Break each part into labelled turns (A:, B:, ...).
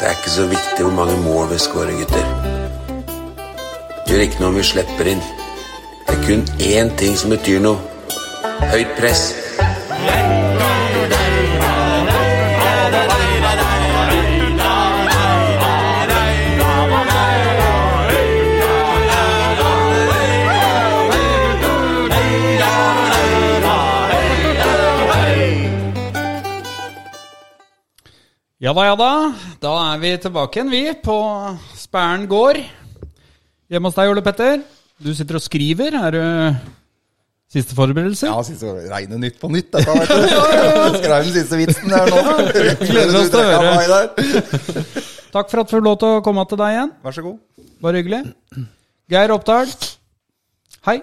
A: er ikke så viktig hvor mange mål vi scorer, gutter. Det gjør ikke noe om vi slipper inn. Det er kun én ting som betyr noe. Høyt press.
B: Ja da, ja da. Da er vi tilbake igjen, vi, på Spæren gård. Hjemme hos deg, Ole Petter. Du sitter og skriver. Er du siste forberedelser?
C: Ja, siste gang. Regne nytt på nytt, dette, vet du. Skrev den siste vitsen der nå.
B: Gleder oss til å høre.
C: Mai der.
B: Takk for at vi får lov til å komme til deg igjen.
C: Vær så god.
B: Bare hyggelig. Geir Oppdal. Hei.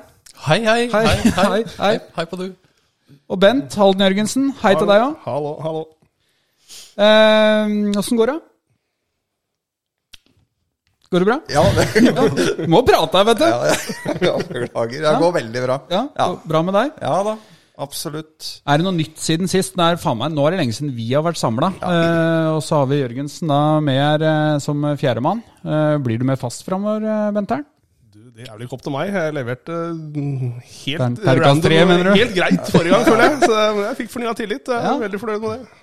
D: Hei, hei.
B: Hei,
D: Hei, hei.
B: hei, hei.
D: Hei på du.
B: Og Bent Halden Jørgensen. Hei til deg òg.
C: Hallo, hallo.
B: Åssen går det? Går det bra?
C: Ja, det
B: Du må prate her, vet du.
C: ja, ja, beklager. Det går veldig bra.
B: Ja,
C: ja.
B: Bra med deg.
C: Ja da, absolutt.
B: Er det noe nytt siden sist? Det er, faen meg, nå er det lenge siden vi har vært samla. Eh, og så har vi Jørgensen da med her eh, som fjerdemann. Eh, blir du med fast framover, eh, Benter'n?
E: Du, Det er vel ikke opp til meg. Jeg leverte eh, helt,
B: Per- perkast tre, mener du?
E: helt greit forrige gang, føler jeg. Så eh, jeg fikk fornya tillit. Jeg er
B: Ja.
E: veldig fornøyd med det.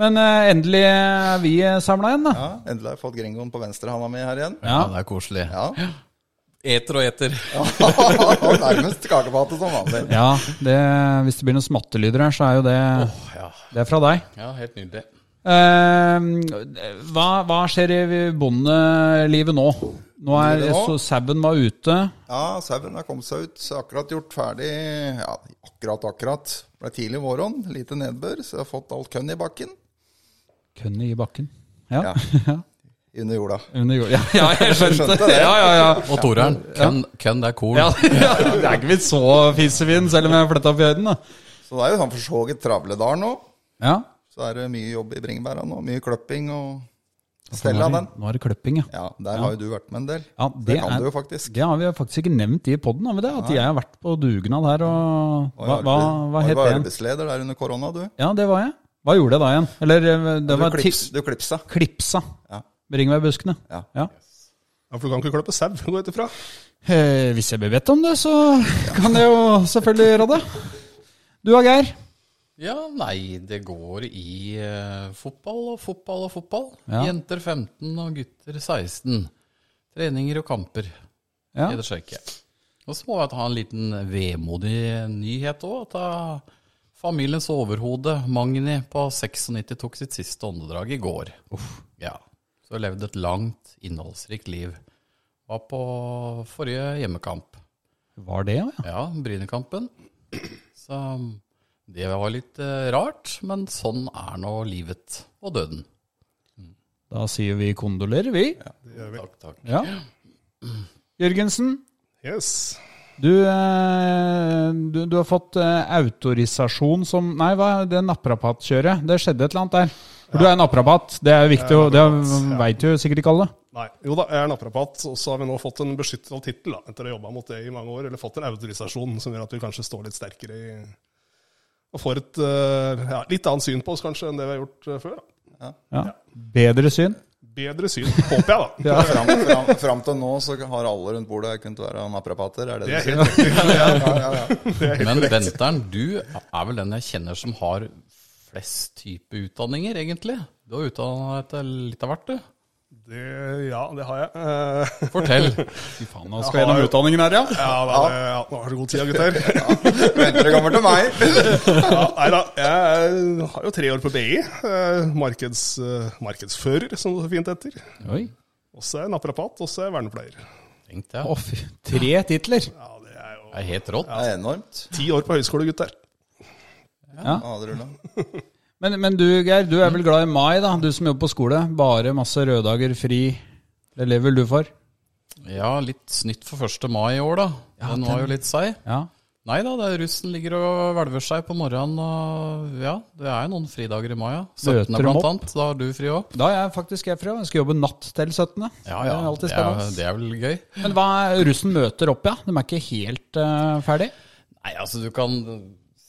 B: Men eh, endelig er vi samla igjen, da.
C: Ja, endelig har jeg fått Gringoen på venstre handa mi her igjen.
B: Ja.
D: Ja, det er koselig.
C: Ja.
D: Eter og eter.
C: Nærmest kakepate som vanlig.
B: Ja, det, hvis det blir noen smattelyder her, så er jo det
D: ja.
B: Det er fra deg.
D: Ja, helt nydelig.
B: Eh, hva, hva skjer i bondelivet nå? Nå er
C: Livet nå?
B: så Sauen var ute.
C: Ja, sauen har kommet seg ut. Så akkurat gjort ferdig Ja, akkurat, akkurat. Ble tidlig våron, lite nedbør, så jeg har fått alt kønn i bakken.
B: Kønn i bakken. Ja.
C: Ja. Under jorda.
B: Under jorda. Ja, ja, jeg skjønte,
C: Skjønte
B: det.
C: det.
B: Ja, ja, ja.
D: Og Toreren. Kønn, kønn, det er korn.
B: Ja, ja, det er ikke blitt så fisefin, selv om jeg har flytta opp i høyden. da.
C: Så det er jo sånn for så vidt travle dager nå.
B: Ja.
C: Så er det mye jobb i bringebæra nå. Mye kløpping og stell av den.
B: Nå er det kløpping, ja.
C: Ja, der har jo du vært med en del.
B: Ja,
C: det,
B: det
C: kan
B: er-
C: du jo faktisk.
B: Det har vi jo faktisk ikke nevnt i poden, har vi det? At jeg har vært på dugnad her og Hva, hva, hva het det
C: det? Du var
B: igjen?
C: arbeidsleder der under korona, du.
B: Ja, det var jeg. Hva gjorde jeg da igjen? Eller eh, det
C: Du,
B: var ti-
C: klips, du klipsa.
B: klipsa.
C: Ja.
B: Bringebærbuskene.
C: Ja.
B: Ja.
E: Ja, for du kan ikke klippe sau, går jeg ut ifra.
B: Eh, hvis jeg blir bedt om det, så kan jeg jo selvfølgelig gjøre det. Du og Geir.
D: Ja, nei, det går i eh, fotball og fotball og fotball.
B: Ja.
D: Jenter 15 og gutter 16. Treninger og kamper.
B: Ja.
D: Kjeder seg ikke. Og så må jeg ta en liten vemodig nyhet òg. At eh, familiens overhode, Magni på 96, tok sitt siste åndedrag i går. Ja. Så jeg levde et langt, innholdsrikt liv. Var på forrige hjemmekamp.
B: Var det, ja?
D: Ja, Brynekampen. Så det var litt eh, rart, men sånn er nå livet og døden.
B: Da sier vi kondolerer, vi.
D: Takk, takk.
B: Ja. Jørgensen,
E: Yes.
B: du, eh, du, du har fått eh, autorisasjon som Nei, hva er det naprapatkjøret? Det skjedde et eller annet der. For du er naprapat, det er jo viktig, og det veit jo sikkert ikke alle.
E: Nei. Jo da, jeg er naprapat, og så har vi nå fått en beskyttet tittel da, etter å ha jobba mot det i mange år. Eller fått en autorisasjon som gjør at vi kanskje står litt sterkere i Og får et eh, ja, litt annet syn på oss kanskje enn det vi har gjort eh, før. da.
B: Ja. Bedre syn.
E: Bedre syn, håper jeg, da.
C: Fram, fram, fram til nå så har alle rundt bordet kunnet være naprapater, er det
E: Det
C: det
E: er
C: du sier?
E: helt
C: Ja,
E: riktig.
C: ja, ja.
D: Men Benteren, du er vel den jeg kjenner som har flest type utdanninger, egentlig? Du har utdanna deg til litt av hvert, du.
E: Det, ja, det har jeg. Eh,
D: Fortell.
B: Fy faen, nå skal jeg gjennom utdanningen her, ja.
E: Ja, da, er det- ja, nå har du god tid, gutter.
C: Venter du kommer til meg?
E: Ja, nei da, jeg har jo tre år på BI. eh, Markeds, eh, markedsfører, som det så fint heter.
B: Oi.
E: Også er jeg naprapat, også er jeg vernepleier.
D: Tenkte jeg.
B: Å, fy. Tre titler.
E: Ja, det er jo
D: Det er helt rått.
C: Det er enormt.
E: ti år på høyskole, gutter.
C: Ja, det ruller.
B: Men, men du, Geir, du er vel glad i mai, da? Du som jobber på skole. Bare masse røddager, fri. Det lever du for?
D: Ja, litt snytt for 1. mai i år, da. Den var jo litt seig.
B: Ja.
D: Nei da, det er russen ligger og hvelver seg på morgenen. Og ja, det er jo noen fridager i mai. Ja. 17.
B: Møter dem
D: blant
B: opp.
D: annet. Da har du fri òg.
B: Da er jeg faktisk jeg fra. Jeg skal jobbe natt til 17.
D: Ja,
B: Det er
D: ja.
B: alltid
D: Det er,
B: spennende.
D: det er vel gøy.
B: Men hva er russen møter opp, ja? De er ikke helt eh, ferdig?
D: Nei, altså du kan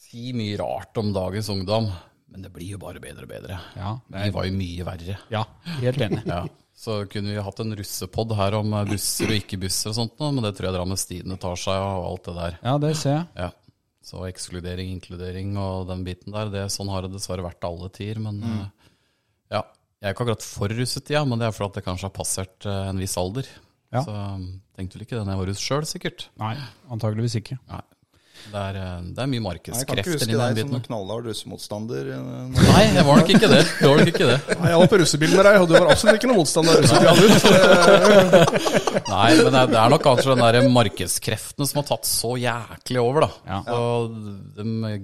D: si mye rart om dagens ungdom, Men det blir jo bare bedre og bedre.
B: Ja, det
D: Vi var jo mye verre.
B: Ja, helt enig.
D: Ja. Så kunne vi hatt en russepodd her om eh, busser og ikke-busser og sånt, nå, men det tror jeg Drammens Tidende tar seg av, og alt det der.
B: Ja, det ser jeg.
D: Ja. Så ekskludering, inkludering og den biten der, det, sånn har det dessverre vært alle tider. Men
C: Mm.
D: eh, ja, jeg er ikke akkurat for russetida, men det er fordi at det kanskje har passert eh, en viss alder.
B: Ja.
D: Så mm, tenkte vel ikke det da jeg var russ sjøl, sikkert.
B: Nei, antageligvis ikke.
D: Nei. Det er, eh, det er mye
C: Jeg kan ikke
D: markedskrefter
C: huske
D: i den
C: deg som
D: biten.
C: en knallhard russemotstander. eh, når-
D: Nei, jeg var nok ikke det. Jeg var nok ikke det.
E: Nei, jeg var på russebil med deg, og du var absolutt ikke noen motstander av russetida. du. Så det-
D: Nei, men det, det er nok kanskje den der markedskreftene som har tatt så jæklig over, da.
B: Ja.
D: Så de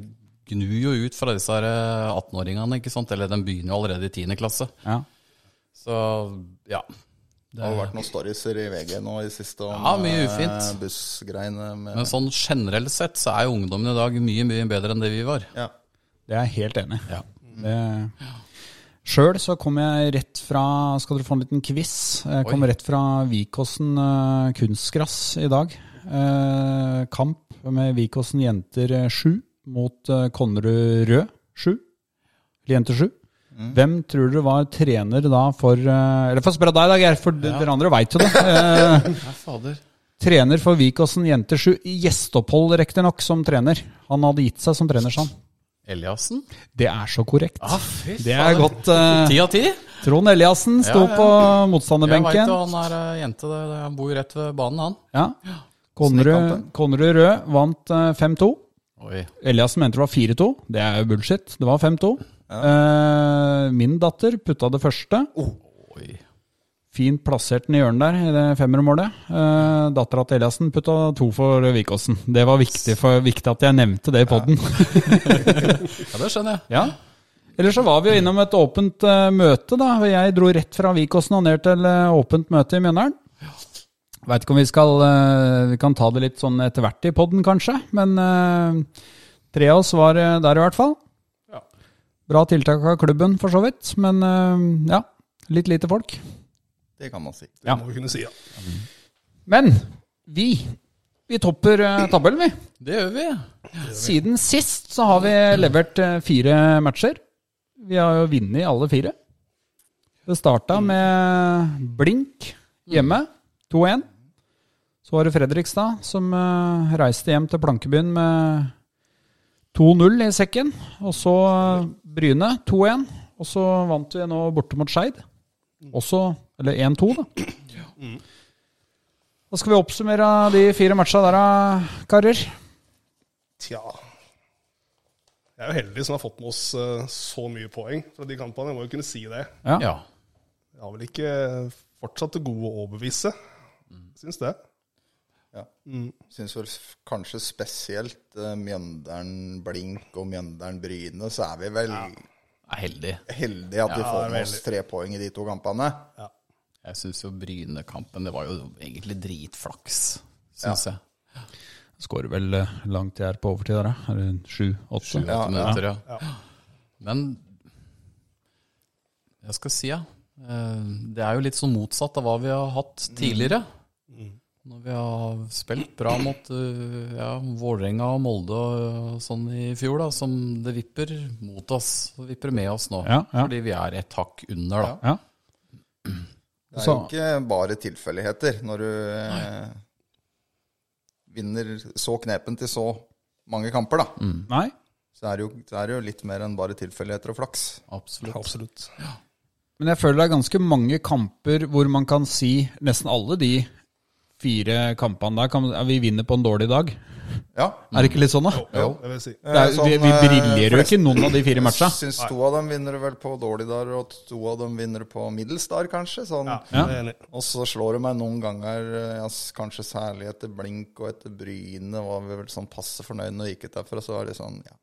D: gnur jo ut fra disse her, eh, 18-åringene, ikke sant. Eller de begynner jo allerede i 10. klasse.
B: Ja.
D: Så ja.
C: Det har vært noen stories i VG nå i siste om
D: Ja,
C: eh,
D: mye ufint.
C: bussgreiene. Med,
D: Men sånn generelt sett så er jo ungdommen i dag mye, mye bedre enn det vi var.
C: ja.
B: Det er jeg helt enig i.
D: Ja.
B: Det... Sjøl så kom jeg rett fra Skal dere få en liten quiz? Jeg kom
D: Oi.
B: rett fra Vikåsen eh, kunstgress i dag. Eh, kamp med Vikåsen jenter eh, 7 mot eh, Konnerud Rød 7. Eller Jenter 7. Hvem tror dere var trener da for eh, Eller får spørre deg, da, Geir, for d- dere andre veit jo det. Eh,
D: Ja, fader.
B: Trener for Vikåsen jenter 7. Gjesteopphold, riktignok, som trener. Han hadde gitt seg som trener, sa han.
D: Eliassen?
B: Det er så korrekt.
D: Ah, fy
B: det er
D: fader.
B: godt. eh,
D: Ti av ti?
B: Trond Eliassen sto
D: Ja, ja.
B: på
D: Jeg veit jo
B: motstanderbenken.
D: han er eh, jente, det- det- han bor jo rett ved banen, han.
B: Ja. Konrad Konrad Rød vant eh, 5-2.
D: Oi.
B: Eliassen mente det var 4-2. Det er jo bullshit. Det var 5-2. Eh, min datter putta det første.
D: Oi.
B: Fint plassert den i hjørnet der, i det femmermålet. Uh, Dattera til Eliassen putta to for Vikåsen. Det var viktig, for, viktig at jeg nevnte det i poden.
D: Ja, det skjønner jeg.
B: Ja. Eller så var vi jo innom et åpent eh, møte, da. Jeg dro rett fra Vikåsen og ned til eh, åpent møte i Mjøndalen. Veit ikke om vi skal eh, Vi kan ta det litt sånn etter hvert i poden, kanskje. Men eh, tre av oss var eh, der i hvert fall.
E: Ja.
B: Bra tiltak av klubben, for så vidt. Men eh, ja, litt lite folk.
C: Det kan man si.
E: Det må vi kunne si, ja.
B: Men vi vi topper eh, tabellen, vi.
D: Det gjør vi.
B: Siden sist så har vi levert eh, fire matcher. Vi har jo vunnet alle fire. Det starta med blink hjemme, 2-1. Så var det Fredrikstad som eh, reiste hjem til Plankebyen med 2-0 i sekken. Og så eh, Bryne, 2-1. Og så vant vi nå borte mot Skeid. Også Eller 1-2, da. Da skal vi oppsummere de fire matcha der, da, karer.
E: Tja Jeg er jo heldig som har fått med oss eh, så mye poeng fra de kampene. Jeg må jo kunne si det.
D: Ja.
E: Jeg har vel ikke fortsatt til gode å overbevise. Syns det.
C: Syns vel f- kanskje spesielt eh, Mjønderen Blink og Mjønderen Bryne, så er vi vel
D: Er heldig.
C: heldige at vi
E: Ja,
C: får med oss
E: veldig.
C: tre poeng i de to kampene.
D: Jeg syns jo Bryne-kampen, det var jo egentlig dritflaks, syns jeg.
B: Skårer vel eh, langt jeg er på overtid der, da. Er det Sju-åtte?
D: Sju-åtte minutter, ja. Men jeg skal si, ja. eh, Det er jo litt sånn motsatt av hva vi har hatt tidligere. Når vi har spilt bra mot eh, ja, Vålerenga og Molde og sånn i fjor, da, som det vipper mot oss. Det vipper med oss nå.
B: Ja, ja.
D: Fordi vi er et hakk under, da.
B: Ja.
C: Det er jo
B: Så-
C: ikke bare tilfeldigheter når du eh, vinner så knepen til så mange kamper, da.
B: Nei?
C: Så er det jo, så er det jo litt mer enn bare tilfeldigheter og flaks.
D: Absolutt.
E: Absolutt.
B: Men jeg føler det er ganske mange kamper hvor man kan si nesten alle de fire kampene der kan, ja, Vi vinner på en dårlig dag.
C: Ja.
B: Er det ikke litt sånn, da?
E: Jo, det vil jeg si.
B: Det er, vi, vi briljerer jo ikke i noen av de fire matcha.
C: Jeg syns to av dem vinner vel på dårlig der, og to av dem vinner på middels der, kanskje. Sånn.
E: Ja, det er jeg enig. i.
C: Og så slår det meg noen ganger, eh, ja, s- kanskje særlig etter Blink og etter Bryne, var vi vel sånn passe fornøyd når vi gikk ut derfra. Så var det sånn, ja.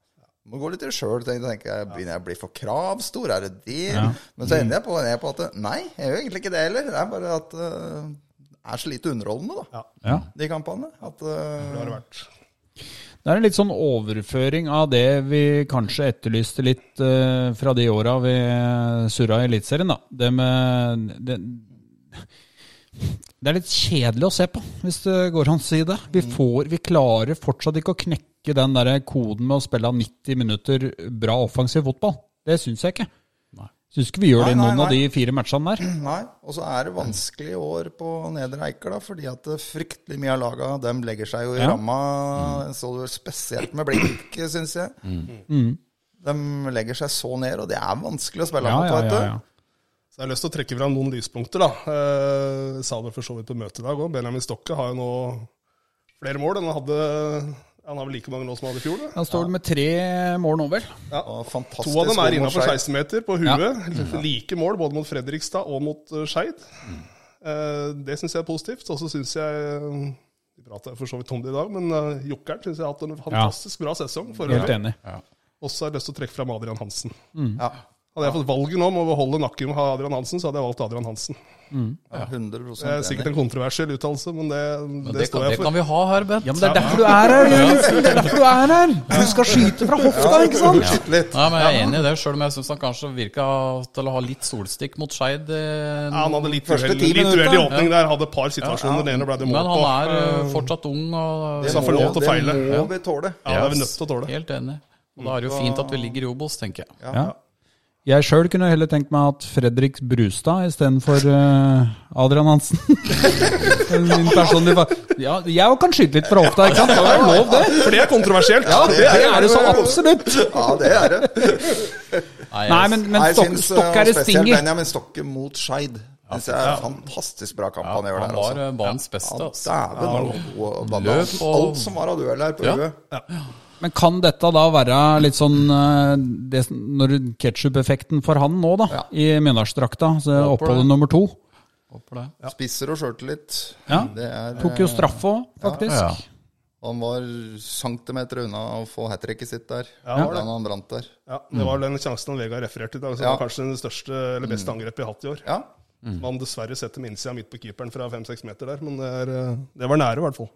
C: Må gå litt i det sjøl, tenker tenker jeg. Begynner jeg å bli for kravstor? Er det det? Men så ender jeg på, ned på at det- nei, jeg gjør egentlig ikke det heller. Det er bare at eh, det er så lite underholdende, da,
E: Ja,
B: Ja.
C: de kampene. At, eh,
E: det har det vært.
B: Det er en litt sånn overføring av det vi kanskje etterlyste litt eh, fra de åra vi surra i Eliteserien, da. Det med det, det er litt kjedelig å se på, hvis det går an å si det.
C: Mm.
B: Vi, får, vi klarer fortsatt ikke å knekke den der koden med å spille 90 minutter bra offensiv fotball. Det syns jeg ikke.
D: Nei.
B: Syns ikke vi gjør det i
C: Nei, nei,
B: noen av
C: nei.
B: de fire matchene der.
C: Nei, og så er det vanskelige år på Nedre Eiker, da, fordi at det fryktelig mye av laga dem legger seg jo i
B: Ja.
C: ramma. Så du vel spesielt med blink, syns jeg.
B: Mm.
C: De legger seg så ned, og det er vanskelig å spille
B: Ja,
C: mot,
B: ja,
C: vet
B: ja,
C: du.
B: ja.
E: Så jeg har lyst til å trekke fram noen lyspunkter. da. Eh, sa det for så vidt på møtet i dag òg. Benjamin Stokke har jo nå flere mål enn han hadde Han har vel like mange nå som han hadde i fjor? da.
B: Han står vel med tre mål nå, vel.
C: Og fantastisk
E: To av dem
C: god
E: er
C: mot
E: innafor
C: Skeid.
E: 16-meter på huet. Like mål både mot Fredrikstad og mot eh, Skeid. Eh, Det syns jeg er positivt. Og så syns jeg Vi prata for så vidt om det i dag, men eh, Jokkeren syns jeg har hatt en fantastisk bra sesong.
B: Helt
E: foreløpig.
B: enig.
E: Og så har jeg lyst til å trekke fram Adrian Hansen.
C: Ja,
E: Hadde jeg fått valget nå om å beholde nakken med Adrian Hansen, så hadde jeg valgt Adrian Hansen.
C: ja, 100
E: Det er sikkert en kontroversiell uttalelse, men det, det,
D: Men det, kan,
E: står jeg
D: det
E: for.
D: kan vi ha her, Bent.
B: Ja, men det er derfor du er her, Jørgensen! Det er derfor du er her! Du skal skyte fra hofta, ikke sant?
C: litt.
D: Nei, men Jeg er enig i det, sjøl om jeg syns han kanskje virka til å ha litt solstikk mot Skeid. eh,
E: Ja, han hadde litt
C: Første
E: uhell
C: ti
E: litt
C: minutter.
E: uhell i åpning der, hadde et par situasjoner. Den ene ble det mål
D: Men
E: på.
D: han er eh,
E: Eh,
D: fortsatt ung. og
E: Så han får lov til å feile.
C: Det må vi tåle.
E: Ja, det er vi nødt til å tåle.
D: Helt enig. Og Da er det jo fint at vi ligger i Obos, tenker jeg.
B: Ja. Jeg sjøl kunne heller tenkt meg at Fredrik Brustad istedenfor uh, Adrian Hansen. Min personlige fa ja, Jeg òg kan skyte litt fra hofta, ikke sant? Det er lov, det.
E: For det er kontroversielt!
B: Ja, det er det så absolutt.
C: Ja, det er det.
D: Nei,
B: Nei, men, men
C: Nei, jeg
B: Stok-
C: synes, eh,
B: Stokk er det
C: spesielt
B: stinger.
C: Benjamin Stokke mot Skeid. Det synes jeg er en fantastisk bra kamp han gjør
D: han
C: der.
D: var
C: altså.
D: eh, banens beste.
C: Ja,
D: Altså.
C: Dæven, han var god og blanda
D: Løp
C: alt-
D: og-
C: alt som var av duell her på
D: Ja.
C: huet.
B: Men kan dette da være litt sånn eh, det, som- når ketsjup-effekten for han nå, da? I Mjøndalsdrakta, så
D: Håper det.
B: oppholdet nummer to.
D: Håper det.
C: Spisser og sjøltillit.
B: Ja.
C: Det er,
B: Tok jo
C: eh,
B: straffe òg, faktisk.
D: Ja.
C: Han var centimeter unna å få hat tricket sitt der.
E: Ja, det var det.
C: Hvordan han brant der.
E: Ja, det var den sjansen han Vegard refererte til. Altså,
C: Ja.
E: Det var kanskje det største eller beste
D: Mm.
E: angrepet vi har hatt i år.
C: Ja.
E: Som han dessverre setter med innsida midt på keeperen fra 5-6 meter der, men det, er, eh, det var nære, i hvert fall.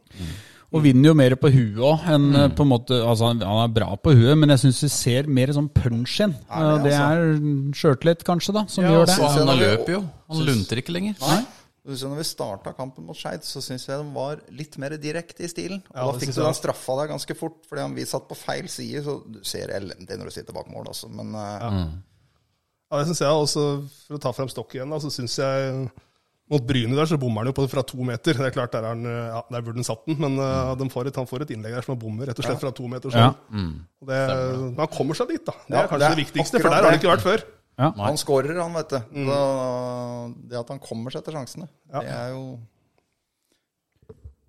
B: Og vinner jo mer på huet òg enn eh, på en måte Altså, han, han er bra på huet, men jeg syns vi ser mer sånn punch in.
C: Ja,
B: det
C: det
B: er sjøltillit, kanskje, da, som
D: Ja,
B: gjør
D: så
B: det.
C: altså- Synes jeg
D: han
C: det-
D: løper jo. Han lunter ikke lenger.
C: Nei. Du ser når vi starta kampen mot Skeid, så syns jeg den var litt mer direkte i stilen. Og
E: Ja,
C: da
E: det
C: fikk
E: synes
C: du
E: jeg
C: den
E: også.
C: straffa der ganske fort, fordi han- vi satt på feil side. Så du ser elendig når du sitter bak mål, altså. Men eh,
D: Mm.
E: Ja, det synes jeg også, For å ta frem stokk igjen, da, så syns jeg mot Bryne der så bommer han jo på fra to meter. Det er klart, Der, er han, eh, ja, der burde han satt den, men eh, de får et, han får et innlegg der som han bommer rett og slett fra to meter.
B: Ja.
E: Sånn. Og det, men han kommer seg dit, da. Det
C: Ja,
E: er kanskje
C: det
E: det,
C: er
E: viktigste,
C: akkurat
E: for der har han
C: det.
E: ikke vært før.
C: han skårer, han, vet du.
E: Mm.
C: Da, det at han kommer seg til sjansene, det er jo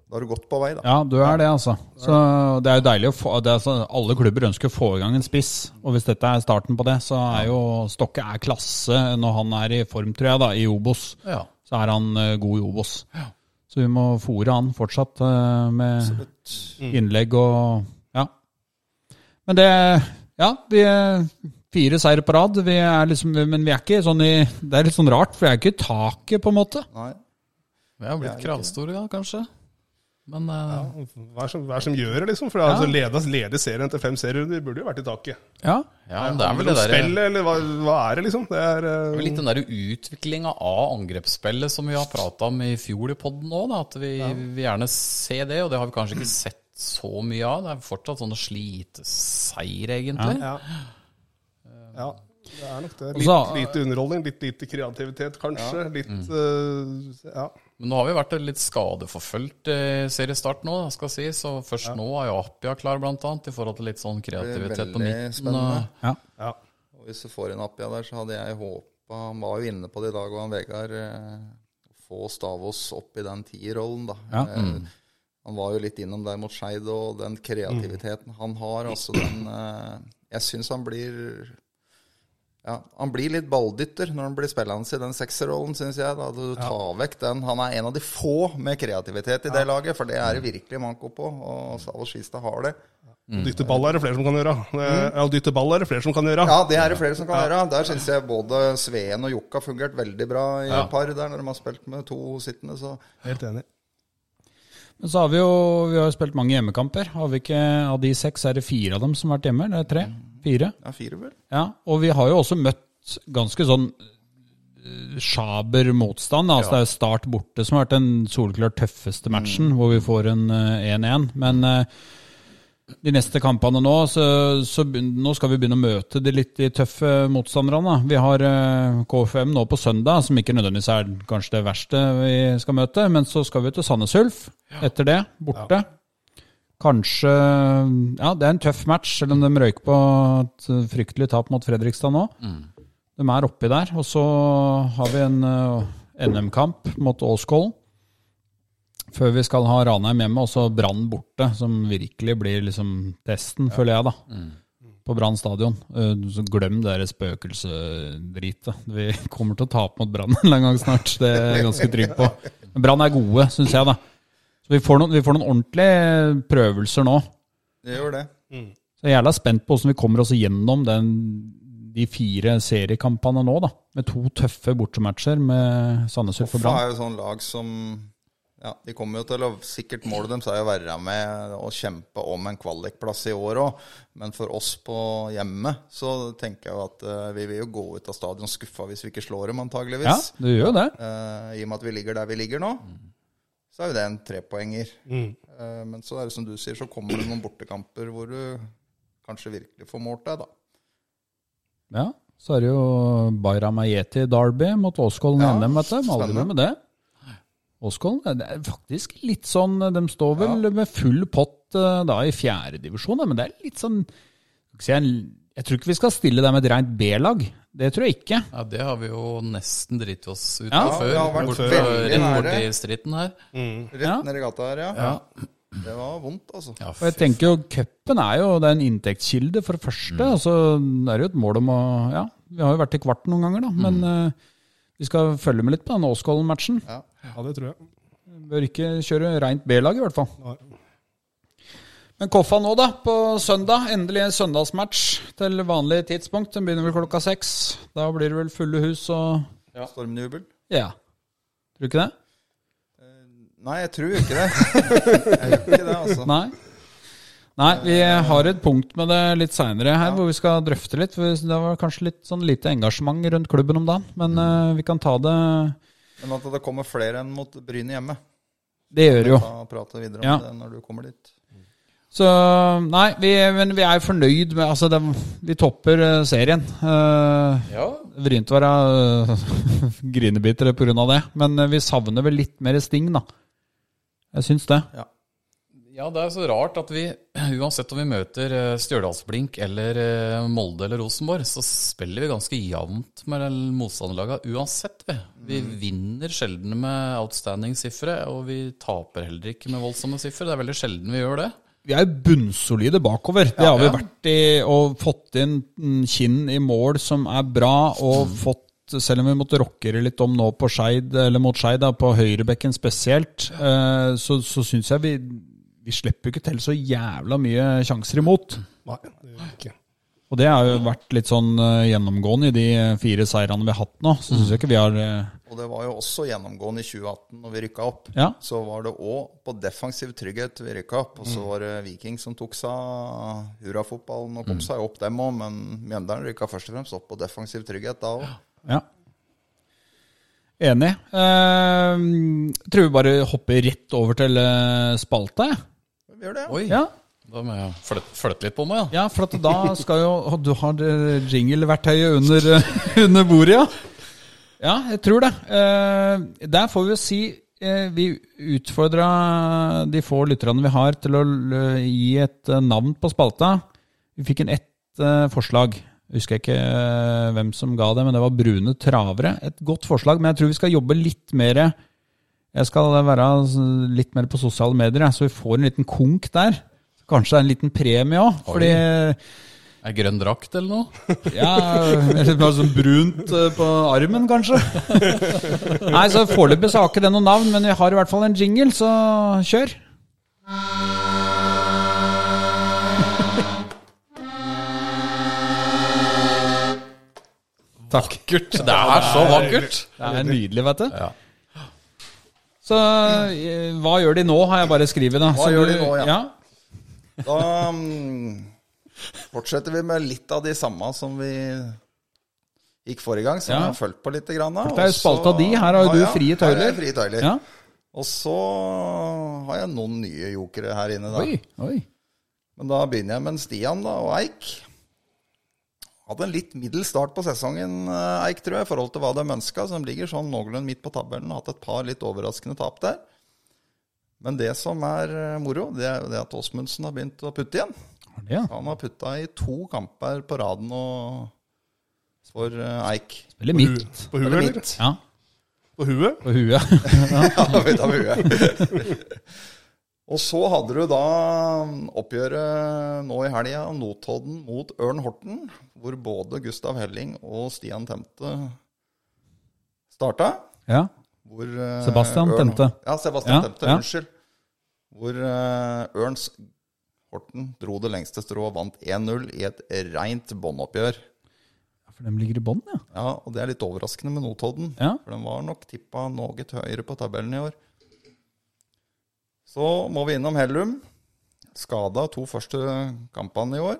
C: Da er du godt på vei, da.
B: Ja, du er det, altså. Så det er jo deilig å få det er, sånn- Alle klubber ønsker å få i gang en spiss, og hvis dette er starten på det, så er jo Stokke er klasse når han er i form, tror jeg, da, i Obos.
D: Ja.
B: Så er han eh, god i Obos. Så vi må fòre han fortsatt eh, med innlegg og Ja. Men det Ja, vi eh, Fire seire på rad, vi er liksom, men vi er ikke sånn i Det er litt sånn rart, for vi er ikke i taket, på en måte.
C: Nei.
D: Vi har blitt kravstore, ja, kanskje. Men eh,
E: Hva er som, hva er som gjør det, liksom? For altså, lede, lede serien til fem serierunder burde jo vært i taket.
B: Ja.
D: ja, men det er
E: Handler
D: vel det
E: om
D: derre
E: Spillet, eller hva, hva er det, liksom? Det er, eh,
D: Det er Litt den der utviklinga av angrepsspillet som vi har prata om i fjor i podden òg. At vi vil gjerne se det, og det har vi kanskje ikke sett så mye av. Det er fortsatt sånn sånne sliteseier, egentlig.
E: ja. ja, det er nok det.
B: Og
E: Litt
B: så-
E: lite underholdning, litt lite kreativitet, kanskje. Litt eh, Ja.
D: Men nå har vi vært litt skadeforfulgt eh, i seriestart nå, da, skal jeg si. Så først nå er jo Appia klar, blant annet, i forhold til litt sånn kreativitet på
C: veldig
D: midten.
C: spennende.
D: og-
B: ja.
E: ja.
C: Og hvis du får inn Appia der, så hadde jeg håpa Han var jo inne på det i dag, og han Vegard eh, Få Stavås opp i den tierrollen, da.
B: Ja.
C: Eh,
D: Mm.
C: Han var jo litt innom der mot Skeid, og den kreativiteten han har,
D: Mm.
C: altså den eh, Jeg syns han blir ja, Han blir litt balldytter når han blir spillende i den sekserrollen, syns jeg. da, Du tar vekk den. Han er en av de få med kreativitet i det laget, for det er det virkelig manko på, og Stavås Skistad har det. Mm.
E: Dytte ball er det flere som kan gjøre. Det- Ja, dytte ball er det flere som kan gjøre.
C: Ja, det er det flere som kan gjøre. Der syns jeg både Sveen og Jokka har fungert veldig bra i par der, når de har spilt med to sittende. Så
E: Helt enig.
B: Men så har vi jo vi har jo spilt mange hjemmekamper. Har vi ikke, Av de seks er det fire av dem som har vært hjemme. Det er tre. Fire.
C: ja, fire, vel.
B: Ja, Og vi har jo også møtt ganske sånn eh, sjaber motstand. Altså Det er jo Start borte som har vært den soleklart tøffeste matchen, hvor vi får en eh, 1-1. Men eh, de neste kampene nå, så, så begyn- nå skal vi begynne å møte de litt de tøffe motstanderne. da. Vi har eh, KFM nå på søndag, som ikke nødvendigvis er kanskje det verste vi skal møte. Men så skal vi til Sandnes Ulf etter det, borte. Kanskje Ja, det er en tøff match, selv om de røyk på et fryktelig tap mot Fredrikstad nå. De er oppi der. Og så har vi en eh, NM-kamp mot Åskollen. Før vi skal ha Ranheim hjemme, og så Brann borte, som virkelig blir liksom testen, føler jeg, da. På Brann stadion. Eh, Så glem det der spøkelsedritet. Vi kommer til å tape mot Brann en eller annen gang snart, det er jeg ganske trygg på. Men Brann er gode, syns jeg, da. Så vi får, noen, vi får noen ordentlige prøvelser nå.
C: Det gjør det.
B: Så jeg er jævla spent på hvordan vi kommer oss gjennom den, de fire seriekampene nå, da. Med to tøffe bortematcher med Sandnes Ulf og
C: Hoffa
B: Brann.
C: er jo sånn lag som ja, De kommer jo til å Sikkert målet deres er å være med og kjempe om en kvalikplass i år òg. Men for oss på hjemme så tenker jeg jo at eh, vi vil jo gå ut av stadion skuffa hvis vi ikke slår dem, antageligvis.
B: Ja, du gjør jo det.
C: Eh, I og med at vi ligger der vi ligger nå, så er jo det en trepoenger. Eh, men så er det som du sier, så kommer det noen bortekamper hvor du kanskje virkelig får målt deg, da.
B: Ja, så er det jo Bayram Ayeti Derby mot Åskollen i
C: Ja,
B: NM, vet du. Må Aldri
C: spennende.
B: glemme det. Åskollen det er faktisk litt sånn De står vel med full pott eh, da i fjerdedivisjon, men det er litt sånn skal vi si, en- Jeg tror ikke vi skal stille dem med et rent B-lag. Det tror jeg ikke.
D: Ja, det har vi jo nesten driti oss ut
B: Ja,
D: av før.
C: det har vært
D: borte-
C: veldig
D: Rett
C: nære.
D: borti stritten her.
C: Rett
B: Ja.
C: nedi gata her, ja.
D: Ja.
C: Det var vondt, altså.
D: Ja,
B: Og jeg
D: fy-
B: tenker jo, Cupen er jo det er en inntektskilde, for det første. Og så er det jo et mål om å Ja, vi har jo vært i kvarten noen ganger, da. Men eh, vi skal følge med litt på den Åskollen-matchen.
E: Ja, det tror jeg.
B: Bør ikke kjøre rent B-lag, i hvert fall.
E: Nei.
B: Men Koffa nå, da, på søndag. Endelig en søndagsmatch til vanlig tidspunkt. Den begynner vel klokka seks. Da blir det vel fulle hus og
C: Stormjubel.
B: Ja. Tror du ikke det?
C: Nei, jeg tror ikke det. Jeg gjør ikke det, altså.
B: Nei. Nei, vi har et punkt med det litt seinere her, hvor vi skal drøfte litt. For det var kanskje litt sånn lite engasjement rundt klubben om dagen, men eh, vi kan ta det
C: Men at det kommer flere enn mot Bryne hjemme.
B: Det gjør jo.
C: Da prater vi videre om
B: Ja.
C: det når du kommer dit.
B: Så nei, vi, men vi er fornøyd med Altså, det, vi topper eh, serien. Eh,
D: ja,
B: Vrient å være øh, grinebitere pga. det, men øh, vi savner vel litt mer sting, da. Jeg syns det.
D: Ja, det er så rart at vi, uansett om vi møter eh, Stjørdalsblink eller eh, Molde eller Rosenborg, så spiller vi ganske jevnt med de motstanderlaga uansett. Vi, vi
C: Mm.
D: vinner sjelden med outstanding sifre, og vi taper heller ikke med voldsomme sifre. Det er veldig sjelden vi gjør det.
B: Vi er jo bunnsolide bakover. Det har vi
D: ja.
B: vært i, og fått inn mm, kinn i mål som er bra, og fått selv om vi måtte rockere litt om nå på Skeid, eller mot Skeid, da, på høyrebekken spesielt, eh, så, så syns jeg vi, vi slipper jo ikke til så jævla mye sjanser imot.
E: Nei, det gjør jeg ikke.
B: Og det har jo vært litt sånn eh, gjennomgående i de fire seirene vi har hatt nå. Så syns jeg ikke vi har eh,
C: Og det var jo også gjennomgående i 2018 når vi rykka opp.
B: Ja.
C: Så var det òg på defensiv trygghet vi rykka opp.
B: Mm.
C: Og så var det Viking som tok seg av hurrafotballen
B: Mm.
C: og kom seg opp dem òg. Men Mjøndalen rykka først og fremst opp på defensiv trygghet da òg.
B: Ja. Enig. Eh, tror vi bare hopper rett over til eh, spalta, jeg.
C: Vi gjør det, ja.
D: Oi,
B: Ja.
D: da må jeg flytte, flytte litt på meg,
B: ja,
D: ja.
B: for at da skal jo å, Du har det jingleverktøyet under, under bordet, ja? Ja, jeg tror det. Eh, der får vi jo si eh, vi utfordra de få lytterne vi har, til å l- gi et eh, navn på spalta. Vi fikk inn ett eh, forslag. Jeg husker ikke eh, hvem som ga det, men det var Brune travere. Et godt forslag, men jeg tror vi skal jobbe litt mer Jeg skal være s- litt mer på sosiale medier, jeg, så vi får en liten konk der. Kanskje det er en liten premie òg, fordi
D: Er grønn drakt eller noe?
B: ja, eller bare sånn brunt eh, på armen, kanskje. Nei, så foreløpig så har ikke det noe navn, men vi har i hvert fall en jingle, så kjør. Takk.
D: Vakkert! Det er så vakkert!
B: Det er nydelig, vet du.
D: Ja.
B: Så eh, hva gjør de nå, har jeg bare skrevet. da.
C: Hva
B: Så
C: gjør
B: du-
C: de nå, ja. Da mm, fortsetter vi med litt av de samme som vi gikk forrige gang, som
B: Ja.
C: jeg har fulgt på litt. Grann, da.
B: det er jo
C: Og så-
B: spalta di. Her har jo du frie
C: her har jeg
B: tøyler.
C: frie tøyler.
B: ja.
C: Og så har jeg noen nye jokere her inne, da.
B: Oi, oi.
C: Men da begynner jeg med en Stian da, og Eik. Hadde en litt middels start på sesongen, eh, Eik, tror jeg, i forhold til hva de ønska, som ligger sånn noenlunde midt på tabellen. Hatt et par litt overraskende tap der. Men det som er eh, moro, det er jo det at Åsmundsen har begynt å putte igjen.
B: Har det, ja.
C: Han har putta i to kamper på raden og for eh, Eik.
B: Veldig midt.
E: På huet, eller?
B: Ja,
E: På huet?
B: på huet.
C: Ja, vi tar huet. Og så hadde du da oppgjøret nå i helga, Notodden mot Ørn Horten, hvor både Gustav Helling og Stian Temte starta.
B: ja.
C: Hvor, eh,
B: Sebastian Temte.
C: Ja, Sebastian
B: Ja,
C: Temte,
B: ja.
C: unnskyld. Hvor eh, Ørns Horten dro det lengste strået og vant 1-0 i et reint båndoppgjør.
B: For dem ligger i bånn, ja.
C: Ja, og det er litt overraskende med Notodden.
B: Ja.
C: For den var nok tippa noe høyere på tabellen i år. Så må vi innom Hellum. Skada to første kampene i år.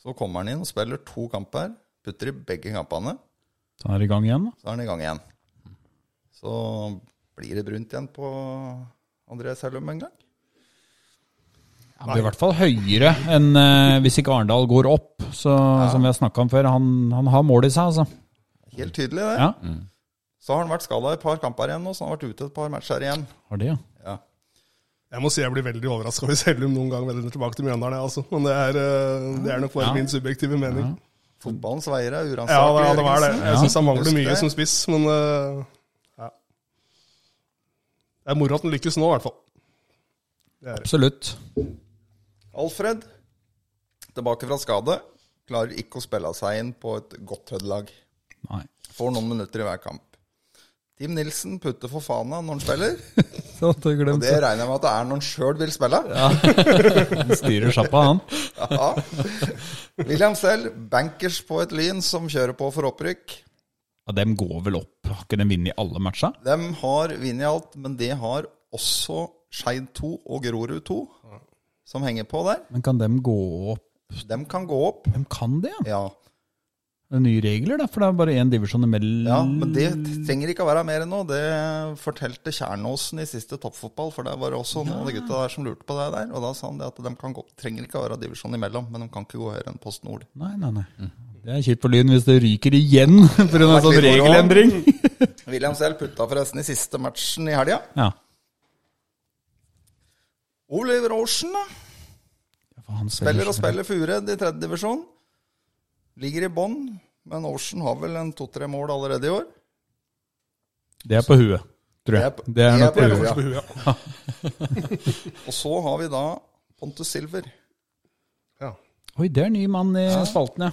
C: Så kommer han inn og spiller to kamper. Putter i begge kampene.
B: Så er det i gang igjen, da.
C: Så er han i gang igjen. Så blir det brunt igjen på Andreas Hellum en gang.
B: Han blir i hvert fall høyere enn eh, hvis ikke Arendal går opp, så, som vi har snakka om før. Han, han har mål i seg, altså.
C: Helt tydelig, det.
B: Ja,
C: Så har han vært skada i et par kamper igjen nå, så han har vært ute et par matcher igjen.
B: har det, ja.
C: Ja.
E: Jeg må si jeg blir veldig overraska hvis Hellum noen gang vender tilbake til Mjøndalen. jeg, Altså. Men det er, eh, det er nok bare min subjektive mening.
C: Fotballens veier er
E: Ja,
C: uransakelig.
E: det, ja, det var det. Jeg syns han mangler
C: Husk
E: mye
C: det.
E: som spiss, men eh, ja. Det er moro at han lykkes nå, i hvert fall.
B: Absolutt.
C: Alfred, tilbake fra skade, klarer ikke å spille seg inn på et godt Hødd-lag.
B: Nei.
C: Får noen minutter i hver kamp. Team Nilsen putter for fana når han spiller.
B: Så hadde jeg
C: Og
B: glemt
C: det regner jeg med at det er når han sjøl vil spille.
B: Han styrer sjappa, han.
C: Ja. William selv, bankers på et Lyn som kjører på for opprykk.
B: Ja, dem går vel opp. Har ikke dem vunnet i alle matcha?
C: De har vunnet alt, men det har også Skeid 2 og Grorud 2, som henger på der.
B: Men kan dem gå opp?
C: De kan gå opp.
B: Dem kan det, ja.
C: Ja.
B: Det er nye regler, da, for det er bare én divisjon imellom.
C: Ja, men det trenger ikke å være mer enn nå. Det fortalte Kjernåsen i siste toppfotball, for der var det også noen av de gutta der som lurte på det der. Og da sa han det at de kan gå, trenger ikke å være divisjon imellom, men de kan ikke gå høyere enn Post Nord.
B: Nei, nei, nei. Det er kjipt for Lyn hvis det ryker igjen pga. en sånn
C: litt moro.
B: regelendring.
C: William selv putta forresten i siste matchen i helga.
B: Ja.
C: Oliver Ocean da,
B: Ja, for han
C: spiller og spiller for Uredd i tredje divisjon. Ligger i bånn, men Ocean har vel en to-tre mål allerede i år.
B: Det er på huet, tror jeg.
C: Det er på-
B: Det er nok
C: det
B: på
C: er på
B: huet.
C: huet.
E: På huet, ja.
C: Og så har vi da Pontus Silver.
E: ja.
B: Oi, det er ny mann i spalten, ja.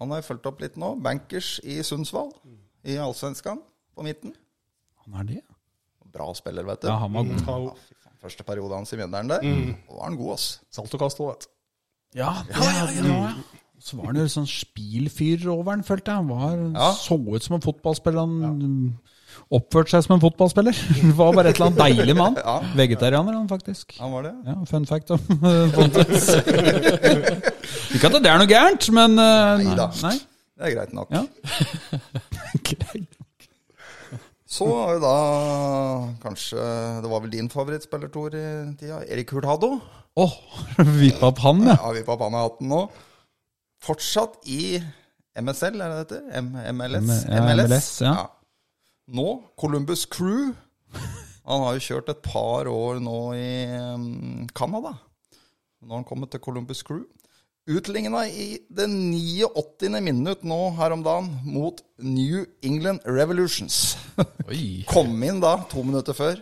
C: Han har jeg fulgt opp litt nå. Bankers i Sundsvall, i Allsvenskan, på midten.
B: Han er det, ja.
C: Bra spiller, vet du.
B: Ja, han Mm. var god.
E: Ta jo
C: Første periode hans i Mjønderen der, da var han god, ass.
E: Salt og kast òg, vet du.
B: Ja, det, ja, ja, Så var han jo sånn spilfyr over han, følte jeg. Han Var, Så ut som en fotballspiller. Han mm, oppførte seg som en fotballspiller. Det var bare et eller annet deilig med han. Vegetarianer, han faktisk.
C: Han var det.
B: Ja, fun fact om Pontus. Ikke at det er noe gærent, men eh,
C: Neida.
B: Nei.
C: Det er greit nok.
B: Ja. Greit.
C: Så har jo da kanskje Det var vel din favorittspiller, Tor, i tida. Erik Hurtado.
B: Åh, vippa opp han, ja.
C: Ja, vi på Panna-hatten nå. Fortsatt i MSL, er det det heter? M MLS?
B: M- ja, MLS, ja.
C: Nå Columbus Crew. Han har jo kjørt et par år nå i um, Canada. Nå har han kommet til Columbus Crew. Utligna i det 89. minutt nå her om dagen mot New England Revolutions.
D: Oi.
C: Kom inn da, to minutter før.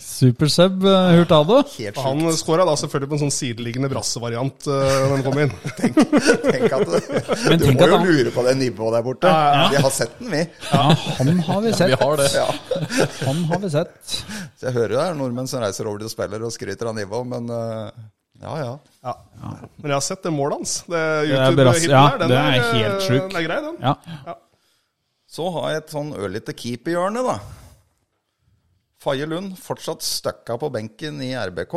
B: Supersub eh, Hurtado.
C: Helt sjukt.
E: Og Han skåra da selvfølgelig på en sånn sideliggende brassevariant eh, når han kom inn.
C: Tenk at
B: Men
C: Du
B: tenk at
C: må jo
B: han-
C: lure på det nivået der borte. Vi har sett den, vi.
B: Ja, han har vi
D: Vi
B: sett.
D: har det.
B: Han har vi sett.
C: Så jeg hører jo det er nordmenn som reiser over til spiller og skryter av nivå, men eh, ja, ja.
E: Ja. Men jeg har sett det målet hans. Det
B: er
E: YouTube-hiten
B: brass- ja,
E: der, den
B: det
E: er,
B: er helt
E: eh,
B: sjuk.
E: Den er grei, den.
B: Ja.
C: Så har jeg et sånn ørlite keeperhjørne, da. Faye Lund fortsatt støkka på benken i RBK.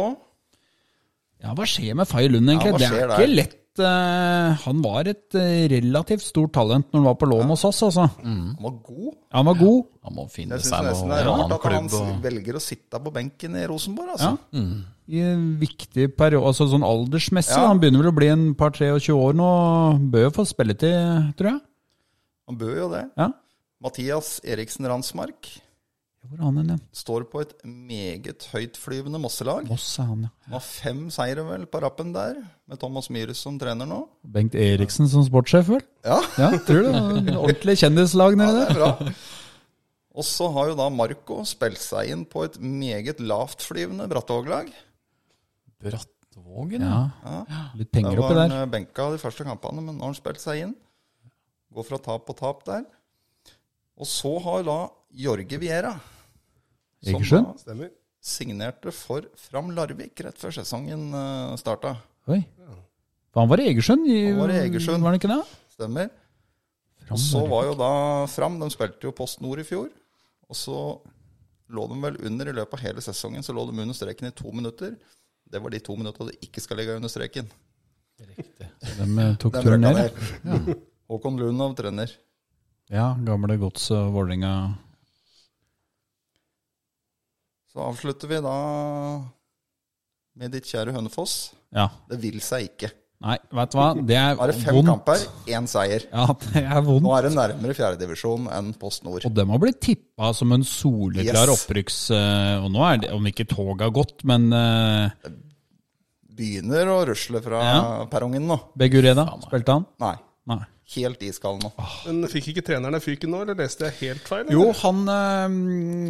B: Ja, hva skjer med Fay Lund, egentlig?
C: Ja, hva
B: det er
C: skjer
B: ikke
C: der?
B: lett. eh, han var et eh, relativt stort talent når han var på lån hos oss, altså.
C: Han var god.
B: Han var god.
D: Han må finne
C: Jeg syns
D: seg
C: nesten
D: Mm. noe
C: det er rart
D: annen
C: at han
D: klubb. Og...
C: velger å sitte på benken i Rosenborg, altså.
B: i en viktig periode, altså sånn aldersmessig.
C: Ja.
B: Han begynner vel å bli en par 23 år nå. Bør jo få spilletid, tror jeg.
C: Han bør jo det.
B: Ja.
C: Mathias Eriksen Randsmark
B: Hvor er han hen igjen?
C: står på et meget høytflyvende Mosselag.
B: Moss er han, ja.
C: Han har fem seire vel på rappen der, med Thomas Myhres som trener nå.
B: Bengt Eriksen som sportssjef, vel?
C: Ja,
B: Ja, tror du det? En Ordentlig kjendislag
C: ja
B: nede
C: det
B: der.
C: er bra. Og så har jo da Marco spilt seg inn på et meget lavtflyvende Brattvåg-lag.
D: Brattvågen,
B: Ja.
D: ja.
B: Litt
C: Der
B: penger oppi
C: var han
B: der.
C: eh, benka de første kampene, men nå har han spilt seg inn. Går fra tap på tap der. Og så har da Jorge Viera som
B: Egersund?
C: da
E: Stemmer.
C: signerte for Fram Larvik rett før sesongen eh, starta.
B: Oi. For han var i Egersund? I,
C: Han var i Egersund.
B: Var han ikke det?
C: Stemmer. Og så var jo da Fram De spilte jo Post Nord i fjor. Og så lå de vel under i løpet av hele sesongen så lå de under streken i to minutter. Det var de to minuttene de ikke skal ligge under streken.
B: De eh, tok
C: Den
B: turen
C: brøkka
B: ned.
C: der. Håkon Lunov trener.
B: Ja, gamle gods og Vålerenga.
C: Så avslutter vi da med ditt kjære Hønefoss.
B: Ja.
C: Det vil seg ikke.
B: Nei, vet du hva? Det er
C: Nå er det fem
B: vondt.
C: kamper, én seier.
B: Ja, det er
C: Nå
B: vondt.
C: er det nærmere fjerdedivisjon enn Post Nord.
B: Og dem har blitt tippa som en soleklar
C: Yes.
B: opprykks... eh, Og nå er det, om ikke toget har gått, men eh,
C: Begynner å rusle fra
B: Ja.
C: perrongen nå.
B: Begureda, spilte han?
C: Nei,
B: Nei.
C: helt iskald nå.
B: Ah.
E: Men fikk ikke treneren den fyken nå, eller leste jeg helt feil?
B: Jo,
E: eller?
B: han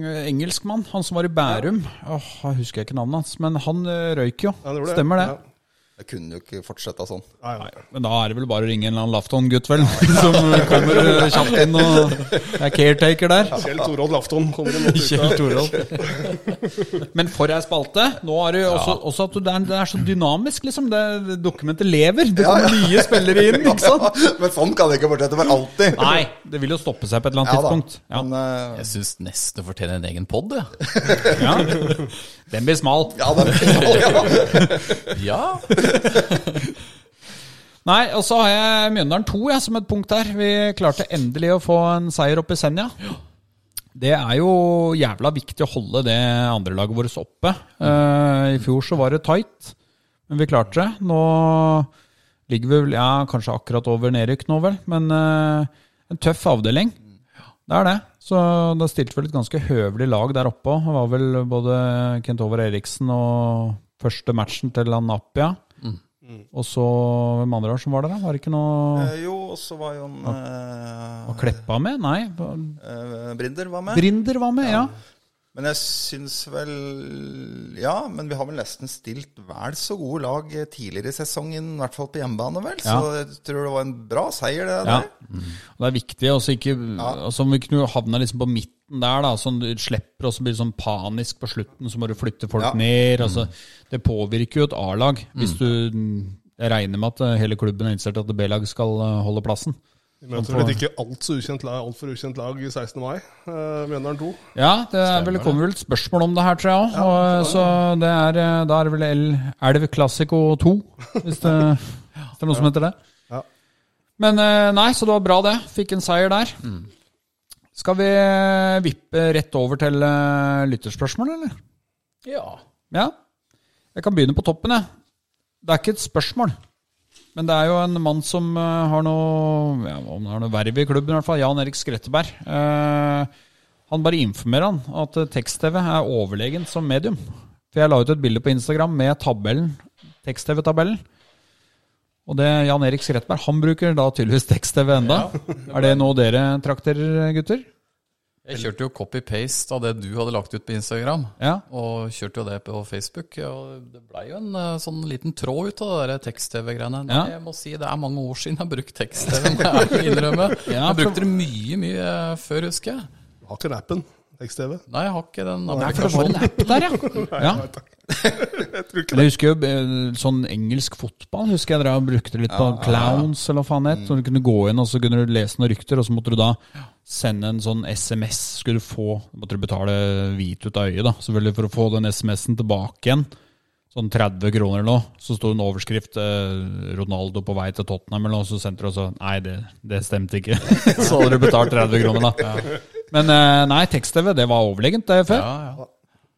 B: eh, engelskmann, han som var i Bærum Åh, Jeg husker ikke navnet hans, men han eh, røyk jo.
E: Ja, han gjorde
B: Stemmer det.
E: Ja.
C: Det kunne jo ikke fortsette sånn.
E: Nei, nei.
B: Men da er det vel bare å ringe en eller annen Lafton-gutt, vel? Som kommer eh, kjapt inn og er caretaker der.
E: Kjell Torodd Lafton kommer inn mot
B: Kjell
E: uka.
B: Torolf. Men for ei spalte! Nå er det jo også, også at du, det, er, det er så dynamisk, liksom. Det, det dokumentet lever. Det kommer nye spillere inn, ikke sant?
C: Men sånn kan det ikke fortsette for alltid.
B: Nei, det vil jo stoppe seg på et eller
C: Ja
B: annet
C: da.
B: tidspunkt. Ja.
C: Men eh,
D: Jeg syns nesten det fortjener en egen pod, jeg.
B: Ja. Den blir smal.
C: ja, det er
D: Ja.
B: Nei, og så har jeg Mjøndalen 2 jeg, som et punkt her. Vi klarte endelig å få en seier oppe i Senja. Det er jo jævla viktig å holde det andrelaget vårt oppe. Eh, I fjor så var det tight, men vi klarte det. Nå ligger vi vel ja, kanskje akkurat over nedrykk nå, vel. Men eh, en tøff avdeling. Det er det. Så da stilte vi et ganske høvelig lag der oppe òg. Det var vel både Kent Over Eriksen og første matchen til han Appia. Og så hvem andre var som var der, da? Var det ikke noe
C: Eh, Jo, og så var jo en
B: Var
C: eh,
B: Kleppa med? Nei.
C: eh, Brinder var med.
B: Brinder var med, ja.
C: Men jeg syns vel Ja, men vi har vel nesten stilt vel så gode lag tidligere i sesongen, i hvert fall på hjemmebane, vel. Så jeg tror det var en bra seier, det
B: Ja.
C: der.
B: Og det er viktig. Altså ikke, altså om vi kunne havna liksom på midten der, da, sånn du slipper og så blir det sånn panisk på slutten, så må du flytte folk
C: Ja.
B: ned. Altså, det påvirker jo et A-lag. Hvis du Jeg regner med at eh, hele klubben er innstilt til at B-lag skal eh, holde plassen.
E: Vi møter vel et ikke alt så ukjent lag, altfor ukjent lag i 16. mai, eh, Mjøndalen 2.
B: Ja, det er vel, kommer vel et spørsmål om det her, tror jeg òg. så det er, eh, da er det vel El Elv Classico 2, hvis det, hvis det er noe som heter det.
E: Ja.
B: Men eh, nei, så det var bra det. Fikk en seier der. Skal vi eh, vippe rett over til eh, lytterspørsmål, eller?
D: ja.
B: Ja. Jeg kan begynne på toppen, jeg. Det er ikke et spørsmål. Men det er jo en mann som eh, har noe ja, om det er noe verv i klubben, i hvert fall. Jan Erik Skretteberg. Eh, han bare informerer han at eh, tekst-TV er overlegen som medium. For jeg la ut et bilde på Instagram med tabellen, tekst-TV-tabellen. Og det Jan Erik Skretteberg, han bruker da tydeligvis tekst-TV enda. er det noe dere trakterer, gutter?
D: Jeg kjørte jo copy-paste av det du hadde lagt ut på Instagram.
B: Ja.
D: Og kjørte jo det på Facebook. Og det blei jo en eh, sånn liten tråd ut av det der tekst-TV-greiene. Nei,
B: Ja.
D: Jeg må si det er mange år siden jeg har brukt tekst-TV, må jeg innrømme.
B: Ja,
D: Jeg brukte det mye, mye eh, før, husker jeg.
E: Du har ikke den appen, tekst-TV?
D: Nei, jeg har ikke den
B: For det var en
D: applikasjonen.
B: app der, ja. ja.
E: Jeg tror ikke
B: Men jeg husker jo eh, sånn engelsk fotball husker jeg dere brukte litt på Clowns eller hva faen det het. Så du kunne gå inn og så kunne du lese noen rykter, og så måtte du da sende en sånn SMS. Skulle du få Måtte du betale hvit ut av øyet, da, selvfølgelig, for å få den SMS-en tilbake igjen. Sånn 30 kroner eller noe. Så sto det en overskrift eh, 'Ronaldo på vei til Tottenham' eller noe, så sendte du også Nei, det, det stemte ikke. så hadde du betalt 30 kroner, da. Men eh, nei, tekst-TV, det var overlegent det før.
D: Ja, ja.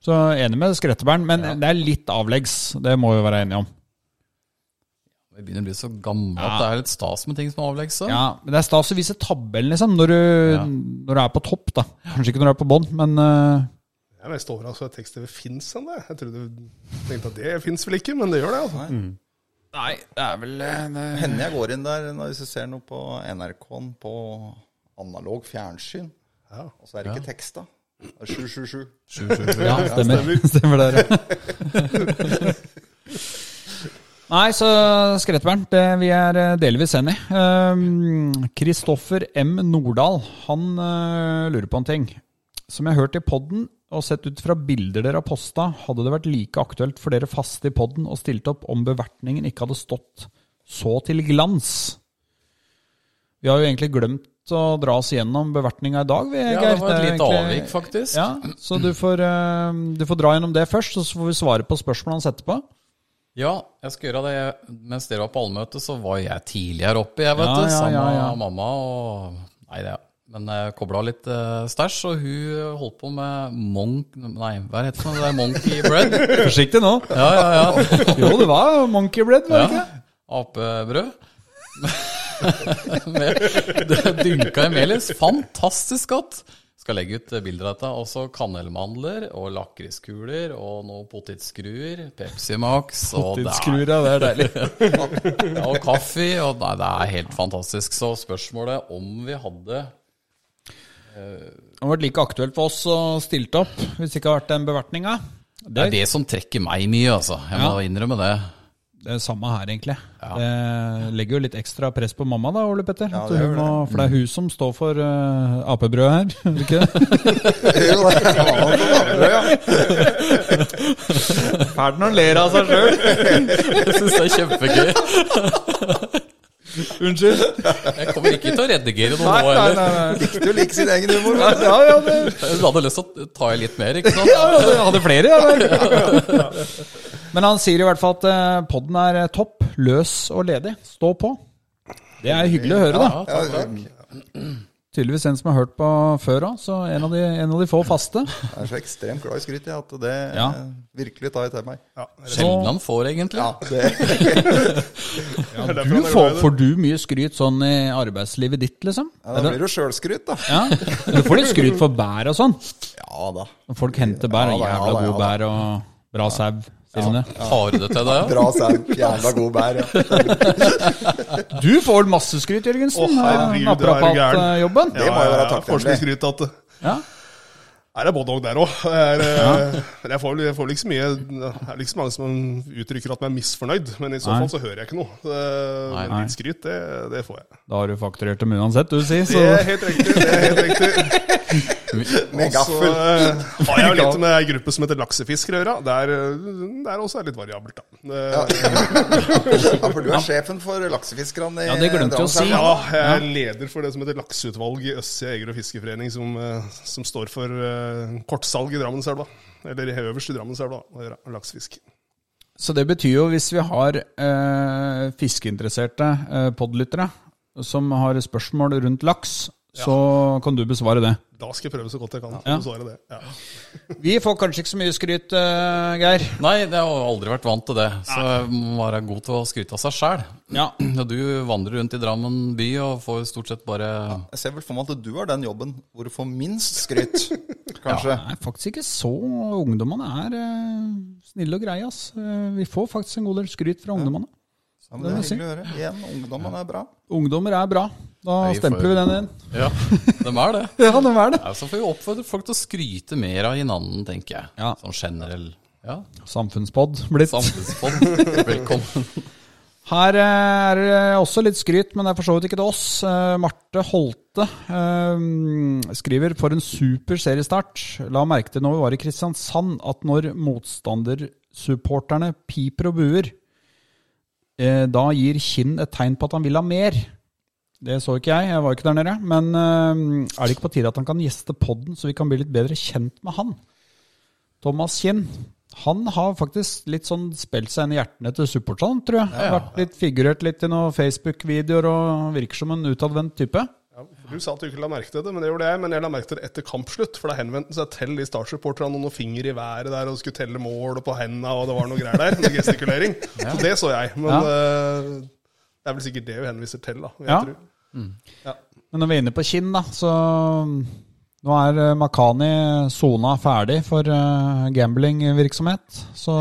B: Så enig med Skretteberg, men det er litt avleggs. Det må vi være enige om.
D: Vi begynner å bli så gamle at det er litt stas med ting som avlegges. så.
B: Ja, men Det er stas å vise tabellen liksom, når du, når du er på topp. da. Kanskje ikke når du er på bånn, men eh,
E: Jeg er mest overrasket over at tekst-TV fins ennå. Jeg trodde tenkte at det fins vel ikke, men det gjør det. altså.
B: Nei, det er vel eh, det...
C: Hender jeg går inn der når jeg ser noe på NRK-en på analog fjernsyn,
E: Ja.
C: og så er det ikke teksta. Det er 777.
D: Sju, sju, sju.
B: Ja, stemmer. stemmer det, ja. Nei, så Skrettebernt, det vi er eh, delvis enig. Ehm, Kristoffer M. Nordahl, han eh, lurer på en ting. Som jeg har hørt i podden, og sett ut fra bilder dere har posta, hadde det vært like aktuelt for dere faste i podden og stilt opp om bevertningen ikke hadde stått så til glans? Vi har jo egentlig glemt å dra oss gjennom bevertninga i dag, vi,
D: Ja, det
B: Geir.
D: var et
B: er
D: lite
B: egentlig-
D: avvik, faktisk.
B: ja, så du får, eh, du får dra gjennom det først, og så får vi svare på spørsmålet hans etterpå.
D: Ja, jeg skal gjøre det. Mens dere var på allmøte, så var jeg tidligere oppe, jeg, vet
B: Ja,
D: du.
B: ja,
D: Sammen
B: ja,
D: med
B: ja.
D: mamma og Nei, det Men jeg kobla litt uh, stæsj, og hun holdt på med monk... Nei, hva heter det? det er monkey bread?
B: Forsiktig nå.
D: Ja, ja, ja.
B: Jo, det var jo Monkey Bread, var det ikke?
D: ja. Apebrød. Med det dynka i melis. Fantastisk godt. Skal legge ut eh, bilder av dette. Også kanelmandler og lakriskuler og noen potetskruer. Pepsi Max. Og det er
B: Tidskruer, ja, det er deilig.
D: Ja, og kaffe. Og nei, det er helt fantastisk. Så spørsmålet om vi hadde
B: Det har vært like aktuelt for oss å stilte opp hvis det ikke har vært den bevertninga.
D: Det er det som trekker meg mye, altså. Jeg må innrømme det.
B: Det er samme her, egentlig. Det legger jo litt ekstra press på mamma, da, Ole Petter. at
C: det
B: hun
C: gjør det.
B: må- For det er hun som står for uh, apebrød her, er det ikke det? Fælt når hun ler av seg sjøl.
D: Jeg syns det er kjempegøy.
B: Unnskyld.
D: Jeg kommer ikke til å redigere noe
B: Nei,
D: nå
B: nei,
D: heller.
B: nei. nei.
C: Likte jo like sin egen humor.
B: Ja,
C: vet du.
B: ja, ja, det.
D: Du hadde lyst til å ta i litt mer, ikke sant?
B: Ja, ja, du hadde flere, ja vel. Men han sier i hvert fall at eh, podden er eh, topp, løs og ledig. Stå på. Det er hyggelig å høre, da.
C: Ja, det
B: Tydeligvis en som har hørt på før òg, så en av, de, en av de få faste.
C: er så ekstremt glad i skryt jeg, at det
B: Ja.
C: eh, virkelig tar jeg til meg.
E: Ja,
D: Sjelden han får, egentlig.
C: Ja, det,
E: det er derfor
B: Du
E: han er glad
B: får,
E: i det.
B: får du mye skryt sånn i arbeidslivet ditt, liksom?
C: ja, da blir det jo sjølskryt, da.
B: Ja, Du får litt skryt for bær og sånn.
C: Ja da.
B: Når folk henter bær,
C: Ja,
B: og
C: da, ja,
B: jævla
C: da, ja,
B: gode bær og bra sau. sier de det.
D: Har du det til deg, ja?
C: Bra sau. Jævla god bær. Ja.
B: Du får masse skryt,
E: Å,
B: Jørgensen. eh,
E: herregud, det er du gæren.
B: Naprapatjobben.
C: Det må jo være takknemlig.
E: Forskerskryt at
B: Ja.
E: Nei, det er både og der òg. Men jeg får, vel- jeg får liksom mye Det er liksom mange som uttrykker at de er misfornøyd, men i så fall så hører jeg ikke noe. Det,
D: Nei,
E: men
B: nei.
E: litt skryt, det, det får jeg.
B: Da har du fakturert dem uansett, du sier.
E: Det
B: Så
E: er helt riktig. det er helt riktig.
C: Med
E: Så
C: gaffel.
E: eh, har jeg jo litt med ei gruppe som heter laksefisker å gjøre. Der, der også er det litt variabelt, da. Det, ja,
C: Ja, for du er sjefen for laksefiskerne i
B: Ja, det glemte jeg å si.
C: Drammenshallen.
E: Ja, jeg er leder for det som heter lakseutvalg i Østsida Jeger- og Fiskerforening, som, eh, som står for eh, kortsalg i Drammenselva. Eller i øverst i Drammenselva, og gjør laksefisk.
B: Så det betyr jo, hvis vi har eh, fiskeinteresserte eh, podlyttere som har spørsmål rundt laks, så kan du besvare det.
E: Da skal jeg prøve så godt jeg kan
B: Ja.
E: å besvare det. Ja.
B: Vi får kanskje ikke så mye skryt, eh, Geir.
D: Nei, jeg har aldri vært vant til det. Så jeg må være god til å skryte av seg sjæl.
B: Ja.
D: Og du vandrer rundt i Drammen by og får stort sett bare
C: Jeg ser vel for meg at du har den jobben hvor du får minst skryt, kanskje.
B: Det er faktisk ikke så Ungdommene er eh, snille og greie, ass. Eh, vi får faktisk en god del skryt fra ungdommene.
C: Ja, men det er hyggelig å høre. Igjen, ungdommen er bra.
B: Ungdommer er bra. Da
D: Nei, vi
B: stempler
D: får-
B: vi den inn.
D: Ja, dem er det.
B: Ja, det er det.
D: Ja, så får vi oppfordre folk til å skryte mer av hinanden, tenker jeg.
B: Ja.
D: Sånn generell. Ja.
B: Samfunnspod blitt.
D: Samfunnsfond, velkommen.
B: Her eh, er det også litt skryt, men det er for så vidt ikke til oss. Eh, Marte Holte eh, skriver for en super seriestart. La merke til når vi var i Kristiansand at når motstandersupporterne piper og buer, eh, da gir Kinn et tegn på at han vil ha mer. Det så ikke jeg, jeg var ikke der nede. Men eh, er det ikke på tide at han kan gjeste podden, så vi kan bli litt bedre kjent med han? Thomas Kinn. Han har faktisk litt sånn spilt seg inn i hjertene til supporterne, tror jeg. Vært litt Figurert litt i noen Facebook-videoer og virker som en utadvendt type.
E: Ja, Du sa at du ikke la merke til det, men det gjorde jeg. Men jeg la merke til det etter kampslutt, for da henvendte han seg til de startsupporterne og noen finger i været der og skulle telle mål og på henda, og det var noe greier der. Noe gestikulering. Så det så jeg. Men
B: Ja.
E: eh, det er vel sikkert det hun henviser til, da. vil Jeg
B: Ja.
E: tror.
B: Men når vi er inne på Kinn, da, så Nå er eh, Makani sona ferdig for eh, gamblingvirksomhet. Så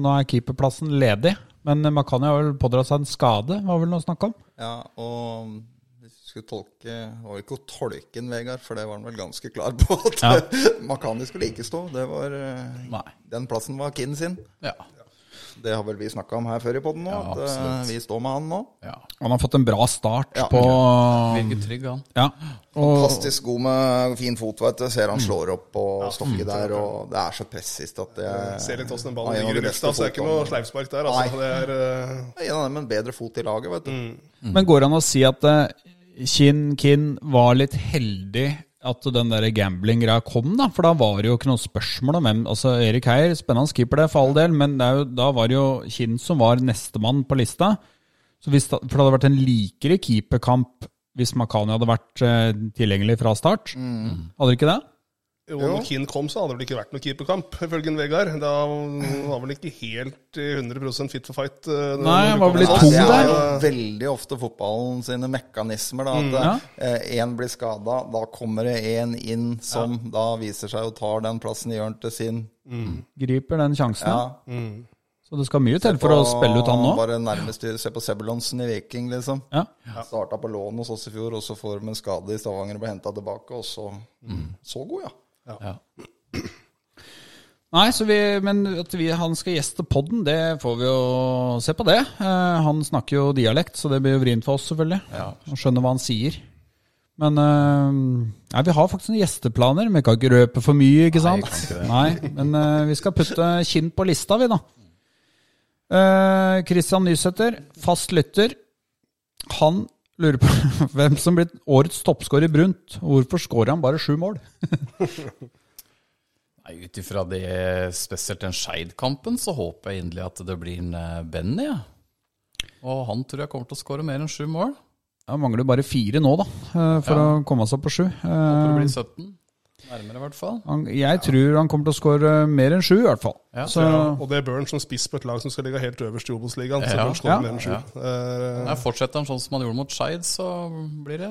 B: nå er keeperplassen ledig. Men eh, Makani har vel pådratt seg en skade, var vel noe snakk om?
C: Ja, og hvis vi skulle tolke Det var jo ikke å tolke den, Vegard, for det var han vel ganske klar på. At Makani skulle ikke stå. Det var eh,
D: Nei.
C: Den plassen var Kinn sin.
D: Ja.
C: Det har vel vi snakka om her før i poden nå,
D: Ja,
C: at eh,
D: absolutt.
C: vi står med han nå.
D: ja.
B: Han har fått en bra start
C: Ja.
B: på
D: Virker trygg, han.
B: Ja. Og,
C: Fantastisk god med fin fot, vet du. Ser han
E: Mm.
C: slår opp på stokket der, og det er så pressist at det
E: Ser litt åssen
C: Ja,
E: den ballen
C: en av
E: ligger i
C: de
E: lufta,
C: beste
E: så det er ikke noe
C: fotballene.
E: sleivspark der. Altså.
C: Nei.
E: Det er, eh,
C: Ja, en av dem med en bedre fot i laget, vet du.
E: Mm.
B: Mm. men går det an å si at eh, Kinn Kinn var litt heldig at den der gambling-greia kom, da? For da var det jo ikke noe spørsmål om hvem Altså, Erik Heier, spennende keeper, det, for all del, men det er jo, da var det jo Kinn som var nestemann på lista. Så hvis, da- for det hadde vært en likere keeperkamp hvis Makani hadde vært eh, tilgjengelig fra start. Hadde det ikke det?
E: Jo, når Keane kom, så hadde det vel ikke vært noen keeperkamp, ifølge en Vegard. Da var vel ikke helt i 100 fit for fight. eh, når
B: Nei,
E: du
B: han
E: kom
B: var vel litt
C: Nei,
E: inn.
B: tung
C: det
B: der.
C: er jo veldig ofte fotballen sine mekanismer.
B: Mm,
C: Da, at én blir skada, da kommer det én inn som da viser seg å ta den plassen i hjørnet til sin.
B: Griper den sjansen.
C: Ja,
B: Så det skal mye til for å
C: og
B: spille ut han nå.
C: Bare nærmest se på Sebulonsen i Viking, liksom.
B: Ja.
C: Starta på lån hos oss i fjor, og så får de en skade i Stavanger og blir henta tilbake, og så
B: Mm.
C: Så god, ja.
D: Ja.
B: Nei, så vi, men at vi, han skal gjeste podden, det får vi jo se på det. Eh, han snakker jo dialekt, så det blir jo vrient for oss, selvfølgelig. Og skjønner hva han sier. Men eh, nei, vi har faktisk noen gjesteplaner, men vi kan ikke røpe for mye, ikke sant? Nei, men eh, vi skal putte kinn på lista, vi, da. Eh, Christian Nysæter, fast lytter. Han lurer på hvem som blir årets toppskårer i Brunt. Hvorfor skårer han bare sju mål?
D: Nei, Ut ifra det, spesielt den Skeid-kampen, så håper jeg inderlig at det blir en eh, Benny. Ja. Og han tror jeg kommer til å skåre mer enn sju mål.
B: Ja, mangler bare fire nå, da, eh, for å komme seg opp på sju.
D: Håper det
B: Eh,
D: blir 17. Nærmere, i hvert fall.
B: Han, jeg tror han kommer til å skåre mer enn sju, i hvert fall.
D: Ja.
B: Så,
E: Og det er Burn som spiss på et lag som skal ligge helt øverst i Obos-ligaen. så
D: Ja.
E: kan han
B: Ja.
E: skåre mer enn sju.
D: Ja.
E: Eh,
D: Nei, Fortsetter han sånn som han gjorde mot Skeid, så blir det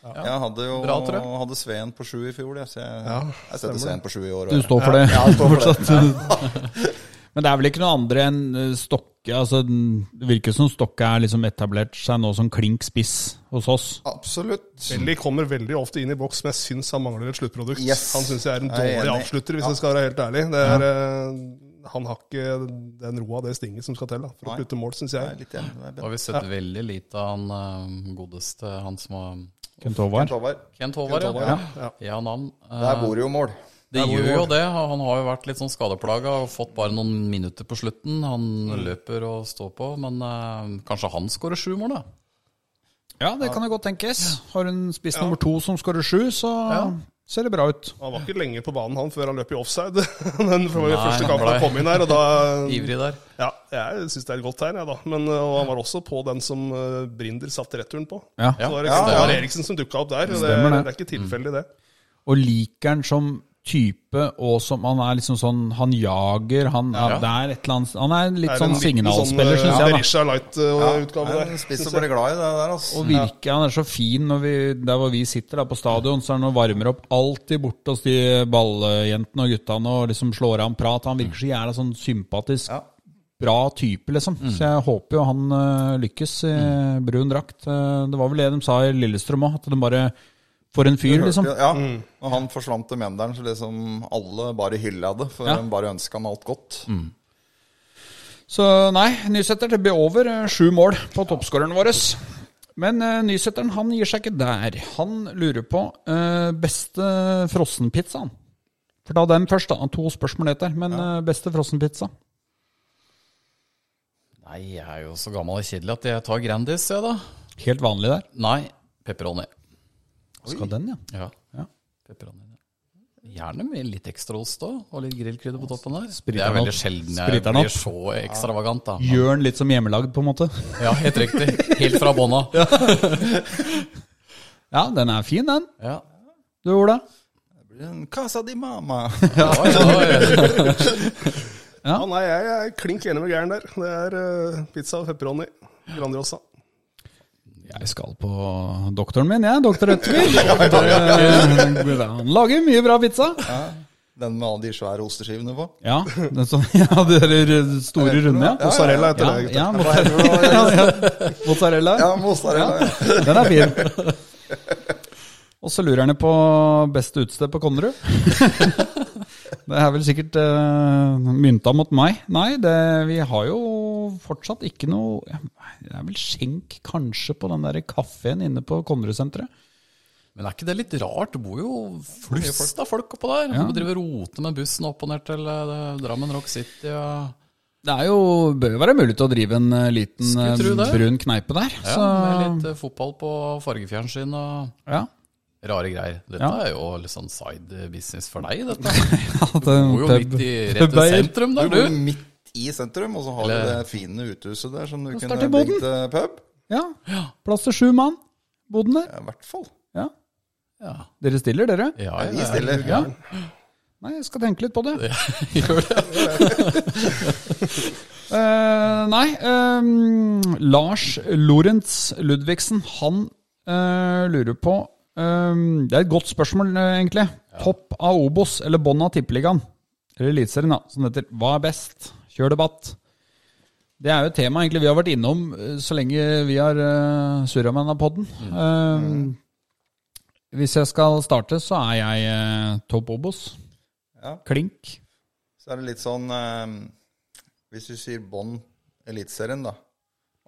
C: Jeg hadde jo
D: Bra, tror jeg.
C: hadde Sveen på sju i fjor, jeg, så jeg, jeg setter
E: stemmer
C: Sveen på sju i år.
B: du
C: også.
B: står for det
C: Ja, jeg står for det.
B: fortsatt? Men det er vel ikke noe andre enn eh, Stokke altså, den- Det virker som Stokke er liksom etablert seg nå som klink spiss hos oss.
C: Absolutt.
E: Belly kommer veldig ofte inn i boks, men jeg syns han mangler et sluttprodukt.
C: Yes.
E: Han syns jeg er en
C: Jeg er
E: dårlig
C: enig.
E: avslutter, hvis
C: Ja.
E: jeg skal være helt ærlig. Det er, eh, han har ikke den roa, det stinget, som skal til da, for
C: Nei.
E: å putte mål, syns
C: Jeg er
E: jeg.
C: litt enig med
D: Da har vi sett veldig lite av han eh, godeste, han som var
B: Kent Håvard.
C: Håvard.
D: Kent Håvard,
C: Kent
D: ja.
C: Håvard,
D: ja. ja navn. Eh,
C: Der bor det jo mål.
D: Det gjør jo det. og Han har jo vært litt sånn skadeplaga og fått bare noen minutter på slutten. Han løper og står på, men eh, kanskje han skårer sju mål, da.
B: Ja, det kan jeg godt tenkes. Har hun spiss nummer to som skårer sju, så ser det bra ut.
E: Han var ikke lenge på banen han før han løp i offside. den første
D: han
E: kampen han
D: ble-
E: kom inn her, og da
D: Ivrig der.
E: Ja, jeg syns det er et godt tegn, jeg, da. Men, øh, og han var også på den som øh, Brinder satte returen på.
B: Ja.
E: Så var det
C: Ja,
E: det var
D: ja.
E: Eriksen som dukka opp der. og Det,
B: Stemmer det.
E: det er ikke tilfeldig, det.
B: Og liker han som type, og som han er liksom sånn Han jager, han er, det er et eller annet Han er litt
E: Det er
B: sånn
E: en liten
B: signalspiller,
E: sånn, øh,
B: syns jeg. da.
E: Berisha Light-utgave
C: Ja,
E: der.
C: Spiss
E: synes
C: og
E: jeg.
C: blir glad i det der, altså.
B: Og virker, han er så fin når vi, der hvor vi sitter da, på stadion, så er han og varmer opp alltid borte hos de balljentene og guttene og liksom slår av en prat. Han virker så jævla sånn sympatisk,
C: Ja.
B: bra type, liksom. Så jeg håper jo han eh, lykkes i brun drakt. Eh, det var vel det de sa i Lillestrøm òg, at de bare For en fyr, liksom.
C: Ja,
E: Mm.
C: Når han forsvant til Mjøndalen, så liksom alle bare hylla det. For
B: Ja. Mm.
C: de bare ønska han alt godt.
B: Så nei, Nysæter, det blir over eh, sju mål på toppskåreren vår. Men uh, Nysæteren han gir seg ikke der. Han lurer på eh, beste frossenpizzaen. For da den først, da. To spørsmål etter. Men eh, beste frossenpizza.
D: Nei, jeg er jo så gammel og kjedelig at jeg tar Grandis, jeg, da.
B: Helt vanlig der.
D: Nei, pepperoni.
B: Skal den, ja.
D: Ja.
B: Ja.
D: Pepperoni. ja. Gjerne med litt ekstra ost òg, og litt grillkrydder på toppen der. det
B: Spriter
D: er
B: den
D: veldig
B: opp.
D: sjelden jeg
B: Spriter den opp.
D: blir så ekstravagant, da. Men-
B: Gjør den litt som hjemmelagd, på en måte.
D: Ja, helt riktig. Helt fra bånda.
B: Ja, den er fin, den.
D: Ja.
B: Du, Ola?
C: Det blir en Casa di mama.
D: Oi, oi.
E: Ja, nei, jeg er klink enig med gæren der. Det er eh, pizza og pepperoni. Grandiosa.
B: Jeg skal på doktoren min, jeg. Doktor Ødtvig. Doktor- Han lager mye bra pizza.
C: Den med alle de svære osteskivene på.
B: Ja, den som, ja de der store runde, ja.
E: Mozzarella
B: Ja,
E: heter det.
B: ja,
C: Hva heter det? da?
B: mozzarella.
C: Ja, mozzarella. ja.
B: Den er fin. Og så lurer han på beste utested på Konnerud. Det er vel sikkert eh, mynta mot meg. Nei, det, vi har jo fortsatt ikke noe Det er vel skjenk, kanskje, på den der kafeen inne på Konnerud-senteret.
D: Men er ikke det litt rart? Det bor jo flust av folk oppå der.
B: Ja.
D: Du driver og roter med bussen opp og ned til eh, Drammen Rock City. Og...
B: Det er jo, bør jo være mulig til å drive en eh, liten
D: Skulle tro
B: eh,
D: det.
B: brun kneipe der.
D: Ja,
B: så,
D: med litt eh, fotball på fargefjernsyn og
B: ja.
D: rare greier. Dette
B: Ja.
D: er jo litt sånn side business for deg, dette.
B: At
D: Du
B: en
D: bor jo
B: pub-
D: midt i rett ved
B: pubeier.
D: sentrum
C: Du
D: der,
C: bor
D: du.
C: midt i sentrum, og så har du
D: Eller-
C: det fine uthuset der som du kunne
B: starter boden.
C: bygd eh, pub.
B: Ja. Plass til sju mann. Boden der.
C: Ja, I hvert fall.
B: Ja.
D: Ja,
B: Dere stiller, dere?
D: ja,
C: Vi
D: ja.
C: stiller.
B: Ja. Nei, jeg skal tenke litt på det.
D: Gjør det.
B: Eh, nei, ehm, Lars Lorentz Ludvigsen, han eh, lurer på ehm, Det er et godt spørsmål, eh, egentlig. Topp av Obos eller bånn av Tippeligaen? Eller Eliteserien, da, som det heter. Hva er best? Kjør debatt. Det er jo et tema egentlig vi har vært innom eh, så lenge vi har uh, surra med denne podden.
D: Mm.
B: Ehm, Hvis jeg skal starte, så er jeg eh, topp Obos.
C: Ja.
B: Klink.
C: Så er det litt sånn eh, Hvis du sier bånn Eliteserien, da.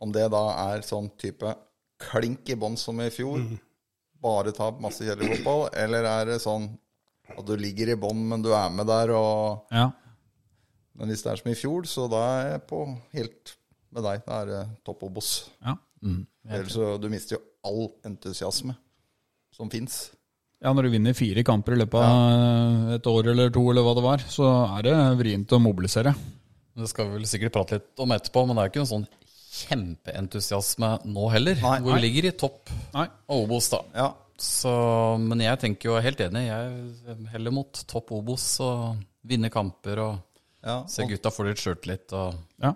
C: Om det da er sånn type klink i bånn som i fjor, bare tap masse kjedelig fotball, eller er det sånn at du ligger i bånn, men du er med der og
B: Ja.
C: Men hvis det er som i fjor, så da er jeg på helt med deg. Da er det topp og boss.
B: ja.
C: Ellers så du mister jo all entusiasme som fins.
B: Ja, når du vinner fire kamper i løpet av eh, et år eller to, eller hva det var, så er det vrient å mobilisere.
D: Det skal vi vel sikkert prate litt om etterpå, men det er jo ikke noen sånn kjempeentusiasme nå heller.
C: Nei.
D: Hvor vi ligger i topp
B: Nei.
D: av Obos, da.
C: Ja.
D: Så, men jeg tenker jo jeg er helt enig. Jeg heller mot topp Obos og vinne kamper og
C: ja.
D: se
C: Og
D: gutta få litt sjøltillit og
B: Ja.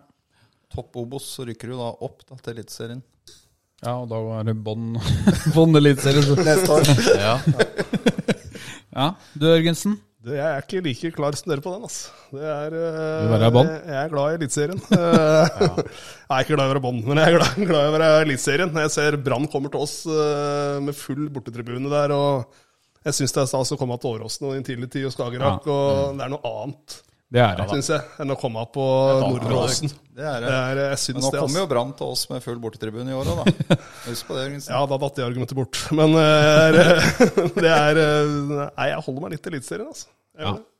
C: topp og boss, så rykker du da opp da, til Eliteserien.
B: ja, og da er det bånd Bånd eliteserie.
C: Neste år.
D: Ja.
B: Ja, du Ørgensen?
E: Du, jeg er ikke like klar som dere på den. ass. Det er, eh,
B: Du vil være bånd?
E: jeg, jeg er glad i Eliteserien. Eh, Jeg er ikke glad i å være bånd, men jeg er glad, glad i å være Eliteserien. Jeg ser Brann kommer til oss eh, med full bortetribune der. og Jeg syns det er stas å komme til Åråsen og i en tidlig tid og Skagerrak.
B: Mm.
E: og Det er noe annet,
B: Det er det.
E: syns jeg, enn å komme opp på
D: annet
E: Nordre Åsen.
C: Det er
E: Det
C: det.
E: er, eh, jeg
C: Men
E: syns
C: nå
E: det,
C: kommer
E: ass.
C: jo Brann til oss med full bortetribune i år òg, da. Husk på det, Jørgensen.
E: Ja, da datt det argumentet bort. Men eh, det er, det er eh, Nei, jeg holder meg litt til Eliteserien, altså. Jeg
B: Ja.
E: gjør det.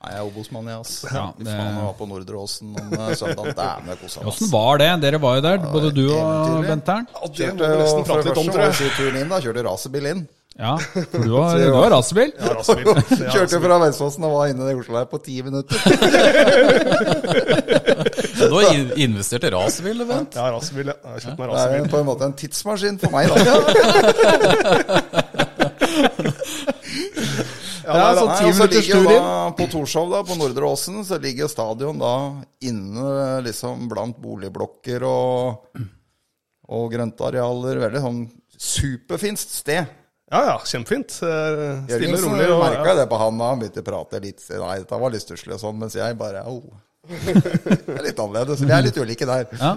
C: Nei, jeg er Obos-mann, jeg, ass. Fy
B: Ja,
C: faen,
B: det-
C: jeg var på Nordre Åsen om eh, søndag. Dæven, jeg kosa meg.
B: Åssen var det? Dere var jo der, både du og
C: eventyrlig.
B: Benter'n.
E: Ja, det må
C: Kjørte
E: vi
C: jo
E: nesten
C: for
E: prate
C: det
E: litt
C: første
E: om, tror jeg.
C: må vi si turen inn, da. Kjørte racerbil inn.
B: Ja, for du var, du var rasebil.
E: Ja, rasebil. Det er
C: Kjørte
E: rasebil.
C: fra Vestfossen og var inne i Oslo her på ti minutter.
D: Du har in- investert i racerbil, Bent.
E: Ja, rasebil. ja. Jeg har kjøpt meg
C: Det er
E: rasebil.
C: jo på en måte en tidsmaskin for meg, da.
E: Ja,
B: Ja,
E: nei,
B: så
E: da-
B: sånn ti
C: Nei, og så
B: minutter
C: ligger jo
B: tur inn.
C: da på Torshov, da, på Nordre Åsen, så ligger jo stadion da inne liksom blant boligblokker og, og grøntarealer. Veldig sånn superfint sted.
E: ja, ja, kjempefint. Eh, Stille og
C: Jørgensen
E: rolig. Og,
C: merka
E: ja.
C: det på han da han begynte å prate litt. Nei, dette var litt stusslig og sånn, mens jeg bare au. Det er litt annerledes. Vi er litt ulike der.
B: Ja.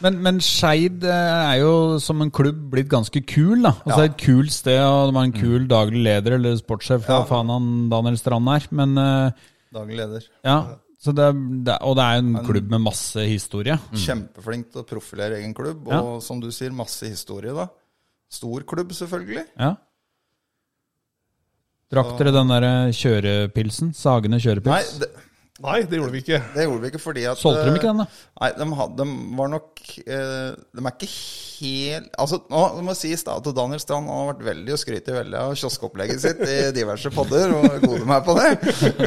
B: Men, men Skeid eh, er jo som en klubb blitt ganske kul, da. Altså
C: Ja. Mm.
B: Et kult sted, og det var en kul daglig leder eller sportssjef, hva faen han Daniel Strand er. Men eh,
C: Daglig leder.
B: Ja, så det, er- det, er- og det er en klubb med masse historie.
C: Mm. Kjempeflink til å profilere egen klubb, og som du sier, masse historie, da. Stor klubb, selvfølgelig.
B: Ja. Drakk dere den der eh, kjørepilsen? Sagene
C: Nei,
B: kjørepils?
C: det,
E: Nei, det gjorde vi ikke.
C: det gjorde vi ikke fordi at
B: Solgte de ikke den, da?
C: Nei, de, had- de var nok eh, De er ikke helt Altså, nå må jeg sies da at Daniel Strand han har vært veldig og skryter veldig av kioskeopplegget sitt i diverse podder, og goder meg på det.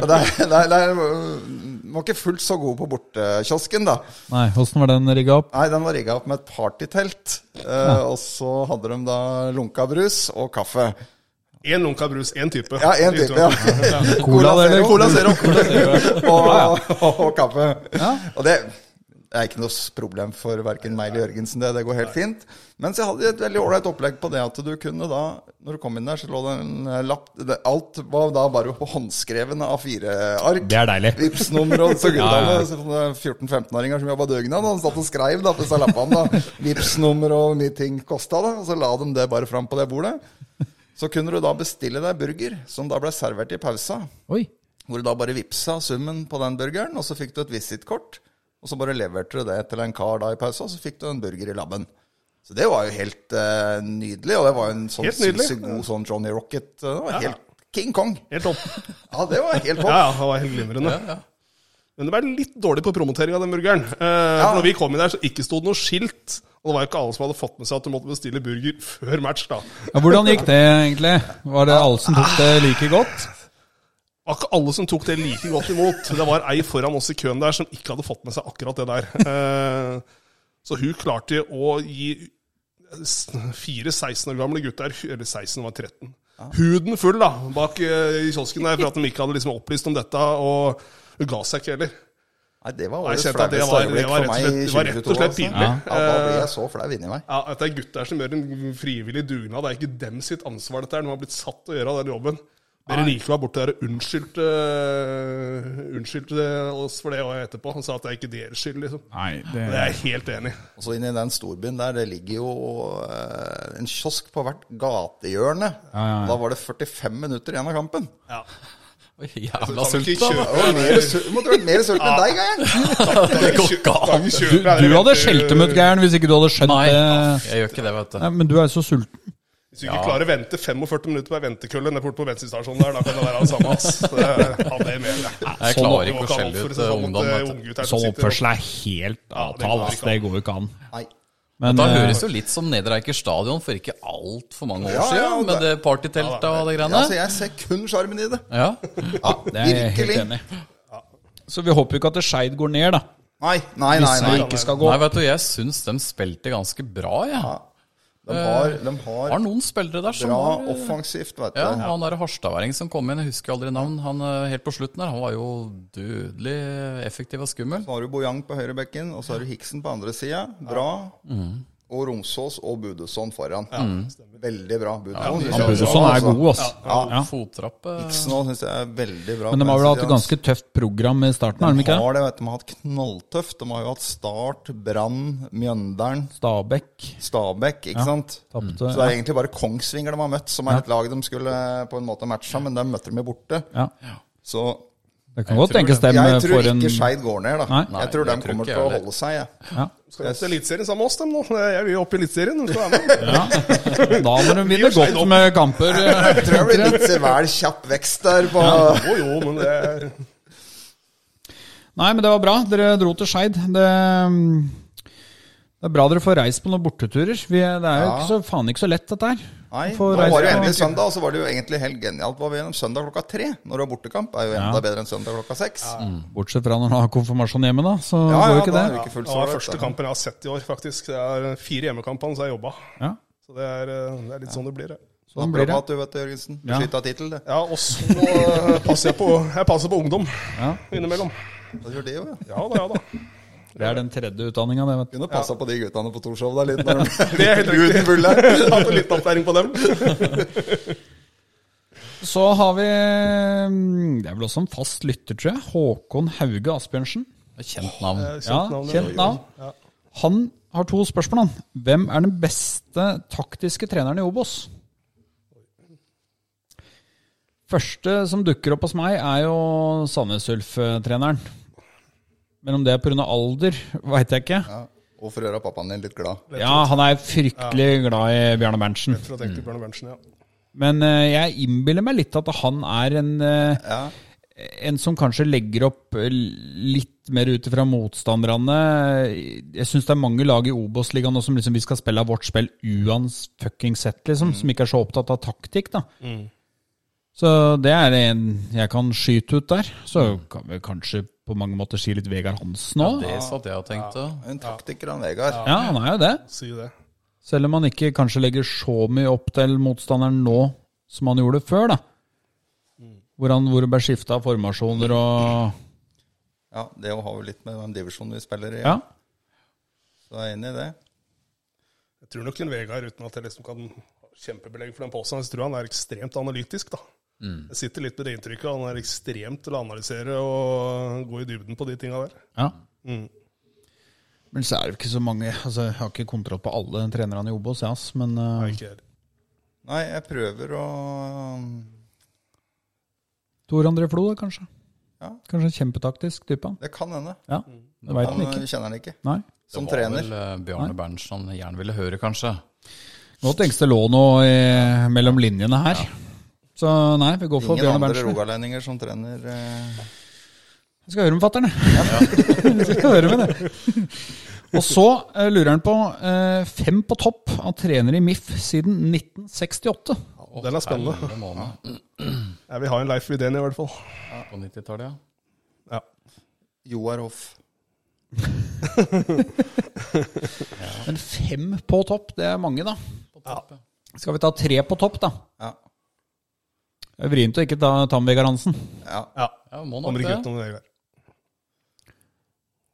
C: Og det, er- det, er- det er, var ikke fullt så god på bortekiosken, da.
B: Nei, åssen var den rigga opp?
C: Nei, den var rigga opp med et partytelt. Eh, Og så hadde de da lunka brus og kaffe.
E: Én lunka brus, én type.
C: Ja, én type. Ja.
B: Cola, eller?
C: Cola Zero. og, og, og kaffe. Og det er ikke noe problem for verken meg eller Jørgensen, det, det går helt fint. Men så hadde de et veldig ålreit opplegg på det at du kunne da, når du kom inn der, så lå det en eh, lapp det- Alt var da bare håndskrevne av fire ark.
B: Det er deilig.
C: Vipps-nummer og så gudene, sånne 14-15-åringer som jobba døgnet. Han satt og skreiv da, på disse lappene. da. Vipps-nummer og hvor mye ting kosta. Og så la de det bare fram på det bordet. Så kunne du da bestille deg burger, som da ble servert i pausa.
B: Oi.
C: Hvor du da bare vippsa summen på den burgeren, og så fikk du et visittkort. Og så bare leverte du det til en kar da i pausa, og så fikk du en burger i labben. Så det var jo helt eh, nydelig, og det var jo en sånn
E: Helt nydelig.
C: sinnssykt god sånn Johnny Rocket. eh, Det var helt King Kong.
E: Helt topp.
C: Ja, det var helt topp.
E: Ja, ja, det var helt glimrende. Men det var litt dårlig på promotering av den burgeren. Eh, for Når vi kom inn der, så ikke stod det noe skilt. Og det var jo ikke alle som hadde fått med seg at du måtte bestille burger før match, da. Det
B: Ja, hvordan gikk det, egentlig? Var det alle som tok det like godt?
E: var ikke alle som tok det like godt imot. Det var ei foran oss i køen der som ikke hadde fått med seg akkurat det der. Eh, så hun klarte å gi s- fire 16 år gamle gutter Eller 16 var 13. Huden full, da, bak eh, i kiosken der, for at de ikke hadde liksom opplyst om dette. Og hun ga seg ikke heller.
C: Nei, det var
E: Nei,
C: årets
E: jeg kjente at det
C: flaueste
E: var- det
C: øyeblikk
E: var
C: for
E: rett og
C: meg i
E: slett- det var rett og
C: 2022,
E: slett
C: altså.
E: pinlig. Eh.
C: Ja, da ble jeg så flau inni meg.
E: Ja, at det er gutter som gjør en frivillig dugnad. Det er ikke dem sitt ansvar, dette her. De har blitt satt til å gjøre den jobben. Dere likevel var borte der og unnskyldte, unnskyldte oss for det og etterpå. Han sa at det er ikke deres skyld, liksom.
B: Nei, det
E: Det er jeg helt enig i.
C: Og så inni den storbyen der, det ligger jo eh, en kiosk på hvert gatehjørne. Og Da var det 45 minutter igjen av kampen.
E: Ja.
D: Jævla
E: Kan vi ikke
D: sulta.
E: kjøpe-
C: Det var mer sur- det måtte vært mer sult enn deg, Geir.
D: Det går ikke an.
B: Du, du hadde skjelt dem ut, Gæren, hvis ikke du hadde skjønt
D: Nei,
B: det.
D: jeg gjør ikke det, vet du.
B: Nei, men du er jo så sulten.
E: Hvis du ikke klarer å vente 45 minutter på ei ventekølle nede borte på bensinstasjonen der, da kan det være det samme, ass. Det, ja, det mener jeg.
D: Jeg klarer ikke å skjelle ut eh, ungdom. vet du.
B: Sånn oppførsel er helt
E: Ja, det går
B: avtalt.
E: ikke an.
B: Det går jo ikke an.
C: Nei.
B: Men,
D: Da
B: eh,
D: høres jo litt som Nedre Eiker stadion for ikke altfor mange år
C: Ja, ja,
D: siden, med
C: det-
D: det partyteltet og det
C: Ja, så
D: greiene.
C: jeg ser kun sjarmen i det.
D: Ja.
C: Ja,
B: det er jeg helt enig i. Så vi håper jo ikke at Skeid går ned, da.
C: Nei, nei, nei.
B: Hvis
C: nei.
B: vi ikke skal gå.
D: Nei, vet du, jeg syns de spilte ganske bra, jeg.
C: De har, de har
D: Har noen spillere der som
C: bra
D: har eh,
C: offensivt, vet
D: Ja,
C: du.
D: han der harstadværing som kom inn, jeg husker aldri navn. Han eh, helt på slutten her, han var jo dødelig effektiv og skummel.
C: Så har du Bojang på høyrebekken, og så har du Hiksen på andre sida. Bra. Og Romsås og Budesson foran. Veldig bra. Budesson synes jeg
B: Han
C: også-
B: Budesson er god, altså. Ja.
D: Fottrappe
C: Hiksen òg syns jeg er veldig bra.
B: Men de har vel hatt et
C: Mens-
B: ganske tøft program i starten, har de ikke?
C: De har det, vet du. De har hatt knalltøft. De har jo hatt Start, Brann, Mjøndalen,
B: Stabæk
C: Stabæk, ikke sant?
B: tapte.
C: Så det er egentlig bare Kongsvinger de har møtt, som er et lag de skulle på en måte matche, men de møtte dem jo borte.
B: Ja.
C: Så
B: Det kan godt tenkes dem eh,
C: jeg tror
B: får en
C: ikke Skeid går ned, da.
B: Nei.
C: jeg tror de
D: jeg tror
C: kommer
D: ikke
C: til å
D: jeg heller.
C: holde seg, jeg.
B: ja.
E: Skal de opp til Eliteserien sammen med oss, dem nå? Jeg vil jo opp i Eliteserien. de skal være med.
B: Da må de vinne
E: Skeid
B: godt
E: opp.
B: med kamper.
C: Jeg tror det blir litt vel kjapp vekst der på
E: Jo, jo, men det er
B: Nei, men det var bra. Dere dro til Skeid. Det, mm, det er bra dere får reist på noen borteturer. Vi, det er jo ikke så, faen ikke så lett, dette her.
C: Nei,
B: Få
C: nå var
B: reise
C: det jo
B: på-
C: endelig søndag, og så var det jo egentlig helt genialt. Var vi gjennom søndag klokka tre? Når du har bortekamp, er jo enda bedre enn søndag klokka seks.
B: Bortsett fra når du har konfirmasjon hjemme, da. Så
C: Ja,
B: går
C: ja,
B: jo ikke
C: da
B: det.
C: er det ikke
E: Det
C: fullt så
E: var
C: lett,
E: første
C: da.
E: kampen jeg har sett i år, faktisk. Det er fire hjemmekampene så jeg jobba.
B: Ja,
E: Så det er, eh, det er litt sånn det blir, det.
B: sånn
C: Bra
B: blir det.
C: mat, du vet, Jørgensen.
B: Ja.
C: Beskytta tittel, det.
E: Ja, og så eh, passer jeg på, jeg passer på ungdom
B: Ja.
E: innimellom.
C: Du gjør det jo, ja.
E: Ja da, ja da.
B: Det er den tredje utdanninga, det, vet du.
C: Kunne passa på de guttene på Torshov der litt når de
E: Det er helt
C: Uten
E: riktig.
C: bull der.
E: Hadde litt opplæring på dem.
B: Så har vi mm, Det er vel også en fast lytter, tror jeg. Håkon Hauge Asbjørnsen.
D: Kjent navn.
B: Ja, kjent navn. Han har to spørsmål, han. Hvem er den beste taktiske treneren i Obos? Første som dukker opp hos meg, er jo Sandnes Ulf-treneren. Men om det er pga. alder, veit jeg ikke.
C: Ja, Og for å gjøre pappaen din litt glad.
B: Ja, han er fryktelig glad i Bjarne Berntsen.
E: For å tenke Bjørn Berntsen, ja.
B: Men eh, jeg innbiller meg litt at han er en, eh,
C: Ja.
B: en som kanskje legger opp eh, litt mer ut fra motstanderne. Jeg syns det er mange lag i Obos-ligaen nå som liksom vi skal spille av vårt spill uansett, liksom, som ikke er så opptatt av taktikk. da. Så det er en jeg kan skyte ut der. Så kan vi kanskje på mange måter si litt Vegard Hansen òg.
D: Det satt jeg og tenkte.
C: En taktiker, han Vegard.
B: Ja, han er jo det.
E: Si det.
B: Selv om han ikke kanskje legger så mye opp til motstanderen nå som han gjorde før, da. Hvor han hvor det ble skifta formasjoner og
C: Ja, Det har jo litt med den divisjonen vi spiller i.
B: Ja.
C: Så jeg er enig i det.
E: Jeg tror nok en Vegard, uten at jeg liksom kan ha kjempebelegg for den påstanden, så tror jeg han er ekstremt analytisk, da. Jeg sitter litt med det inntrykket. Han er ekstremt til å analysere og gå i dybden på de tinga der.
B: ja.
C: Mm.
B: Men så er det ikke så mange altså Jeg har ikke kontroll på alle trenerne i Obos, jeg, ass, men eh,
E: Nei, ikke helt.
C: Nei, jeg prøver å um,
B: Tor André Flo, da, kanskje.
C: Ja.
B: Kanskje en kjempetaktisk type. han.
C: Det kan hende.
B: Ja, det veit
C: Han
B: han ikke.
C: kjenner han ikke.
B: Nei.
C: Som
D: Det var
C: trener.
D: vel eh, Bjarne Berntsen han gjerne ville høre, kanskje.
B: Nå tenkes det lå noe i, mellom linjene her. Så nei, vi går for
C: Ingen
B: Bjørn
C: andre
B: Berntsen.
C: rogalendinger som trener. eh,
B: Jeg skal høre med fatter'n, jeg. Jeg skal høre med det. Og så eh, lurer han på eh, fem på topp av trenere i MIF siden 1968.
E: Den er spennende.
D: Hele måned
E: Jeg vil ha en Leif Widén i hvert fall.
D: på 90-tallet, ja.
E: Ja.
C: Joar Hoff.
B: Men fem på topp, det er mange, da.
D: På topp, ja.
B: Skal vi ta tre på topp, da?
C: Ja.
B: Det er vrient å ikke ta Tam Vegard Hansen.
C: ja.
E: ja.
D: ja må nok
E: Kommer ikke
D: det.
E: utenom Vegard.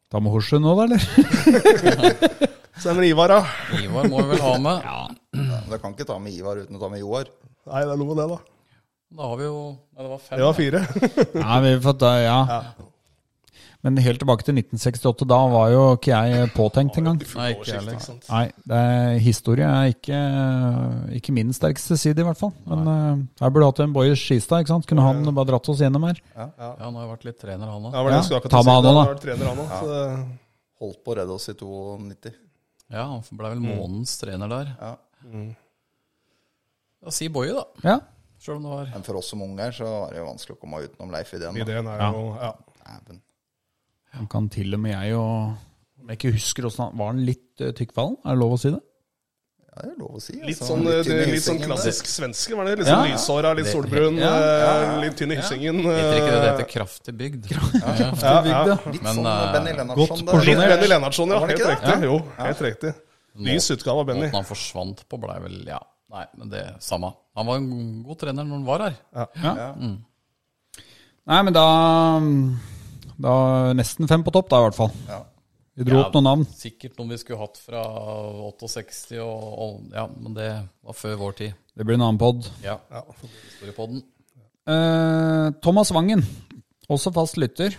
B: Ta med Horsrud nå, da, eller?
E: Så er det Ivar, da.
D: Ivar må vi vel ha med.
C: Du kan ikke ta med Ivar uten å ta med Joar.
E: Nei, det er noe med det, da.
D: Da har vi jo Nei, det var fem.
E: Det var fire.
B: Ja, vi får ta, ja. Men helt tilbake til 1968. Da var jo ikke jeg påtenkt engang.
D: Nei, ikke jeg heller.
B: Nei, det er, historie er ikke, ikke min sterkeste side, i hvert fall. Men eh, her burde du hatt en Boje Skistad. ikke sant? Kunne han bare dratt oss gjennom her?
D: Ja, han har jo vært litt trener, han òg.
E: Ja, var det
B: Ja,
E: jeg skulle akkurat
B: ta med
E: si.
B: han
E: Han
B: også,
E: har vært trener, han også, så-
C: Holdt på å redde oss i 92.
D: Ja, han ble vel
E: Mm.
D: månedens trener der.
C: Ja.
D: Ja, si Boje, da.
B: Ja.
D: Sjøl om det var
E: Eh,
C: Men for oss som unger så var det jo vanskelig å komme utenom Leif ideen. da.
E: Ideen er jo ja.
C: Dæven.
B: Han kan til og med jeg og Om jeg ikke husker åssen han Var han litt eh, tykkfallen? Er det lov å si det?
C: Ja, det er lov å si.
E: Litt
C: altså.
E: sånn, det,
C: tynn i
E: litt sånn
C: hyssingen,
E: klassisk svenske, var det? Litt sånn
B: Ja.
E: lyshåra, litt solbrun,
B: Ja,
E: eh, litt tynn i hyssingen.
D: Heter ikke det det
E: eh,
D: heter kraftig bygd?
E: ja, ja.
C: det. Litt
D: Men,
C: sånn
D: eh,
C: Benny
B: godt
C: Lennartson der.
E: Litt
B: porsjonert.
E: Benny Lennartson, ja.
C: Var det
E: Helt
C: ikke det?
E: riktig. Jo, helt riktig. Lys utgave av Benny.
D: Måten han forsvant på, blei vel Ja, nei, men det samme. Han var en go- god trener når han var her.
B: Nei, men da mm, Da Nesten fem på topp, da, i hvert fall.
C: Ja.
B: Vi dro
D: Ja.
B: opp noen navn.
D: Sikkert noen vi skulle hatt fra 68 og, og Ja, men det var før vår tid.
B: Det blir en annen pod.
D: Ja.
E: Ja.
D: Historiepodden.
B: Eh, Thomas Wangen, også fast lytter,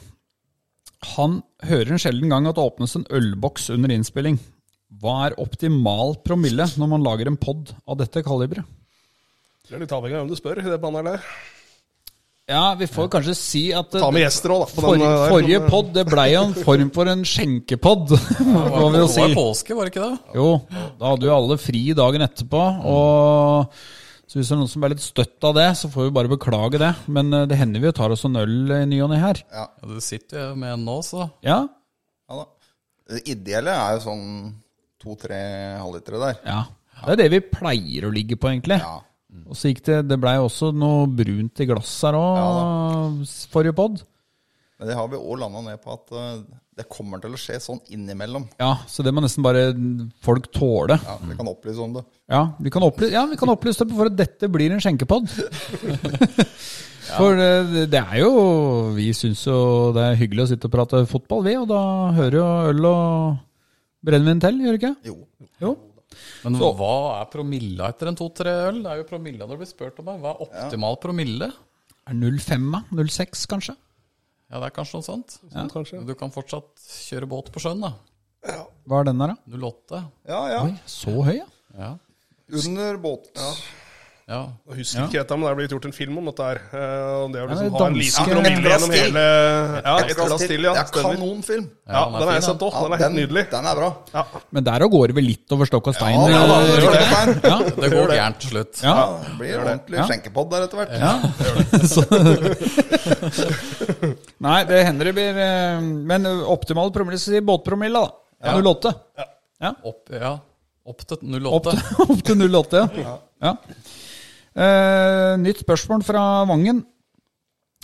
B: han hører en sjelden gang at det åpnes en ølboks under innspilling. Hva er optimal promille når man lager en pod av dette kaliberet?
E: Det er litt avhengig av hvem du spør i det panelet. her.
B: Ja, vi får kanskje si at eh,
E: Ta med gjester òg, da. på
B: for,
E: den, eh, der.
B: forrige pod det blei jo en form for en skjenkepod, må vi jo
D: Det
B: si.
D: var påske, var det ikke det?
B: Jo, da hadde jo alle fri dagen etterpå, og så hvis det er noen som er litt støtt av det, så får vi bare beklage det. Men eh, det hender vi jo tar oss en øl i ny og ne her.
D: Ja, du sitter jo med en nå, så.
B: Ja,
C: Ja, da. Det ideelle er jo sånn to-tre halvlitere der.
B: Ja. Det er det vi pleier å ligge på, egentlig.
C: Ja. Mm.
B: Og så gikk det Det blei også noe brunt i glass her òg, forrige pod.
C: Men det har vi òg landa ned på at eh, det kommer til å skje sånn innimellom.
B: Ja, så det må nesten bare folk tåle.
C: Ja, Vi kan opplyse om det.
B: Ja, vi kan opplyse, ja, vi kan opplyse det for at dette blir en skjenkepod. For eh, det er jo Vi syns jo det er hyggelig å sitte og prate fotball, vi. Og da hører jo øl og brennevin til, gjør det ikke?
C: Jo.
B: Jo.
D: Men hva er promilla etter en to-tre øl? Det er jo promilla det blir spurt om her. Hva er optimal promille?
B: Er 05, da? 06, kanskje?
D: Ja, det er kanskje noe sånt.
E: Sånn, kanskje.
D: Du kan fortsatt kjøre båt på sjøen, da.
B: Hva er den der, da?
D: 08.
C: Ja, ja.
B: Oi, så høy, ja?
D: Ja.
C: Under båt.
D: ja.
E: Jeg husker ikke dette, men det er blitt gjort en film om dette her. eh, Om det å
B: Ja,
E: liksom
B: det
E: ha en
B: danske-
E: liten promille
C: Et glass
E: gjennom
C: til.
E: hele Ja, et glass til, ja.
C: Det er
E: Stemmer.
C: kanonfilm.
E: Ja,
D: den
E: den
D: er
E: har jeg
D: fin,
E: sett òg. Den er helt nydelig.
C: Den er bra.
B: Men der og går det vel litt over stokk og stein?
C: Ja,
B: eller?
C: da, det gjør det.
B: eh, Ja.
D: Det går gærent til slutt.
B: Ja.
C: Ja, det blir ordentlig skjenkepodd der etter hvert.
B: Så. Nei, det hender det blir eh, Men optimal promille, så sier båtpromille, da. 08.
D: Opp, ja. Opp til 08.
B: Opp til, opp til 08, ja. ja. Eh, nytt spørsmål fra Vangen.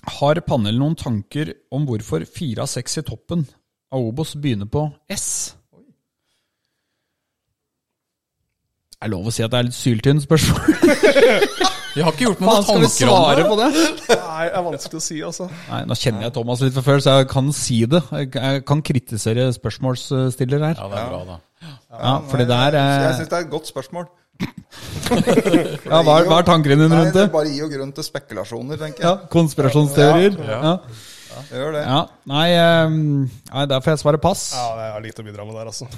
B: Har Panel noen tanker om hvorfor fire av seks i toppen av Obos begynner på S? Det er lov å si at det er litt syltynt spørsmål.
D: Jeg har ikke gjort meg noen
B: Skal vi
D: tanker om det.
B: svare på det?
E: Nei, det er vanskelig å si, altså.
B: Nei, Nå kjenner jeg Thomas litt fra før, så jeg kan si det. Jeg- Jeg kan kritisere spørsmålsstiller her.
D: Ja, det er bra, da.
B: Ja, fordi der eh,
C: Så Jeg
B: er,
C: syns det er et godt spørsmål.
B: ja, hva, er- hva er tankene dine
C: Nei,
B: rundt
C: det
B: det?
C: bare gir jo grunn til spekulasjoner, tenker
B: Ja,
C: jeg.
B: Konspirasjonsteorier. Ja,
C: Det gjør det.
B: ja. Nei, ehm, nei, der får jeg svare pass.
E: Ja, Jeg har lite å bidra med der, altså.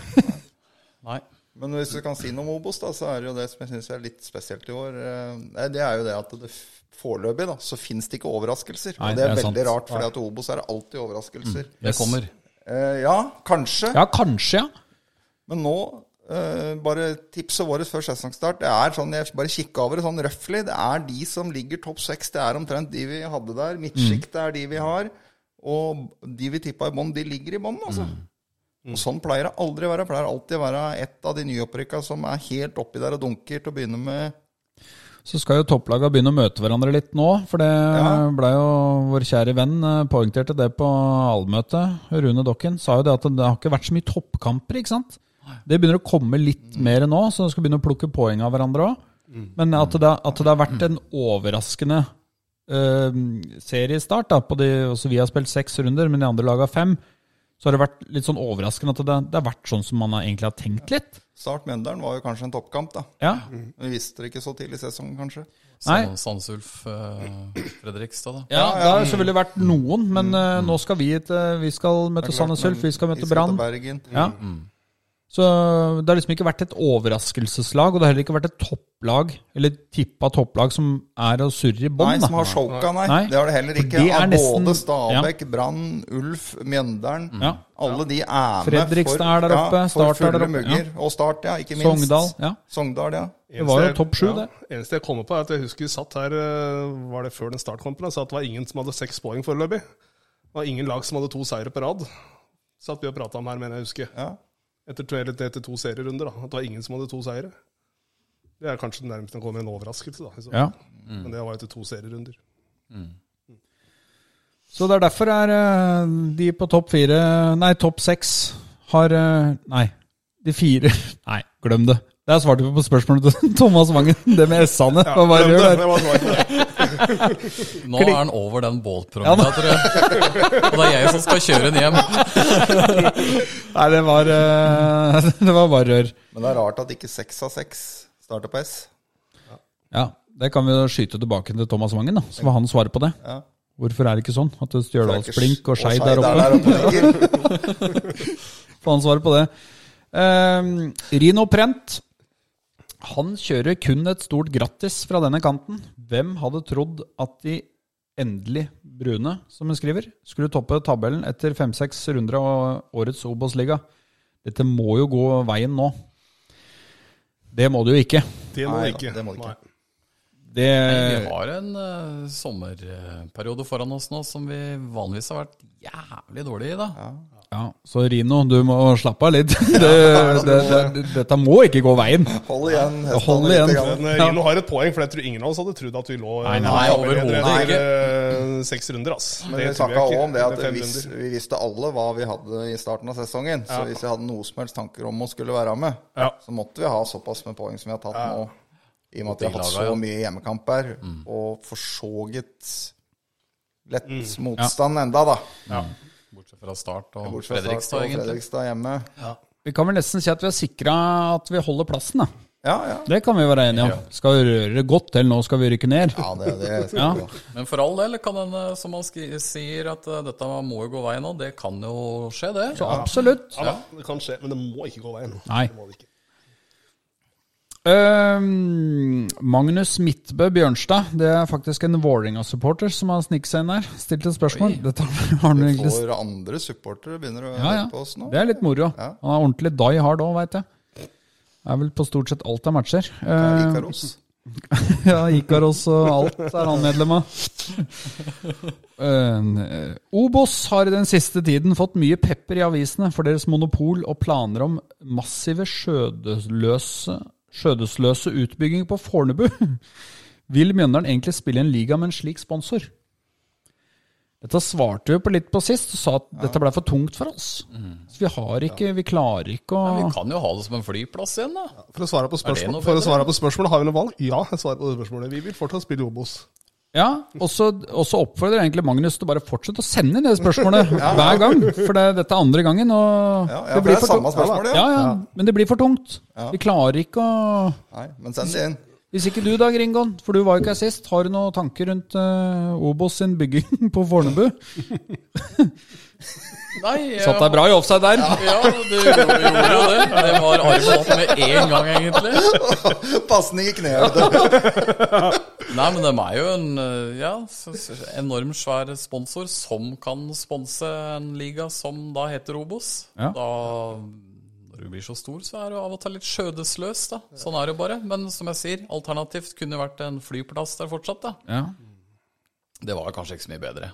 D: Nei.
C: Men hvis du kan si noe om Obos, da, så er det jo det som jeg syns er litt spesielt i år. eh, nei, Det er jo det at det f- foreløpig da, så finnes det ikke overraskelser.
B: Nei,
C: og det er,
B: det er sant.
C: veldig
B: Mm.
C: rart, fordi at i Obos er det alltid overraskelser.
D: Det kommer.
C: Eh, ja, kanskje.
B: Ja, kanskje, ja.
C: Men nå, eh, bare tipset vårt før sesongstart Det er sånn, jeg bare kikket over det sånn røffelig. Det er de som ligger topp seks. Det er omtrent de vi hadde der. Midtsjiktet er de vi har. Og de vi tippa i bånn, de ligger i bånn, altså. Og sånn pleier det aldri å være. Det pleier alltid å være ett av de nyopprykka som er helt oppi der og dunker til å begynne med.
B: Så skal jo topplaga begynne å møte hverandre litt nå, for det
C: Ja.
B: ble jo vår kjære venn eh, poengterte det på allmøtet. Rune Dokken sa jo det at det har ikke vært så mye toppkamper, ikke sant? Det begynner å komme litt mer nå, så du skal begynne å plukke poeng av hverandre òg. Men at det, at det har vært en overraskende eh, seriestart, da, på de, også vi har spilt seks runder, men de andre laga fem, så har det vært litt sånn overraskende at det, det har vært sånn som man har- egentlig har tenkt litt.
C: Start Mjøndalen var jo kanskje en toppkamp, da.
B: Ja,
C: Vi visste det ikke så tidlig i sesongen, kanskje.
B: Nei.
D: Sand- Sandsulf Sånn- eh, Fredrikstad, da.
B: Ja, det har selvfølgelig vært noen, men eh, nå skal vi, til, vi skal møte Sandnes Ulf, vi skal møte Brann.
C: Bergen.
B: Ja. Så det har liksom ikke vært et overraskelseslag, og det har heller ikke vært et topplag, eller tippa topplag, som er og surrer i
C: Nei,
B: bånn.
C: som
B: Sånn, da.
C: har shoka, nei.
B: Nei.
C: Det har det heller
B: For
C: ikke.
B: det er
C: Av
B: nesten-
C: både Stabæk, Brann, Ulf, Mjøndalen.
B: Ja.
C: Alle de er med
B: Fredrikstad er der oppe,
C: ja, for
B: Start er der
C: fulle
B: oppe, ja.
C: mugger. Og Start, ja. Ikke minst.
B: Sogndal. Ja.
C: Sogndal, ja.
B: Det var jo
E: Eneste jeg-
B: topp sju,
E: ja, Eneste jeg kommer på, er at jeg husker vi satt her eh, var det før den startkampen, og sa at det var ingen som hadde seks poeng foreløpig. Det var ingen lag som hadde to seire på rad. Satt vi og prata om her, mener jeg å huske.
C: ja.
E: Etter, to- eller etter to serierunder, da. At det var ingen som hadde to seire. Det er kanskje det nærmeste kommer en overraskelse, da. i så fall.
B: Ja.
C: Mm.
E: Men det var etter to serierunder.
B: Så det er derfor er eh, de på topp fire Nei, topp seks har eh, Nei, de fire Nei, glem det. Der svarte vi på spørsmålet til Thomas Wangen, det med S-ene. Hva var det
E: Glem
B: du
E: det,
B: gjør?
E: det var svaret.
D: Nå er han over den bålpromilla, tror jeg. Og det er jeg som skal kjøre den hjem.
B: Nei, det var, eh, det var bare rør.
C: Men det er rart at ikke seks av seks starter på S.
B: Ja, det kan vi jo skyte tilbake til Thomas Wangen, da. Så får han svare på det.
C: Ja.
B: Hvorfor er det ikke sånn at
C: Det er ikke-
B: Stjørdalsblink og Skeid er
C: er
B: oppe?
C: der oppe. ligger.
B: Får han svare på det. Ehm, Rino Prent. Han kjører kun et stort grattis fra denne kanten. Hvem hadde trodd at de endelig brune, som hun skriver, skulle toppe tabellen etter fem-seks runder av årets Obos-liga? Dette må jo gå veien nå. Det må det jo ikke.
E: Det må
C: Nei
E: det
C: da,
E: ikke.
C: det må det ikke.
E: Nei.
B: Det
D: Vi har en eh, sommerperiode foran oss nå som vi vanligvis har vært jævlig dårlige i, da.
B: Ja, så Rino, du må slappe av litt. Det, det, det, dette må ikke gå veien.
C: Hold igjen. hestene
B: Hold
C: litt
B: igjen.
C: grann.
E: Men eh, Rino har et poeng, for jeg tror ingen av oss hadde trodd at vi lå eh,
D: Nei, nei, overhodet ikke.
E: ikke. eh, seks runder, ass.
C: Men vi snakka òg om det at hvis, vi visste alle hva vi hadde i starten av sesongen. Så hvis vi hadde noe som helst tanker om å skulle være med,
E: Ja.
C: så måtte vi ha såpass med poeng som vi har tatt nå. I og med at vi har hatt
D: laga,
C: så
D: ja.
C: mye hjemmekamper, og for så vidt lett motstand enda, da.
D: Bortsett fra Start og
C: Bortsett fra Start
D: Fredrikstad,
C: og
D: egentlig.
C: Fredrikstad hjemme.
B: Vi kan vel nesten si at vi har sikra at vi holder plassen, da.
C: Ja, ja.
B: Det kan vi være enige om. Skal vi røre godt til nå skal vi rykke ned?
C: Ja, det, det skal
B: Ja.
C: vi ha.
D: Men for all del kan den, eh, som han skri- sier, at eh, dette må jo gå veien nå. Det kan jo skje, det.
B: Absolutt.
E: Ja, da, det kan skje, men det må ikke gå veien.
B: Nei.
E: Det må det ikke.
B: Øhm, Ehm, Magnus Midtbø Bjørnstad, det er faktisk en Vålerenga-supporter som har sniket seg inn der. Stilt et spørsmål. Dette har han egentlig
C: For andre supportere begynner å
B: Ja,
C: høre på oss
B: ja.
C: nå.
B: Det er litt moro.
C: Ja.
B: Han er ordentlig die hard òg, veit jeg. Er vel på stort sett alt av matcher.
C: Ja,
B: Eh,
C: Ikaros.
B: Ja, Ikaros og alt er han medlem av. Eh, Obos har i den siste tiden fått mye pepper i avisene for deres monopol og planer om massive skjødesløse, skjødesløse utbygging på Fornebu. Vil Mjøndalen egentlig spille i en liga med en slik sponsor? Dette svarte vi jo på litt på sist, og sa at dette ble for tungt for oss. Så vi har ikke, vi klarer ikke å
D: Vi kan jo ha det som en flyplass igjen, da.
E: For å svare på,
D: det noe
E: spørsmål,
D: bedre?
E: for å svare på spørsmålet, har vi noe valg? Ja, jeg svarer på det spørsmålet. Vi vil fortsatt spille i Obos.
B: Ja, og så og så oppfordrer egentlig Magnus til å bare fortsette å sende inn det spørsmålet hver gang. For det, dette er andre gangen, og
C: Ja, ja, for det er
B: for
C: samme
B: tungt.
C: spørsmål,
B: Ja,
C: ja.
B: ja, men det blir for tungt. Vi klarer ikke å
C: Nei, men send det inn.
B: Hvis ikke du da, Gringon, for du var jo ikke her sist. Har du noen tanker rundt eh, Obos sin bygging på Fornebu?
D: Nei, jeg,
B: Satt deg bra i offside der.
D: Ja, du gjorde jo det. Det var armen opp med en gang, egentlig.
C: Pasning i kneet. vet du.
D: Nei, men de er jo en eh, ja, s- s- enorm svær sponsor som kan sponse en liga som da heter Obos.
B: Ja.
D: Da, når du blir så stor, så er du av og til litt skjødesløs, da. Sånn er det bare. Men som jeg sier, alternativt kunne det vært en flyplass der fortsatt, da.
B: Ja.
D: Det var kanskje ikke så mye bedre.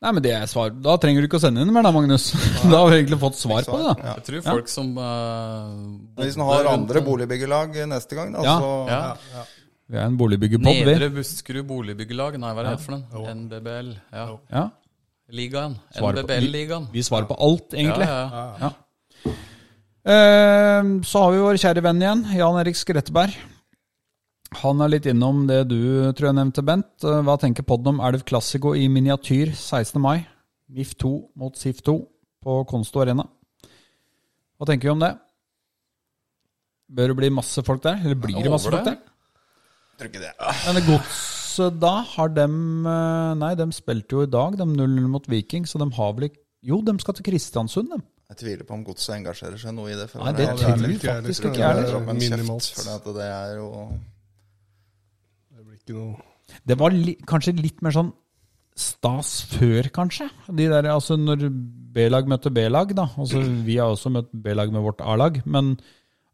B: Nei, men det er svar. Da trenger du ikke å sende inn mer, da, Magnus. Da har vi egentlig fått svar på det. da.
D: Jeg tror folk som eh,
C: Hvis en
D: bodde
C: har
D: rundt
C: andre boligbyggelag neste gang, da,
B: Ja.
C: så
D: ja.
B: Vi er en boligbyggerpod, vi.
D: Nedre Buskerud Boligbyggelag, nei, hva er det for den? NBBL. Ja.
B: Ja.
D: Ligaen.
B: Svarer på-
D: NBBL-ligaen.
B: Vi svarer på alt, egentlig.
D: Ja, ja.
B: Eh, Så har vi vår kjære venn igjen, Jan Erik Skretteberg. Han er litt innom det du tror jeg nevnte, Bent. Eh, Hva tenker podden om Elv Classico i miniatyr 16. mai? MIF 2 mot SIF 2 på Konsto Arena. Hva tenker vi om det? Bør det bli masse folk der? Eller blir det masse
D: Over
B: folk
D: det?
B: der?
C: tror ikke det.
B: Men godset da, har dem eh, Nei, dem spilte jo i dag, de 0-0 mot Viking, så de har vel ikke Jo, de skal til Kristiansund, dem.
C: Jeg tviler på om godset engasjerer seg noe i det. For
B: Nei, det
C: er-
B: tviler
C: er-
B: jeg
E: ikke jeg
B: faktisk
E: heller.
B: ikke jeg
C: Det er
E: heller.
C: om en
E: Minimalt.
C: kjeft, for at det er jo
E: Det blir ikke noe
B: Det var li kanskje litt mer sånn stas før, kanskje. De der, altså Når B-lag møter B-lag, da. Altså, vi har også møtt B-lag med vårt A-lag. Men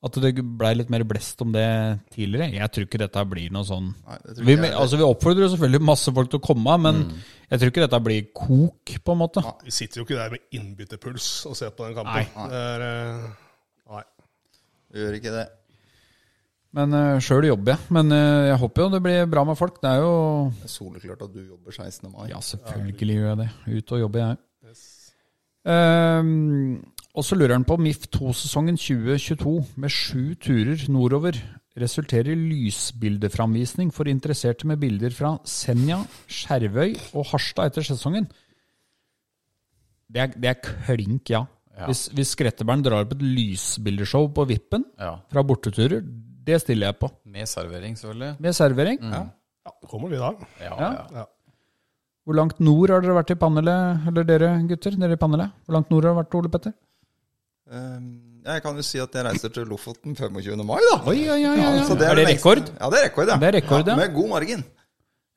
B: at det blei litt mer blest om det tidligere. Jeg tror ikke dette blir noe sånn
C: Nei, det tror
B: vi,
C: ikke jeg Mm.
B: altså, vi oppfordrer jo selvfølgelig masse folk til å komme, men jeg tror ikke dette blir kok, på en måte.
E: Vi sitter jo ikke der med innbytterpuls og ser på den kampen.
B: Nei.
E: Det er, eh, nei.
C: Gjør ikke det.
B: Men uh, sjøl jobber jeg. Men eh, jeg håper jo det blir bra med folk. Det er jo
C: Det er soleklart at du jobber 16. mai.
B: Ja, selvfølgelig gjør jeg det. Ut og jobbe, jeg. Ehm, og så lurer han på om MIF 2-sesongen 2022 med sju turer nordover resulterer i lysbildeframvisning for interesserte med bilder fra Senja, Skjervøy og Harstad etter sesongen. Det er, det er klink ja. Hvis, hvis Skretteberg drar opp et lysbildeshow på Vippen
D: ja.
B: fra borteturer, det stiller jeg på.
D: Med servering, selvfølgelig.
B: Med servering.
E: Ja, det kommer vi i dag.
D: Ja,
B: Ja.
D: ja.
B: Hvor langt nord har dere vært i panelet, eller dere gutter? Dere i panelet? Hvor langt nord har dere vært, Ole Petter?
C: Ehm, Jeg kan jo si at jeg reiser til Lofoten 25. mai, da.
B: Oi, oi, oi, oi,
C: Så
B: oi. Er altså, det
C: lengste-
B: rekord?
C: Ja, det er rekord, ja.
B: Det er rekord, ja.
C: Med god margin.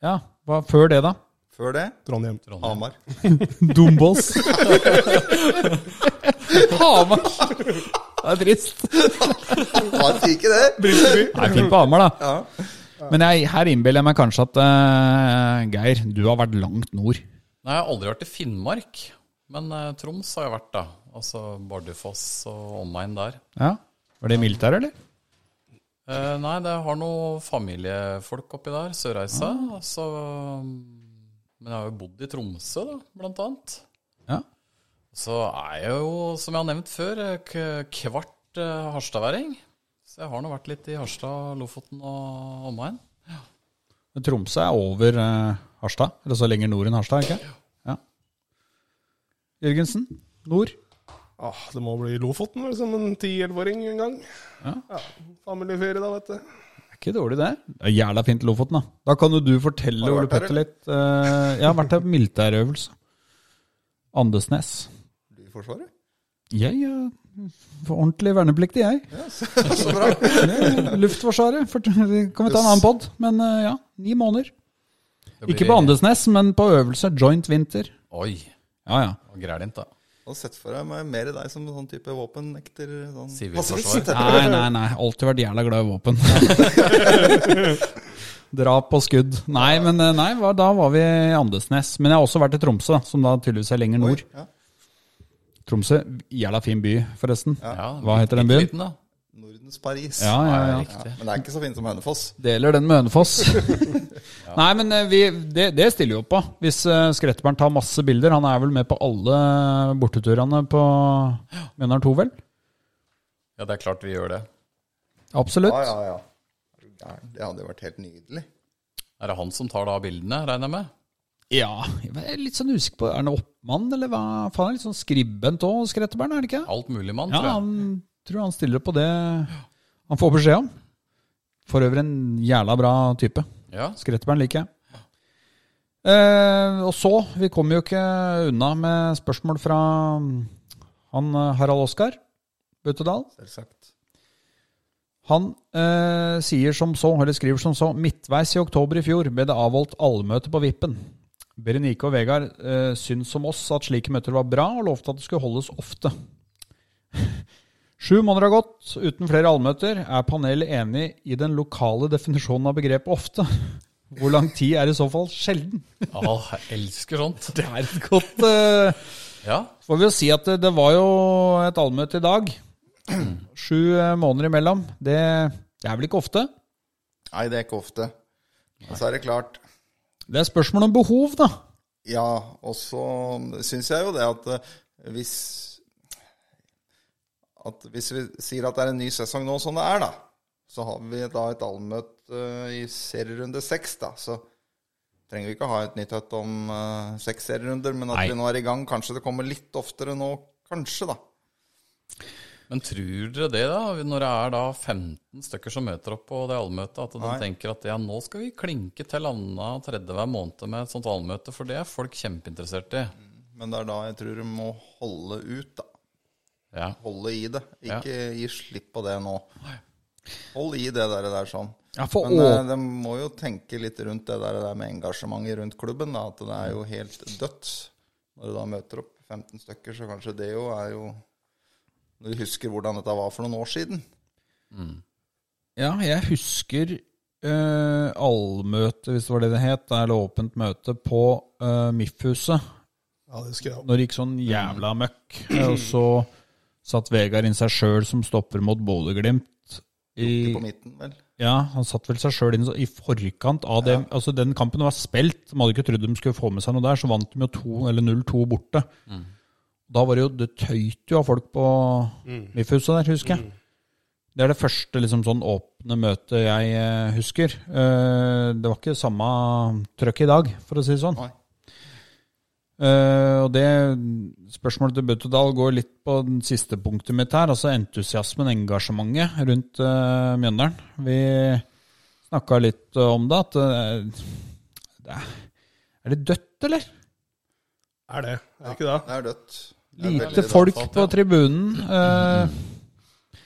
B: Ja. Hva før det, da?
C: Før det
E: Trondheim.
C: Hamar.
B: Dombås. Hamar. Det er trist.
C: Han sier ikke det.
B: Jeg er flink på Hamar, da. Men jeg, her innbiller jeg meg kanskje at eh, Geir, du har vært langt nord.
D: Nei, jeg har aldri vært i Finnmark, men eh, Troms har jeg vært, da. Altså Bardufoss og omegn der.
B: Ja. Var det mildt der, eller?
D: Eh, nei, det har noe familiefolk oppi der, Sørreisa.
B: Ah.
D: Så, mm, men jeg har jo bodd i Tromsø, da, blant annet.
B: Ja.
D: Så er jeg jo, som jeg har nevnt før, eh, k- kvart eh, harstadværing. Så jeg har nå vært litt i Harstad, Lofoten og omegn.
B: Men Tromsø er over eh, Harstad. Eller så lenger nord enn Harstad, ikke Ja. Jørgensen, nord.
E: Ah, det må bli Lofoten, vel, som en 10-11-åring en gang.
B: Ja.
E: Familieferie, da, vet du.
B: Det er ikke dårlig, det. Det er Jævla fint Lofoten, da. Da kan jo du fortelle
C: Har du
B: Ole
C: vært der,
B: Petter litt. eh, jeg har vært der på militærøvelse. Andesnes.
C: Du i Forsvaret?
B: Jeg er ordentlig vernepliktig, jeg.
C: Så bra.
B: Eh, Luftforsvaret. For, det kan vi ta en annen pod? Men eh, ja, ni måneder.
D: Det blir-
B: Ikke på Andesnes, men på øvelse. Joint vinter.
D: Oi,
B: Ja, ja.
D: det var grælint, da.
C: Og sett for deg meg mer i deg som sånn type våpennekter. Sånn
D: Sivilforsvar.
C: pasifist.
B: Nei, nei, nei. Alltid vært jævla glad i våpen. Drap og skudd. Nei, men eh, nei, hva- da var vi i Andesnes. Men jeg har også vært i Tromsø, da, som da tydeligvis er lenger nord.
C: Ja.
B: Tromsø, jævla fin by, forresten.
D: Ja,
B: Hva heter den byen?
D: Liten, da.
C: Nordens Nordens Paris.
B: Ja, ja, ja.
C: Ja, men det er ikke så fint som Hønefoss.
B: Deler den med Hønefoss. Nei, men eh, vi, det, det stiller vi opp på. Hvis eh, Skretteberg tar masse bilder. Han er vel med på alle borteturene på Mjøndalen 2, vel?
D: Ja, det er klart vi gjør det.
B: Absolutt.
C: Ja, ja, ja. Er du gæren? Det hadde jo vært helt nydelig.
D: Er det han som tar da bildene, regner jeg med?
B: Ja, jeg er litt sånn usikker på Er han oppmann, eller hva faen? er Litt sånn skribent òg, Skretteberg, er det ikke?
D: Alt mulig mann,
B: Ja,
D: tror jeg.
B: han tror han stiller på det han får beskjed om. For øvrig en jævla bra type.
D: Ja.
B: Skretteberg liker jeg. Eh, og så, vi kommer jo ikke unna med spørsmål fra mm, han eh, Harald Oskar Buttedal.
C: Selvsagt.
B: Han eh, sier som så, eller skriver som så, midtveis i oktober i fjor ble det avholdt allmøte på Vippen. Berenike og Vegard eh, syns som oss at slike møter var bra, og lovte at det skulle holdes ofte. Sju måneder har gått uten flere allmøter. Er panelet enig i den lokale definisjonen av begrepet ofte? Hvor lang tid er i så fall sjelden?
D: Ah, jeg elsker sånt.
B: Det er et godt eh,
D: Ja.
B: får vi jo si at det, det var jo et allmøte i dag. Sju eh, måneder imellom. Det, det er vel ikke ofte?
C: Nei, det er ikke ofte. Og så er det klart
B: Det er spørsmål om behov, da.
C: Ja, og så syns jeg jo det at eh, hvis at Hvis vi sier at det er en ny sesong nå som det er, da, så har vi da et allmøte eh, i serierunde seks, da. Så trenger vi ikke ha et nytt høtt om eh, seks serierunder, men at
B: Nei.
C: vi nå er i gang. Kanskje det kommer litt oftere nå, kanskje, da.
D: Men tror dere det, da? Når det er da 15 stykker som møter opp på det allmøtet, at de tenker at ja, nå skal vi klinke til anna tredje hver måned med et sånt allmøte, for det er folk kjempeinteressert i.
C: Men det er da jeg tror du må holde ut, da.
D: Ja.
C: Holde i det. Ikke gi slipp på det nå. Hold i det der, der sånn.
B: Ja, for
C: Men
B: å-
C: eh, de må jo tenke litt rundt det der, der med engasjementet rundt klubben. Da, at det er jo helt dødt. Når du da møter opp 15 stykker, så kanskje det jo er jo Når du husker hvordan dette var for noen år siden.
B: eh, Ja, jeg husker eh, allmøte, hvis det var det det het, eller åpent møte, på eh, MIF-huset.
E: Ja, det husker jeg.
B: Når det gikk sånn jævla møkk. Eh, Og så satt Vegard inn seg sjøl som stopper mot Bodø-Glimt. I,
C: På midten, vel.
B: ja, han satt vel seg sjøl inn så- i forkant av det. Altså, den kampen var spilt. De hadde ikke trodd de skulle få med seg noe der, så vant de jo 2 eller 0-2 borte. Da var det jo Det tøyt jo av folk på MIF-huset der, husker jeg. Det er det første liksom, sånn åpne møtet jeg eh, husker. Eh, det var ikke samme trøkk i dag, for å si det sånn.
C: Nei.
B: Eh, og det spørsmålet til Buttedal går litt på den siste punktet mitt her, altså entusiasmen, engasjementet rundt eh, Mjøndalen. Vi snakka litt eh, om det, at eh, det er, er det dødt, eller?
E: Er det? Er det ikke det?
C: Det er dødt. Det er veldig
B: Lite
C: dødt.
B: folk
D: dødsalt,
B: på
D: ja.
B: tribunen. Eh,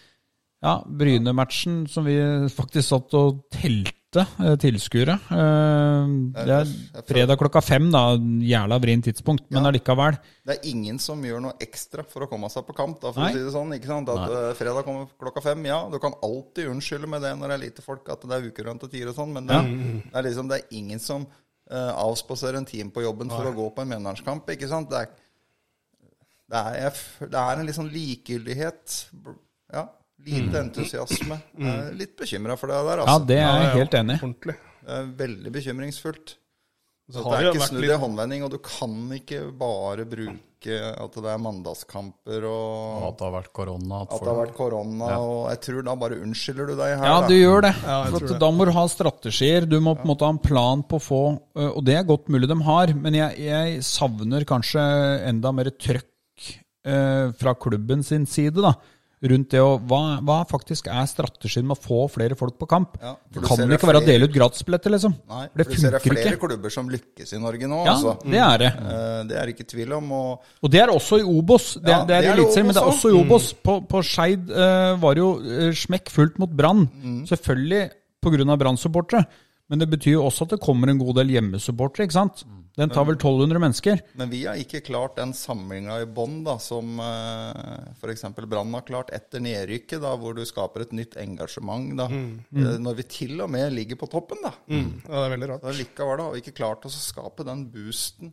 B: ja, Bryne-matchen som vi faktisk satt og telte eh, tilskuere. Eh, det er fredag klokka fem, da. Jævla vrient tidspunkt, men allikevel.
C: Det er ingen som gjør noe ekstra for å komme seg på kamp, da, for
B: Nei.
C: å si det sånn. ikke sant? At eh, fredag kommer klokka fem, ja. Du kan alltid unnskylde med det når det er lite folk, at det er ukerønt og tider og sånn, men det,
B: Mm.
C: det er liksom det er ingen som eh, avspaserer en time på jobben for å gå på en Mjøndalenskamp, ikke sant. Det er, det, er, jeg f- det er en litt sånn likegyldighet. bl- Ja. Lite entusiasme. Jeg er litt bekymra for det der,
B: Mm. Ja,
C: altså.
B: det er jeg
E: Ja, ja,
B: helt enig i.
E: Ordentlig.
C: Det er veldig bekymringsfullt.
E: Så
C: Det
E: har
C: er
E: det
C: ikke
E: vært
C: snudd i
E: litt
C: håndvending, og du kan ikke bare bruke at det er mandagskamper
D: Og
C: og
D: at det har vært korona. At
C: at det har
D: folk-
C: vært korona, og jeg tror da bare unnskylder du deg her.
B: Ja,
C: da.
B: du gjør det.
E: jeg
B: for
E: tror
B: at
E: det.
B: da må du ha strategier. Du må på en måte ha en plan på å få øh, Og det er godt mulig de har, men jeg, jeg savner kanskje enda mer trøkk øh, fra klubben sin side, da. Rundt det å hva, hva faktisk er strategien med å få flere folk på kamp?
C: Ja,
B: det
C: for du
B: kan
C: ser
B: vel
C: det
B: ikke være
C: flere-
B: å dele ut gratisbilletter, liksom?
C: Nei,
B: for det
C: for du ser det er
B: funker
C: flere
B: ikke.
C: klubber som lykkes i Norge nå,
B: Ja,
C: altså.
B: det er det.
C: Eh, Det er det ikke tvil om. Og
B: Og det er også i Obos. Det, det
C: Ja,
B: er,
C: det er det
B: Eliteserien, men det er
C: Obos Mm.
B: også i Obos. På, på Skeid eh, var det jo eh, smekk fullt mot Brann.
C: Mm.
B: Selvfølgelig pga. Brann-supportere. Men det betyr jo også at det kommer en god del hjemmesupportere. ikke sant?
C: Mm.
B: Den tar vel 1200 mennesker.
C: Men vi har ikke klart den samlinga i bånn da, som f.eks. Brann har klart etter nedrykket, da, hvor du skaper et nytt engasjement. da,
B: Mm.
C: Eh, Når vi til og med ligger på toppen, da.
E: Ja, det er veldig rart.
C: Da likevel da, har vi ikke klart oss å skape den boosten.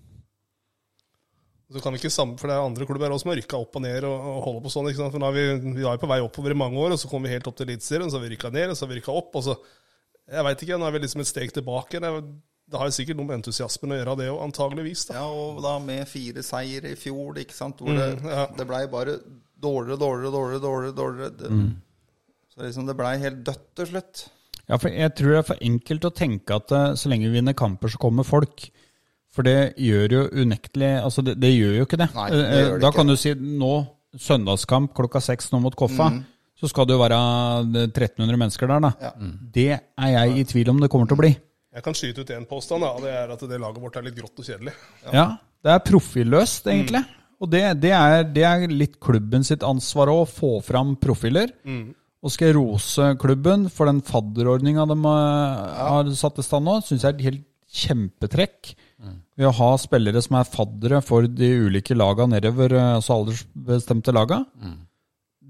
E: Så kan vi ikke sammen, for Det er andre klubber også som har rykka opp og ned og, og holder på sånn. ikke sant? For nå er vi, vi var jo på vei oppover i mange år, og så kom vi helt opp til Eliteserien. Så har vi rykka ned, og så har vi rykka opp. og så, Jeg veit ikke, nå er vi liksom et steg tilbake. Det, er- det har jo sikkert noe med entusiasmen å gjøre, det òg, antageligvis. da.
C: Ja, og da med fire seire i fjor, ikke sant, hvor
E: Mm,
C: det,
E: ja.
C: det blei bare dårligere, dårligere, dårligere, dårligere. dårligere. Det,
E: Mm.
C: Så liksom det blei helt dødt til slutt.
B: Ja, for jeg tror det er for enkelt å tenke at eh, så lenge vi vinner kamper, så kommer folk. For det gjør jo unektelig Altså, det, det gjør jo ikke det.
C: Nei, det
B: Eh, eh,
C: gjør det
B: da
C: ikke.
B: kan du si nå, søndagskamp klokka seks nå mot Koffa, så skal det jo være eh, 1300 mennesker der, da.
C: Mm. Ja.
B: Det er jeg i tvil om det kommer til å bli.
E: Jeg kan skyte ut én påstand, da, og det er at det laget vårt er litt grått og kjedelig.
B: Ja. det er profilløst, egentlig. Og det, det, er, det er litt klubben sitt ansvar også, å få fram profiler. Og skal jeg rose klubben for den fadderordninga de eh, har satt i stand nå, syns jeg er et helt kjempetrekk. Ved å ha spillere som er faddere for de ulike laga nedover, eh, altså aldersbestemte laga.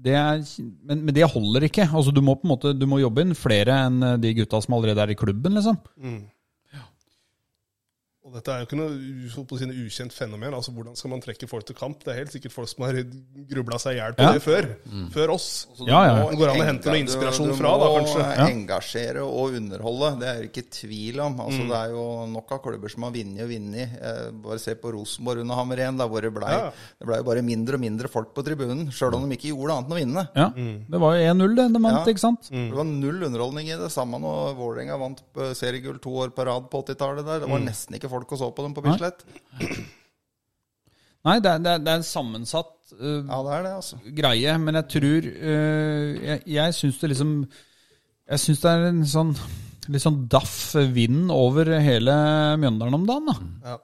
B: Det er, men, men det holder ikke. Altså, du må på en måte du må jobbe inn flere enn eh, de gutta som allerede er i klubben, liksom.
E: Og dette er jo ikke noe u- holdt på å si, noe ukjent fenomen. altså Hvordan skal man trekke folk til kamp? Det er helt sikkert folk som har grubla seg i hjel på
B: Ja. Mm.
E: det før. Før oss.
C: Så
B: Ja, ja.
E: Det går an å hente noe
C: enga-
E: inspirasjon
C: du, du
E: fra, da,
C: må eh,
E: kanskje.
C: engasjere og underholde, det er det ikke tvil om.
E: Mm.
C: Altså, Det er jo nok av klubber som har vunnet og vunnet. Eh, Bare se på Rosenborg under Hammerén, da, hvor det blei
E: Ja.
C: det ble jo bare mindre og mindre folk på tribunen, sjøl om de ikke gjorde annet enn å vinne.
B: Ja. Det var jo 1-0 det de vant,
C: Ja.
B: ikke sant?
C: Det var null underholdning i det samme når Vålerenga vant eh, seriegull to år på rad på 80-tallet. der. Det
B: Mm.
C: var nesten ikke folk og så på dem på Bislett.
B: Nei, det er, det er, det er en sammensatt eh,
C: Ja, det er det, altså.
B: greie, men jeg tror eh, Jeg, jeg syns det liksom Jeg syns det er en sånn litt sånn daff vind over hele Mjøndalen om dagen, da.
E: Ja.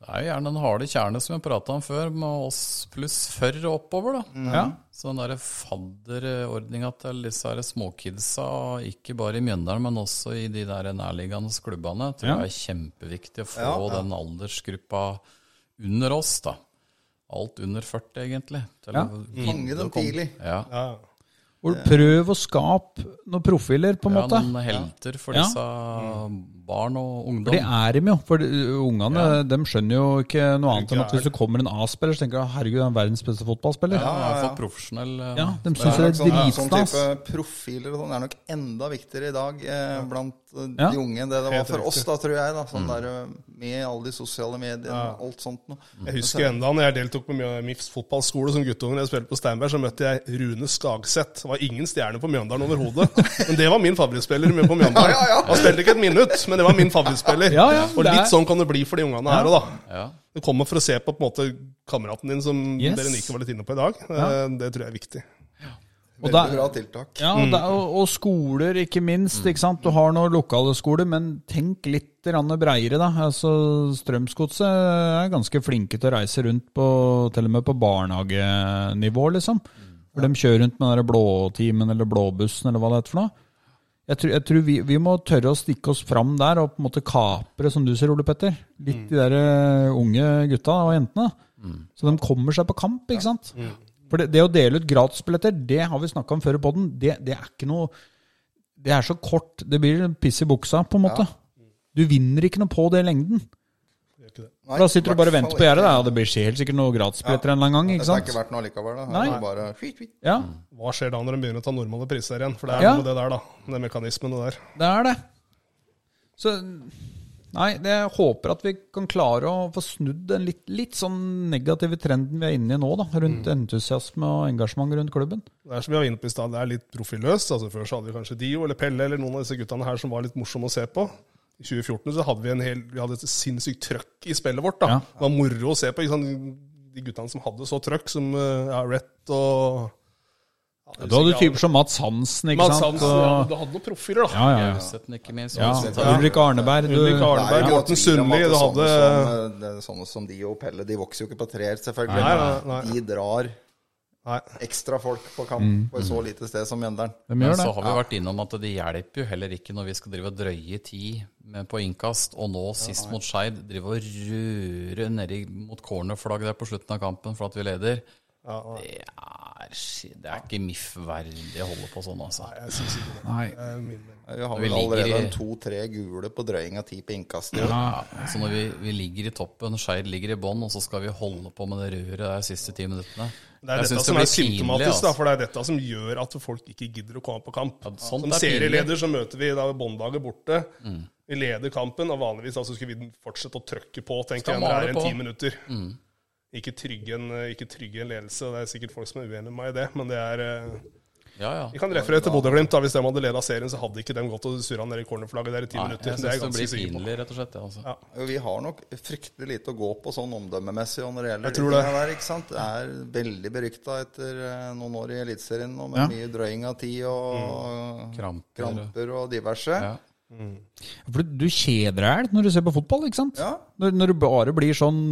D: Det er jo gjerne den harde kjerne som vi prata om før, med oss pluss før og oppover, da.
C: Mm.
B: Ja.
D: Så den derre fadderordninga til disse her småkidsa, ikke bare i Mjøndalen, men også i de der nærliggende klubbene, tror
B: Ja.
D: jeg er kjempeviktig å få den aldersgruppa under oss, da. Alt under 40, egentlig. til
B: Ja.
D: å gidde
C: Fange dem
D: å komme-
C: tidlig.
D: Ja.
E: Ja.
B: Hvor prøv å skape noen profiler, på en
D: Ja,
B: måte.
D: noen
C: eh,
D: helter for
B: Ja.
D: disse barn og ungdom.
B: For det er dem jo. For de- eh, ungene dem skjønner jo ikke noe annet enn at hvis det kommer en A-spiller, så tenker de herregud, han er verdens beste fotballspiller.
D: Ja,
B: Ja,
D: i hvert fall profesjonell. eh,
B: de syns det er
C: sånn, sånn
B: dritstas.
C: type profiler og sånn er nok enda viktigere i dag eh, blant eh,
B: Ja. Mm.
C: de unge enn det det var
E: Helt
C: for
E: riktig.
C: oss, da, tror jeg. da, sånn der, eh, Med alle de sosiale mediene og alt sånt noe.
B: Mm.
E: Jeg husker enda når jeg deltok på Mjø- MIFs fotballskole som guttungen. Jeg spilte på Steinberg, så møtte jeg Rune Skagseth. Det var ingen stjerne på Mjøndalen overhodet. Men det var min favorittspiller med på
C: Ja,
E: Mjøndalen.
C: ja, ja.
E: Han spilte ikke et minutt, men det var min favorittspiller.
B: Ja, ja,
E: og
B: det er-
E: litt sånn kan det bli for de ungene her òg, da.
D: Ja.
E: Du kommer for å se på på en måte kameraten din, som
B: Yes.
E: dere Nike var litt inne på i dag. Eh, Det tror jeg er viktig.
B: Og
C: Veldig
B: da-
C: bra tiltak.
B: Ja, og, det, er- og, og skoler, ikke minst. ikke sant? Du har noen lokale skoler, men tenk litt grann breiere, da. Altså, Strømsgodset er ganske flinke til å reise rundt på til og med på barnehagenivå, liksom. For de kjører rundt med den der blåtimen eller blåbussen eller hva det heter for noe. Jeg tror, jeg tror vi, vi må tørre å stikke oss fram der og på en måte kapre, som du sier, Ole Petter. Litt
C: Mm.
B: de der eh, unge gutta og jentene. Så de kommer seg på kamp, ikke sant?
C: Mm.
B: For det, det å dele ut gratisbilletter, det har vi snakka om før i poden, det, det er ikke noe Det er så kort. Det blir piss i buksa, på en måte. Du vinner ikke noe på det i lengden.
C: Nei,
B: da sitter du bare og
C: hvertfall
B: venter på gjerdet.
C: ikke.
B: da. Ja, det blir helt sikkert noen gratisbilletter en eller annen gang, ikke
C: Dette har
B: sant?
C: ikke vært noe likevel. da.
B: Nei.
C: Her er det Bare, skit, skit.
B: Ja,
E: Hva skjer da når de begynner å ta normale priser igjen? For det er
B: Ja.
E: noe med det der, da. Den mekanismen det der.
B: det er det. Så Nei, det- jeg håper at vi kan klare å få snudd den litt, litt sånn negative trenden vi er inne i nå, da, rundt
E: Mm.
B: entusiasme og engasjement rundt klubben.
E: Det er som vi var inne på i stad, det er litt profilløst. Altså Før så hadde vi kanskje Dio eller Pelle eller noen av disse guttene her som var litt morsomme å se på. I 2014 så hadde vi, en hel, vi hadde et sinnssykt trøkk i spillet vårt. da.
B: Ja.
E: Det var moro å se på. Ikke sant? De guttene som hadde så trøkk, som eh, ja, Rett og ja,
B: Du hadde typer som Mats Hansen, ikke
E: Mads
B: sant?
E: Hansen. Ja, du hadde noen profiler, da.
B: ja, ja, ja.
D: Gauseth, ikke minst.
B: ja.
D: Gauseth,
B: ja. Ulrik Arneberg. Du,
C: Det
E: Ulrik
C: er jo ikke
E: Arneberg,
C: noe
E: Morten
C: tvil om
E: Sundli.
C: at
E: Du
C: sånne
E: hadde
C: som, eh, det- Sånne som de og Pelle, de vokser jo ikke på trær, selvfølgelig.
E: Nei, nei, nei.
C: De drar
E: Nei.
C: ekstra folk på kamp på et så lite sted som Mjøndalen.
B: de
D: Men
B: gjør det.
D: så har vi vært innom at det hjelper jo heller ikke når vi skal drive og drøye tid med på innkast, og nå sist mot Skeid drive og røre nedi mot cornerflagget der på slutten av kampen for at vi leder. Det er er, det er ikke MIF-verdig å holde på sånn, altså.
E: Jeg synes ikke det.
D: Nei.
E: Det er min mening.
C: Nei, Vi har
D: Vi
C: vel
D: ligger i-
C: allerede en to-tre gule på drøying av ti på innkast. i år.
D: Ja, så når vi, vi ligger i toppen, Skeid ligger i bånn, og så skal vi holde på med det røret der siste ti minuttene.
E: Det er
D: Jeg
E: dette
D: synes
E: som
D: blir
E: er symptomatisk,
D: pinlig,
E: da,
D: altså.
E: for det er dette som gjør at folk ikke gidder å komme på kamp.
D: Ja, sånt
E: som
D: er pinlig. Mm.
E: serieleder så møter vi da Båndlaget borte. Vi leder kampen, og vanligvis altså, skulle vi fortsette å trøkke på, tenker
D: Skal
E: jeg, når det
D: male
E: er en
D: på. Mm.
E: ti minutter. Ikke trygge en, ikke trygge en ledelse, og det er sikkert folk som er uenige med meg i det, men det er eh,
D: Ja, ja.
E: Vi kan referere til Bodø-Glimt. da. Hvis de hadde leda serien, så hadde ikke de gått og surra ned i cornerflagget der i ti
D: Nei,
E: minutter.
D: jeg
E: Det er jeg
D: syns det
E: ganske
D: blir
E: sikker på.
D: pinlig, rett og slett. ja, Altså.
E: Ja.
C: Jo, Vi har nok fryktelig lite å gå på sånn omdømmemessig. og Når det gjelder
E: Jeg
C: de
E: tror det.
C: tingene Der, ikke sant? Det er veldig berykta etter eh, noen år i Eliteserien nå, med
B: Ja.
C: mye drøying av tid og
D: Kramper.
C: kramper og diverse.
D: Ja.
B: For du, du kjeder deg helt når du ser på fotball, ikke sant?
C: Ja.
B: Når, når du bare blir sånn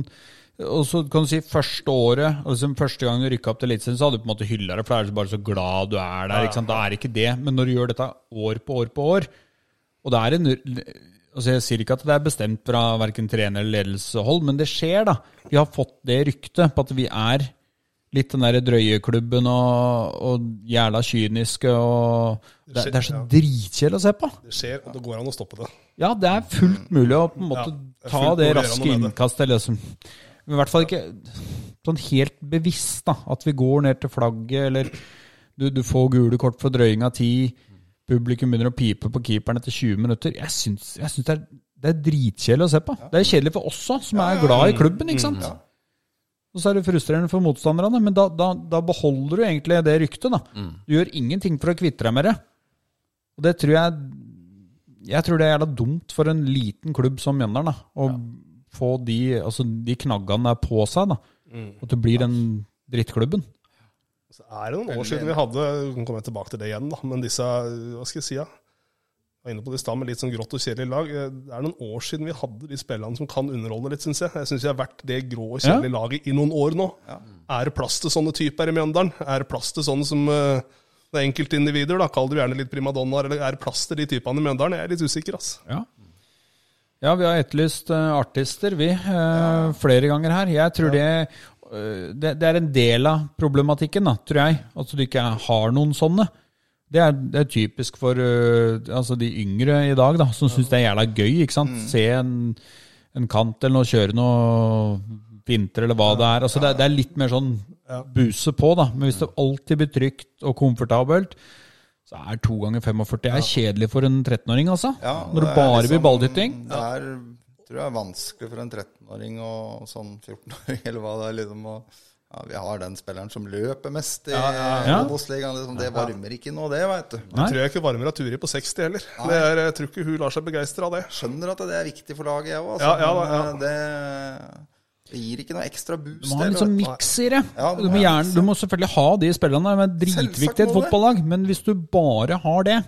B: Og så kan du si første året og liksom Første gang du rykka opp til Eliteserien, så hadde du på en måte hylla det, for da er du bare så glad du er der. ikke sant? Da er det ikke det. Men når du gjør dette år på år på år Og det er en altså Jeg sier ikke at det er bestemt fra verken trener eller ledelsehold, men det skjer, da. Vi har fått det ryktet på at vi er litt den derre drøyeklubben og, og jævla kyniske og Det, det er så dritkjedelig å se på.
E: Det skjer, og det går an å stoppe det.
B: Ja, det er fullt mulig å på en måte
E: Ja, det
B: ta
E: er fullt
B: det
E: mulig å gjøre
B: raske
E: noe med det.
B: innkastet. Eller liksom. Men I hvert fall ikke sånn helt bevisst, da. At vi går ned til flagget, eller du, du får gule kort for drøying av ti. Publikum begynner å pipe på keeperen etter 20 minutter. Jeg syns, jeg syns det er, det er dritkjedelig å se på. Det er kjedelig for oss òg, som er glad i klubben, ikke
E: Mm,
B: sant. Og så er det frustrerende for motstanderne, men da, da, da beholder du egentlig det ryktet, da.
E: Mm.
B: Du gjør ingenting for å kvitte deg med det. Og det tror jeg jeg tror det er jævla dumt for en liten klubb som Mjøndalen da, å få de, altså, de knaggene der på seg. da, At du blir den drittklubben.
E: Så er det noen år siden vi hadde Vi kan komme tilbake til det igjen, da. Men disse Hva skal jeg si, da? Jeg var inne på det i stad med litt sånn grått og kjedelig lag. Eh, Det er noen år siden vi hadde de spillerne som kan underholde litt, syns jeg. Jeg syns vi har vært det grå og kjedelige laget i noen år nå. Er det plass til sånne typer i Mjøndalen? Er det plass til sånne som eh, det er enkeltindivider, da? Kall det gjerne litt primadonnaer, eller er det plass til de typene i Mjøndalen? Jeg er litt usikker, ass.
B: Ja. ja, vi har etterlyst eh, artister, vi, eh, flere ganger her. Jeg tror det, eh, det Det er en del av problematikken, da, tror jeg. At du ikke har noen sånne. Det er, det er typisk for eh, altså de yngre i dag, da, som syns det er jævla gøy. ikke
C: Mm.
B: sant? Se en, en kant eller noe, kjøre noe vinter eller hva det er. Altså det, er- det er litt mer sånn buse på, da. Men hvis det alltid blir trygt og komfortabelt, så er to ganger 45 er kjedelig for en 13-åring, altså.
C: Ja,
B: Når du
C: det er
B: bare blir
C: liksom-
B: balldytting.
C: Det er tror jeg er vanskelig for en 13-åring og sånn 14-åring eller hva det er. liksom å- ja, Vi har den spilleren som løper mest i
B: ja.
C: Obos-ligaen. liksom, Det varmer ikke noe, det, veit du.
B: Nei.
E: Jeg tror jeg ikke varmer av Turi på 60 heller. Det er, jeg tror ikke hun lar seg begeistre av det.
C: Skjønner at det er viktig for laget, jeg òg.
E: Ja, ja, ja.
C: Men eh, det, det gir ikke noe ekstra boost.
B: Du må ha
C: det,
B: litt sånn
C: vet
B: miks i det.
C: Ja,
B: du,
C: du må
B: må
C: ha
B: gjerne, du må selvfølgelig ha de spillerne, de er dritviktige i et
C: Selvsagt må det.
B: fotballag. Men hvis du bare har det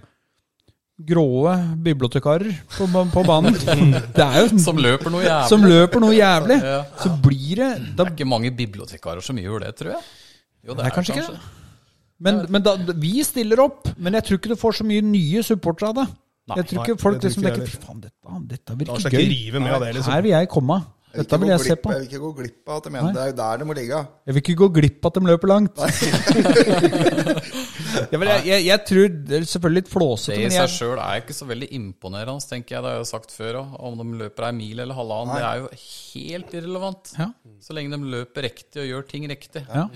B: Gråe bibliotekarer på, ba- på banen. Det er jo
D: Som løper noe jævlig.
B: som løper noe jævlig.
D: Ja.
B: Så blir det da,
D: Det er ikke mange bibliotekarer som gjør det, tror jeg. Jo,
B: Det er kanskje ikke det. Men, men da, vi stiller opp. Men jeg tror ikke du får så mye nye supportere av det. Jeg tror ikke
E: nei,
B: folk
E: det tror
B: liksom
E: ikke jeg
B: tenker Fy faen, dette, dette
E: Lar
B: virker
E: seg ikke
B: gøy.
E: rive med av det, liksom.
B: Her vil jeg komme. Dette
C: vil ikke
B: vil
C: gå
B: jeg se
C: glipp-
B: på.
C: Jeg vil ikke gå glipp av at jeg mener det er jo der det må ligge.
B: Jeg vil ikke gå glipp av at de løper langt. ja, men jeg, jeg, jeg tror det er selvfølgelig litt
D: Det
B: flåsete,
D: i
B: men
D: seg
B: jeg,
D: sjøl er ikke så veldig imponerende, tenker jeg. Det har jeg jo sagt før òg. Om de løper ei mil eller halvannen, det er jo helt irrelevant.
B: Ja.
D: Så lenge de løper riktig og gjør ting riktig.
B: Ja.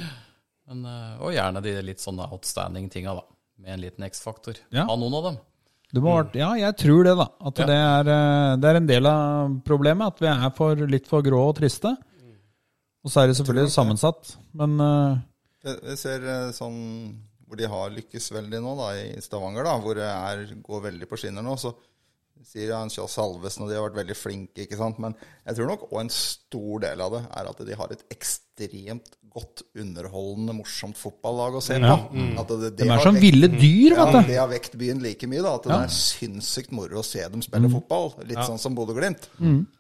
D: Men, eh, og gjerne de litt sånne outstanding tinga, da. Med en liten X-faktor.
B: Ja.
D: Av noen av dem.
B: du må, ha vært- ja, jeg tror det, da. At
D: Ja.
B: det, er, eh, det er en del av problemet. At vi er for, litt for grå og triste. Og så er det selvfølgelig sammensatt. Men eh,
C: Jeg jeg ser eh, sånn hvor de har lykkes veldig nå, da, i Stavanger, da, hvor det er, går veldig på skinner nå. så sier han Kjell Salvesen, og de har vært veldig flinke, ikke sant. Men jeg tror nok også en stor del av det er at de har et ekstremt godt, underholdende, morsomt fotballag å se på. At det, det
B: de
C: har
B: Mm. er som
C: vekt-
B: ville dyr,
C: ja,
B: vet du.
C: det har vekt byen like mye, da. At det er sinnssykt moro å se dem
B: Mm.
C: spille fotball. Litt sånn som Bodø-Glimt.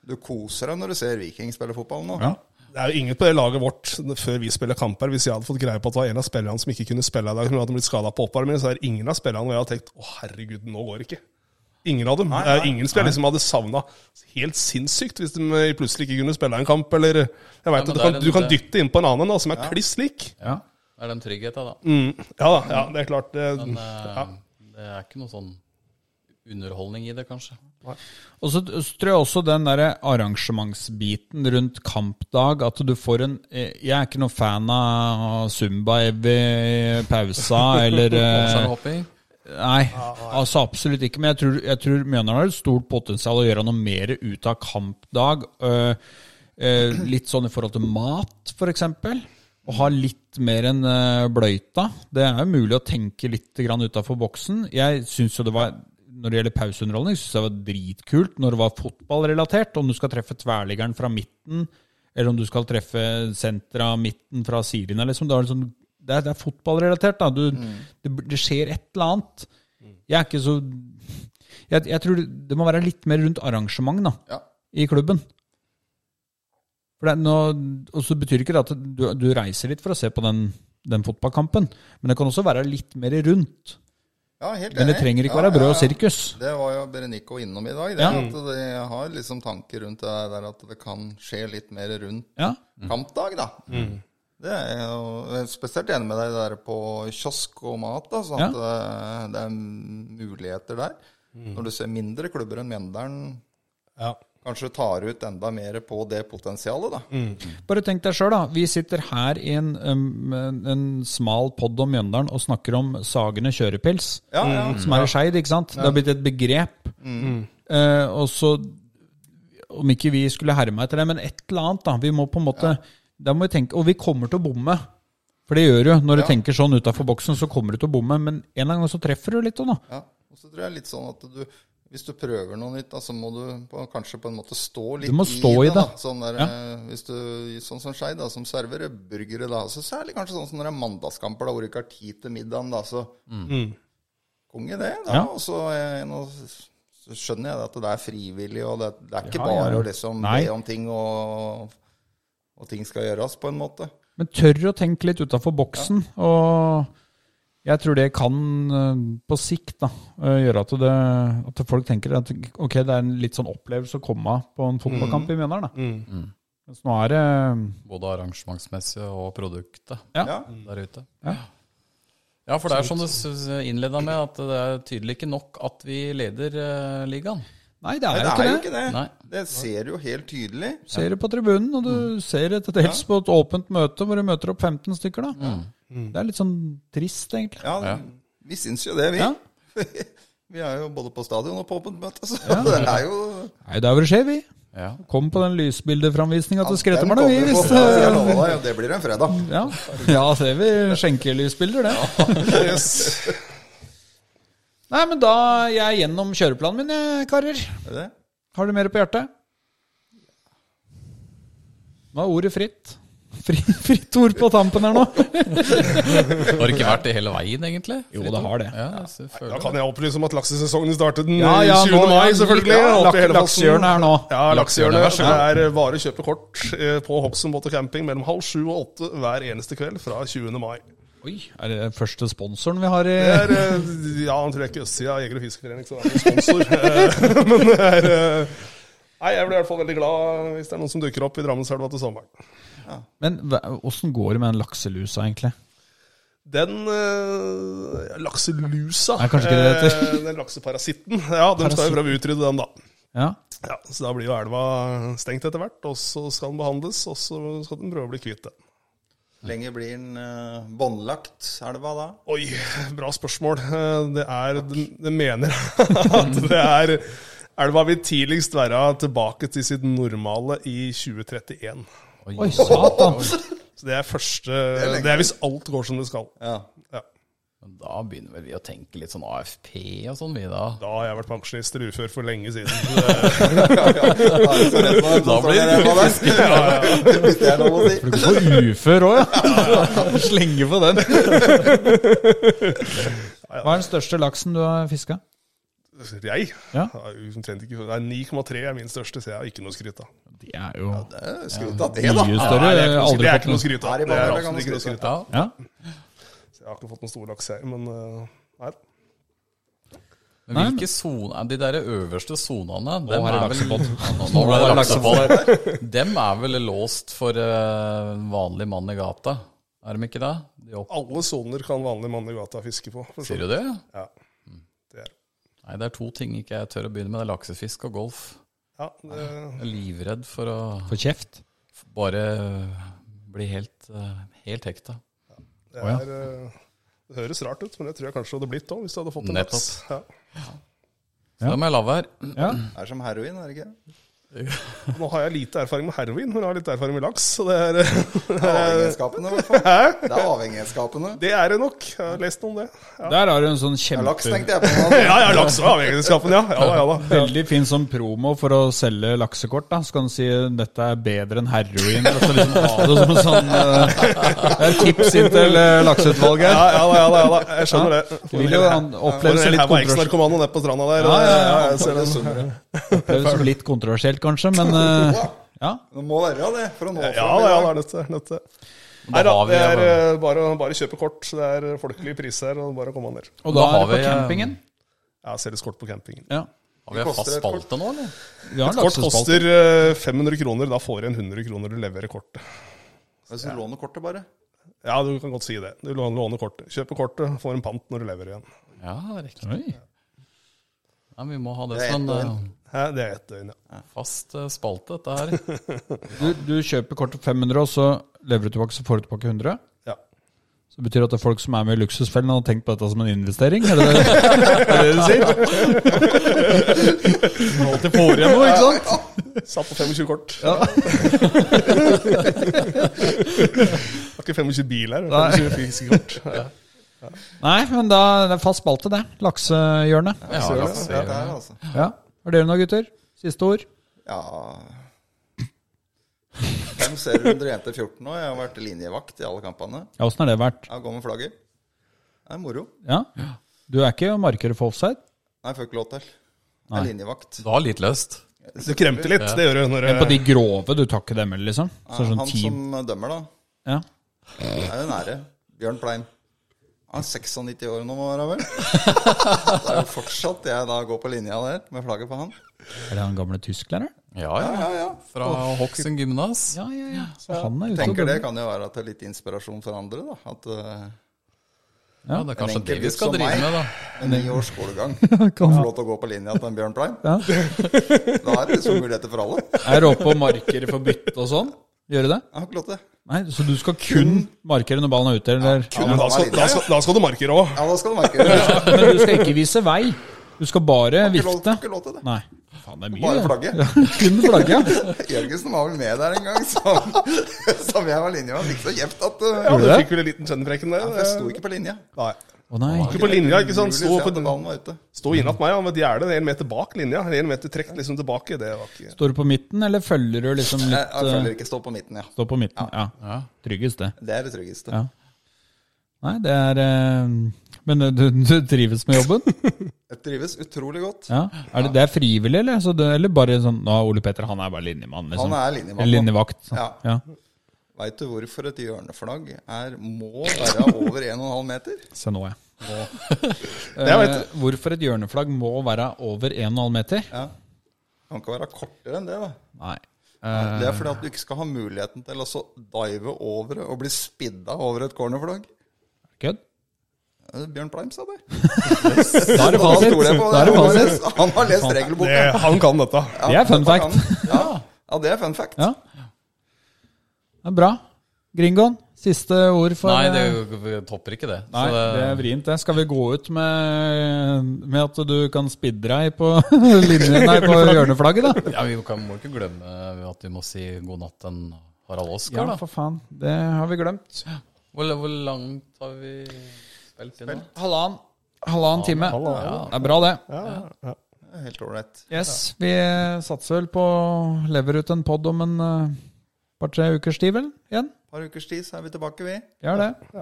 C: Du koser deg når du ser Viking spille fotball nå.
B: Ja.
E: Det er jo ingen på det laget vårt før vi spiller kamper. Hvis jeg hadde fått greie på at det var en av spillerne som ikke kunne spille i dag, som hadde blitt skadet på oppvarmingen, så er det ingen av spillerne hvor jeg hadde tenkt å herregud, nå går det ikke. Ingen av dem. det er ingen spillere som hadde savna helt sinnssykt hvis de eh, plutselig ikke kunne spille en kamp, eller Jeg veit
D: men
E: at du
D: det er
E: kan,
D: en-
E: du kan dytte inn på en annen nå, som er kliss lik.
B: Ja.
D: Det er den tryggheten, da.
E: Mm, ja da, ja, det er klart. Det,
D: Men eh,
E: ja.
D: det er ikke noe sånn underholdning i det, kanskje.
B: Og så tror jeg også den der arrangementsbiten rundt kampdag, at du får en eh, Jeg er ikke noen fan av Zumba i pausa, eller eh,
D: Hopping.
B: Nei, altså absolutt ikke. Men jeg tror, jeg tror Mjøndalen har et stort potensial å gjøre noe mer ut av kampdag. Øh, øh, litt sånn i forhold til mat, f.eks. Å ha litt mer enn øh, bløyta. Det er jo mulig å tenke litt utafor boksen. Jeg synes jo det var når det gjelder pauseunderholdning, syns jeg det var dritkult når det var fotballrelatert. Om du skal treffe tverrliggeren fra midten, eller om du skal treffe sentra midten fra sidelinja, liksom. Det er, liksom, det er, det er fotballrelatert, da. Du,
C: Mm.
B: det, det skjer et eller annet. Jeg er ikke så Jeg, jeg tror det, det må være litt mer rundt arrangement, da
C: Ja.
B: i klubben. For det, er nå, og så betyr ikke det at du, du reiser litt for å se på den, den fotballkampen, men det kan også være litt mer rundt.
C: ja, helt
B: Men det
C: enig.
B: trenger ikke
C: Ja,
B: være
C: ja,
B: brød og
C: ja.
B: sirkus.
C: Det var jo Berenico innom i dag. Det
B: Ja.
C: at det, jeg har liksom tanker rundt det der at det kan skje litt mer rundt
B: Ja,
C: kampdag, da. Det er jeg jo jeg er spesielt enig med deg der på kiosk og mat, da, sånn at det, det er muligheter der. Når du ser mindre klubber enn Mjøndalen
E: Ja.
C: kanskje tar ut enda mer på det potensialet, da.
B: Bare tenk deg sjøl, da. Vi sitter her i en, um, en, en smal pod om Mjøndalen og snakker om Sagene kjørepils, Mm.
C: Ja, ja. Mm.
B: som er i Skeid, ikke sant? Det har blitt et begrep. Eh, og så Om ikke vi skulle herme etter det, men et eller annet, da. Vi må på en måte Da må vi tenke Og vi kommer til å bomme. For det gjør du. Når du tenker sånn utafor boksen, så kommer du til å bomme. Men en eller annen gang så treffer du litt òg, da.
C: Ja, og så tror jeg litt sånn at du hvis du prøver noe nytt, da, så må du på, kanskje på en måte stå litt
B: Du må stå i det.
C: Da. Sånn, der,
B: Ja.
C: eh, hvis du, sånn som Skei, da, som serverer burgere. da, så Særlig kanskje sånn som når det er mandagskamper, da, hvor du ikke har tid til middagen. da, så Konge det. da,
B: Mm. Ja.
C: og så, eh, nå s- så skjønner jeg at det er frivillig, og det, det er
B: Ja,
C: ikke bare
B: ja.
C: å liksom
B: Nei.
C: be om ting, og, og ting skal gjøres, på en måte.
B: Men tør å tenke litt utafor boksen. Og jeg tror det kan eh, på sikt da, eh, gjøre at, det, at folk tenker at ok, det er en litt sånn opplevelse å komme på en
C: Mm.
B: fotballkamp i Mjøndalen. da. Mm. Mens nå er det
D: Både arrangementsmessig og produktet
B: Ja.
C: Ja.
D: der ute.
B: Ja.
D: Ja, for det er som du innleda med, at det er tydelig ikke nok at vi leder eh, ligaen.
B: Nei, det er
C: Nei,
B: jo
C: det
B: ikke
C: er jo
B: det.
C: ikke det.
D: Nei.
C: Det ser du jo helt tydelig.
B: Du ser det på tribunen, og
C: Mm.
B: du ser det til dels på et åpent møte hvor du møter opp 15 stykker. da. Det er litt sånn trist, egentlig.
C: Mm. Ja,
D: Ja.
C: vi syns jo det, vi.
B: Ja.
C: vi er jo både på stadion og på åpent møte, så det er jo
B: Nei, det er hvor det skjer, vi.
D: Ja.
B: Kom på den lysbildeframvisninga til
C: Den
B: Skrettermarna, vi.
C: kommer på
B: Hvis, Mm.
C: fredag, jeg lover deg, og det blir en fredag.
B: ja. ja, ser vi skjenkelysbilder, det.
E: Yes.
B: Nei, men da er jeg gjennom kjøreplanen min, jeg, karer.
C: Er det det?
B: Har du mer på hjertet? Nå er ordet fritt. Fri, fritt ord på tampen her nå.
D: Har det ikke vært det hele veien, egentlig?
B: Jo, det har det.
D: Ja, jeg føler
E: Da
D: det.
E: kan jeg opplyse om at laksesesongen startet den
B: Ja, ja,
E: 20.
B: nå-
E: mai,
B: ja,
E: selvfølgelig.
B: ja,
E: oppe i
B: lak-
E: Hellefossen.
B: laksehjørnet er nå.
E: Ja,
D: Laksehjørnet, vær
E: laksehjørnet.
D: så
E: Det er eh, bare å kjøpe kort eh, på Hobson Båt og Camping mellom halv sju og åtte hver eneste kveld fra 20. mai.
B: Oi, er det den første sponsoren vi har i
E: Det er, eh, ja, han tror jeg ikke østsida av Jeger- og fiskeforening, så det er en sponsor. Eh, Men det er eh, Nei, jeg blir i hvert fall veldig glad hvis det er noen som dukker opp i Drammenselva til sommeren.
B: Men hva- åssen går det med den lakselusa, egentlig?
E: Den eh, lakselusa
B: Nei, kanskje ikke det det heter.
E: eh, Den lakseparasitten. Ja, de skal jo prøve å utrydde den, da.
B: Ja,
E: Ja, Så da blir jo elva stengt etter hvert, og så skal den behandles, og så skal den prøve å bli kvitt den.
C: Lenge blir den eh, båndlagt, elva da?
E: Oi, bra spørsmål. Eh, Det er Det det mener at det er Elva vil tidligst være tilbake til sitt normale i 2031.
B: Oi, satan.
E: Så det er første Det er hvis alt går som det skal.
C: Ja.
E: Ja.
D: Da begynner vel vi å tenke litt sånn AFP og sånn, vi da.
E: Da har jeg vært pensjonist eller ufør for lenge siden. Det-
C: Da blir Sånn det kritisk. Hvis det er lov å si.
B: For ufør òg, ja. Slenge på den. Hva er den største laksen du har fiska?
E: Jeg
B: Ja.
E: har jo omtrent ikke Nei, 9,3 er min største, så jeg har ikke noe å skryte av.
B: Det er jo
C: Eh, Skryt av det, da.
B: mye
E: Nei,
B: større.
E: det er ikke noe å skryte-
B: Aldri
E: det er ikke
B: fått
E: noe å
B: noe.
E: skryte
C: Her
E: av.
C: i
E: Det er
C: Barnehagen
E: absolutt
C: kan man
E: ikke noe å skryte av.
D: Ja.
B: Ja.
E: Jeg har ikke fått noen store laks, jeg. Men eh, nei.
D: Men
B: Nei,
D: hvilke soner De der øverste sonene dem
B: her er
D: er vel-
B: laksebåt.
D: Ja, Nå nå ble det laksebåt. Dem er vel låst for eh, en vanlig mann i gata? Er de ikke det? De opp...
E: Alle soner kan vanlig mann i gata fiske på. for så
D: Sier
E: vidt.
D: du det?
E: Ja. Det er.
D: Nei, det er to ting ikke jeg tør å begynne med. Det er laksefisk og golf.
E: ja det,
D: Jeg er livredd for å
B: For kjeft.
D: bare bli helt, eh, helt hekta.
E: det,
D: Å, ja.
E: er, eh, det høres rart ut, men det tror jeg kanskje det hadde blitt òg, hvis det hadde fått en
D: Nettopp.
E: laks. Ja.
D: Så da må jeg la være.
B: Ja.
C: Det er som heroin, er det ikke?
E: Nå har jeg lite erfaring med heroin, men jeg har litt erfaring med laks. Så det er, eh,
C: Det er avhengighetsskapende, i hvert fall.
E: Hæ?
C: Det er avhengighetsskapende.
E: det er det nok. Jeg har lest noe om det. Ja,
B: Der har du en sånn
C: Det er Laks,
B: kjempe...
C: tenkte jeg på. men
E: ja, ja laks var avhengighetsskapen, ja. Ja da, ja da.
B: Veldig fin som promo for å selge laksekort. da Så kan du si 'dette er bedre enn heroin'. Og så liksom ha det som en sånn eh, Det er tips inn til eh, lakseutvalget.
E: Ja, ja, da, ja, da, ja, da. Jeg skjønner det.
B: Du vil jo an-
E: Får
B: oppleves
E: en
B: litt,
E: haug av
B: kontrovers
E: eks-narkomane nede på stranda der.
B: Ja, ja, ja.
E: jeg ser det.
B: oppleves som litt kontroversielt, kanskje, men eh, ja.
C: Det må være det, for å nå
E: Ja,
C: fram.
E: da, ja, det er nødt til. nødt til. Nei da,
D: har vi
E: det
D: det,
E: er
D: da.
E: eh, bare, bare kjøpe kort. Det er folkelige priser, og bare å komme ned.
B: Og da,
D: Da har
B: er det
D: vi,
B: på
D: eh,
B: campingen.
E: Ja, selges kort på campingen.
B: Ja.
D: Har vi en fast spalte nå, eller?
B: Vi har en
E: Kort
B: laksespalte.
E: koster eh, 500 kroner, da får du igjen 100 kroner du leverer kortet.
C: Hvis du låner kortet, bare.
E: Ja, du kan godt si det. Du låner, låner kortet. Kjøper kortet, får en pant når du leverer igjen.
D: Ja, riktig.
B: Oi.
D: Nei, vi må ha det
C: Det er
D: som
C: ett
D: en
C: døgn.
E: Hæ, det er ett døgn, ja.
D: eh, fast eh, spalte, dette her.
B: Du, du kjøper kortet for 500, og så lever du tilbake, så får du tilbake 100.
E: ja.
B: Så det betyr at det er folk som er med i luksusfellen, har tenkt på dette som en investering? Er det det, er det, det du sier? Alltid får igjen noe, ikke sant?
E: Satt på 25 kort.
B: Ja.
E: Det er ikke 25 bil her, det er 25 fysiske kort. Ja.
B: Nei, men da det er det fast spalte, det. Laksehjørnet.
D: Ja,
C: Ser du
D: lakse-
C: det? Ja, det er altså.
B: Ja. Har dere noe, gutter? Siste ord?
C: Ja Fem serier under jente 14 nå. Jeg har vært linjevakt i alle kampene.
B: Ja, åssen har det vært?
C: Jeg går med flagget. Det er moro.
B: Ja? Du er ikke markeder for offside?
C: Nei, jeg får ikke lov til. Jeg er linjevakt.
D: Du har litt løst.
E: Du kremter litt, det gjør du. Når, eh,
B: Men på
E: du-
B: de grove, du tar ikke dem, eller liksom? Så sånn
C: Han
B: team.
C: som dømmer, da,
B: Ja.
C: er jo nære. Bjørn Plein. Han er 96 år nå, må han være vel? Det er jo fortsatt jeg da går på linja der med flagget på han.
B: Er det han gamle tysklæreren?
D: Ja, ja.
C: Ja, ja.
D: Fra Hokksund gymnas.
B: Ja, ja, ja. Så han er ute og
C: Tenker det
B: bøller.
C: kan jo være til litt inspirasjon for andre, da. At eh,
D: Ja, det er kanskje
C: enkel
D: det vi
C: gutt
D: skal
C: som
D: drive
C: meg.
D: med, da.
C: en ny års skolegang kan få lov til å gå på linja til en Bjørn Plein.
B: Ja.
C: Da er det liksom muligheter for alle. Jeg
B: Er oppe og markere for bytte og sånn? Gjør du det?
C: har ikke lov til det.
B: Nei, Så du skal kun markere når ballen er ute? Eller?
E: ja, men da skal, da skal, da skal du markere òg.
C: Ja, da skal du merke det.
B: Ja, Men du skal ikke vise vei? Du skal bare
C: Ikke lov,
B: vifte?
C: ikke lov til det.
B: Nei. Faen, det er mye.
C: Bare
B: det.
C: flagget.
B: Ja, kun flagget.
C: Jørgensen var vel med der en gang, som, som jeg var linja. Han fikk så kjeft at eh,
E: Ja, du
B: det?
E: fikk vel en liten kjennepreken der.
C: Jeg sto ikke på linja.
E: Nei.
B: Å nei.
E: Ikke på linja, ikke sant?
C: Umulig å
E: Sto
C: se
E: på
C: at ballen var ute.
E: Sto innatt meg, han med gjerdet en meter bak linja. En meter trukket liksom tilbake. Det var ikke
B: Står du på midten, eller følger du liksom
C: Jeg,
B: litt
C: jeg
B: eh,
C: føler ikke stå på midten, ja.
B: Står på midten, ja. Tryggest, det.
C: Det er det tryggeste.
B: Ja. Nei, det er eh, Men du, du trives med jobben?
C: Jeg trives utrolig godt.
B: Ja. Er det, det er frivillig, eller? Så det, eller bare sånn Nå, Ole Petter, han er bare linjemann, liksom.
C: Han er linjemann,
B: Eller Linjevakt. sånn.
C: Ja.
B: Ja.
C: Veit du hvorfor et hjørneflagg er, må være over 1,5 meter?
B: Se nå, jeg.
E: Jeg vet
B: Eh, hvorfor et hjørneflagg må være over 1,5 meter?
C: Ja. Kan ikke være kortere enn det, da.
B: Nei. Eh,
C: Det er fordi at du ikke skal ha muligheten til å så dive over det og bli spidda over et cornerflagg.
B: Kødd?
C: Eh, Bjørn Pleim sa det.
B: Da er det fasit. Da
C: Han,
B: er det
C: han, har
B: fasit.
C: lest, han har lest
E: det,
C: regelboka.
E: Han kan dette.
C: Ja,
B: Det er fun
C: dette
B: fact.
C: kan- Ja, ja, det er fun fact.
B: Ja. Det er bra. Gringoen, siste ord for eh,
D: Nei, det er jo- vi topper ikke det. Så
B: Nei, det er vrient, det. Skal vi gå ut med, med at du kan spidde deg på, linjen, nei, på hjørneflagget, da?
D: Ja, vi kan, må ikke glemme at vi må si god natt til Harald Oskar,
B: Ja,
D: da.
B: for faen. Det har vi glemt.
D: Hvor, hvor langt har vi spilt inn nå?
B: Halvannen. Halvannen time.
E: halvannen.
B: Det er bra, det.
E: Ja, ja.
C: Det er Helt ålreit.
B: Yes, vi satser vel på å lever ut en pod om en eh, par-tre ukers tid, vel? Igjen?
C: Et par ukers tid, så er vi tilbake, vi.
B: Gjør det.
D: Ja.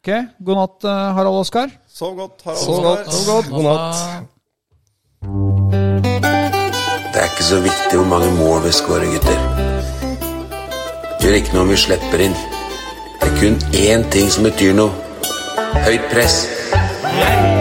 B: Ok, god natt, eh, Harald Oskar.
C: Sov godt, Harald.
E: Sov
C: Oskar.
E: godt. God natt.
A: Det er ikke så viktig hvor mange mål vi scorer, gutter. Det gjør ikke noe om vi slipper inn. Det er kun én ting som betyr noe. Høyt press.
F: Jeg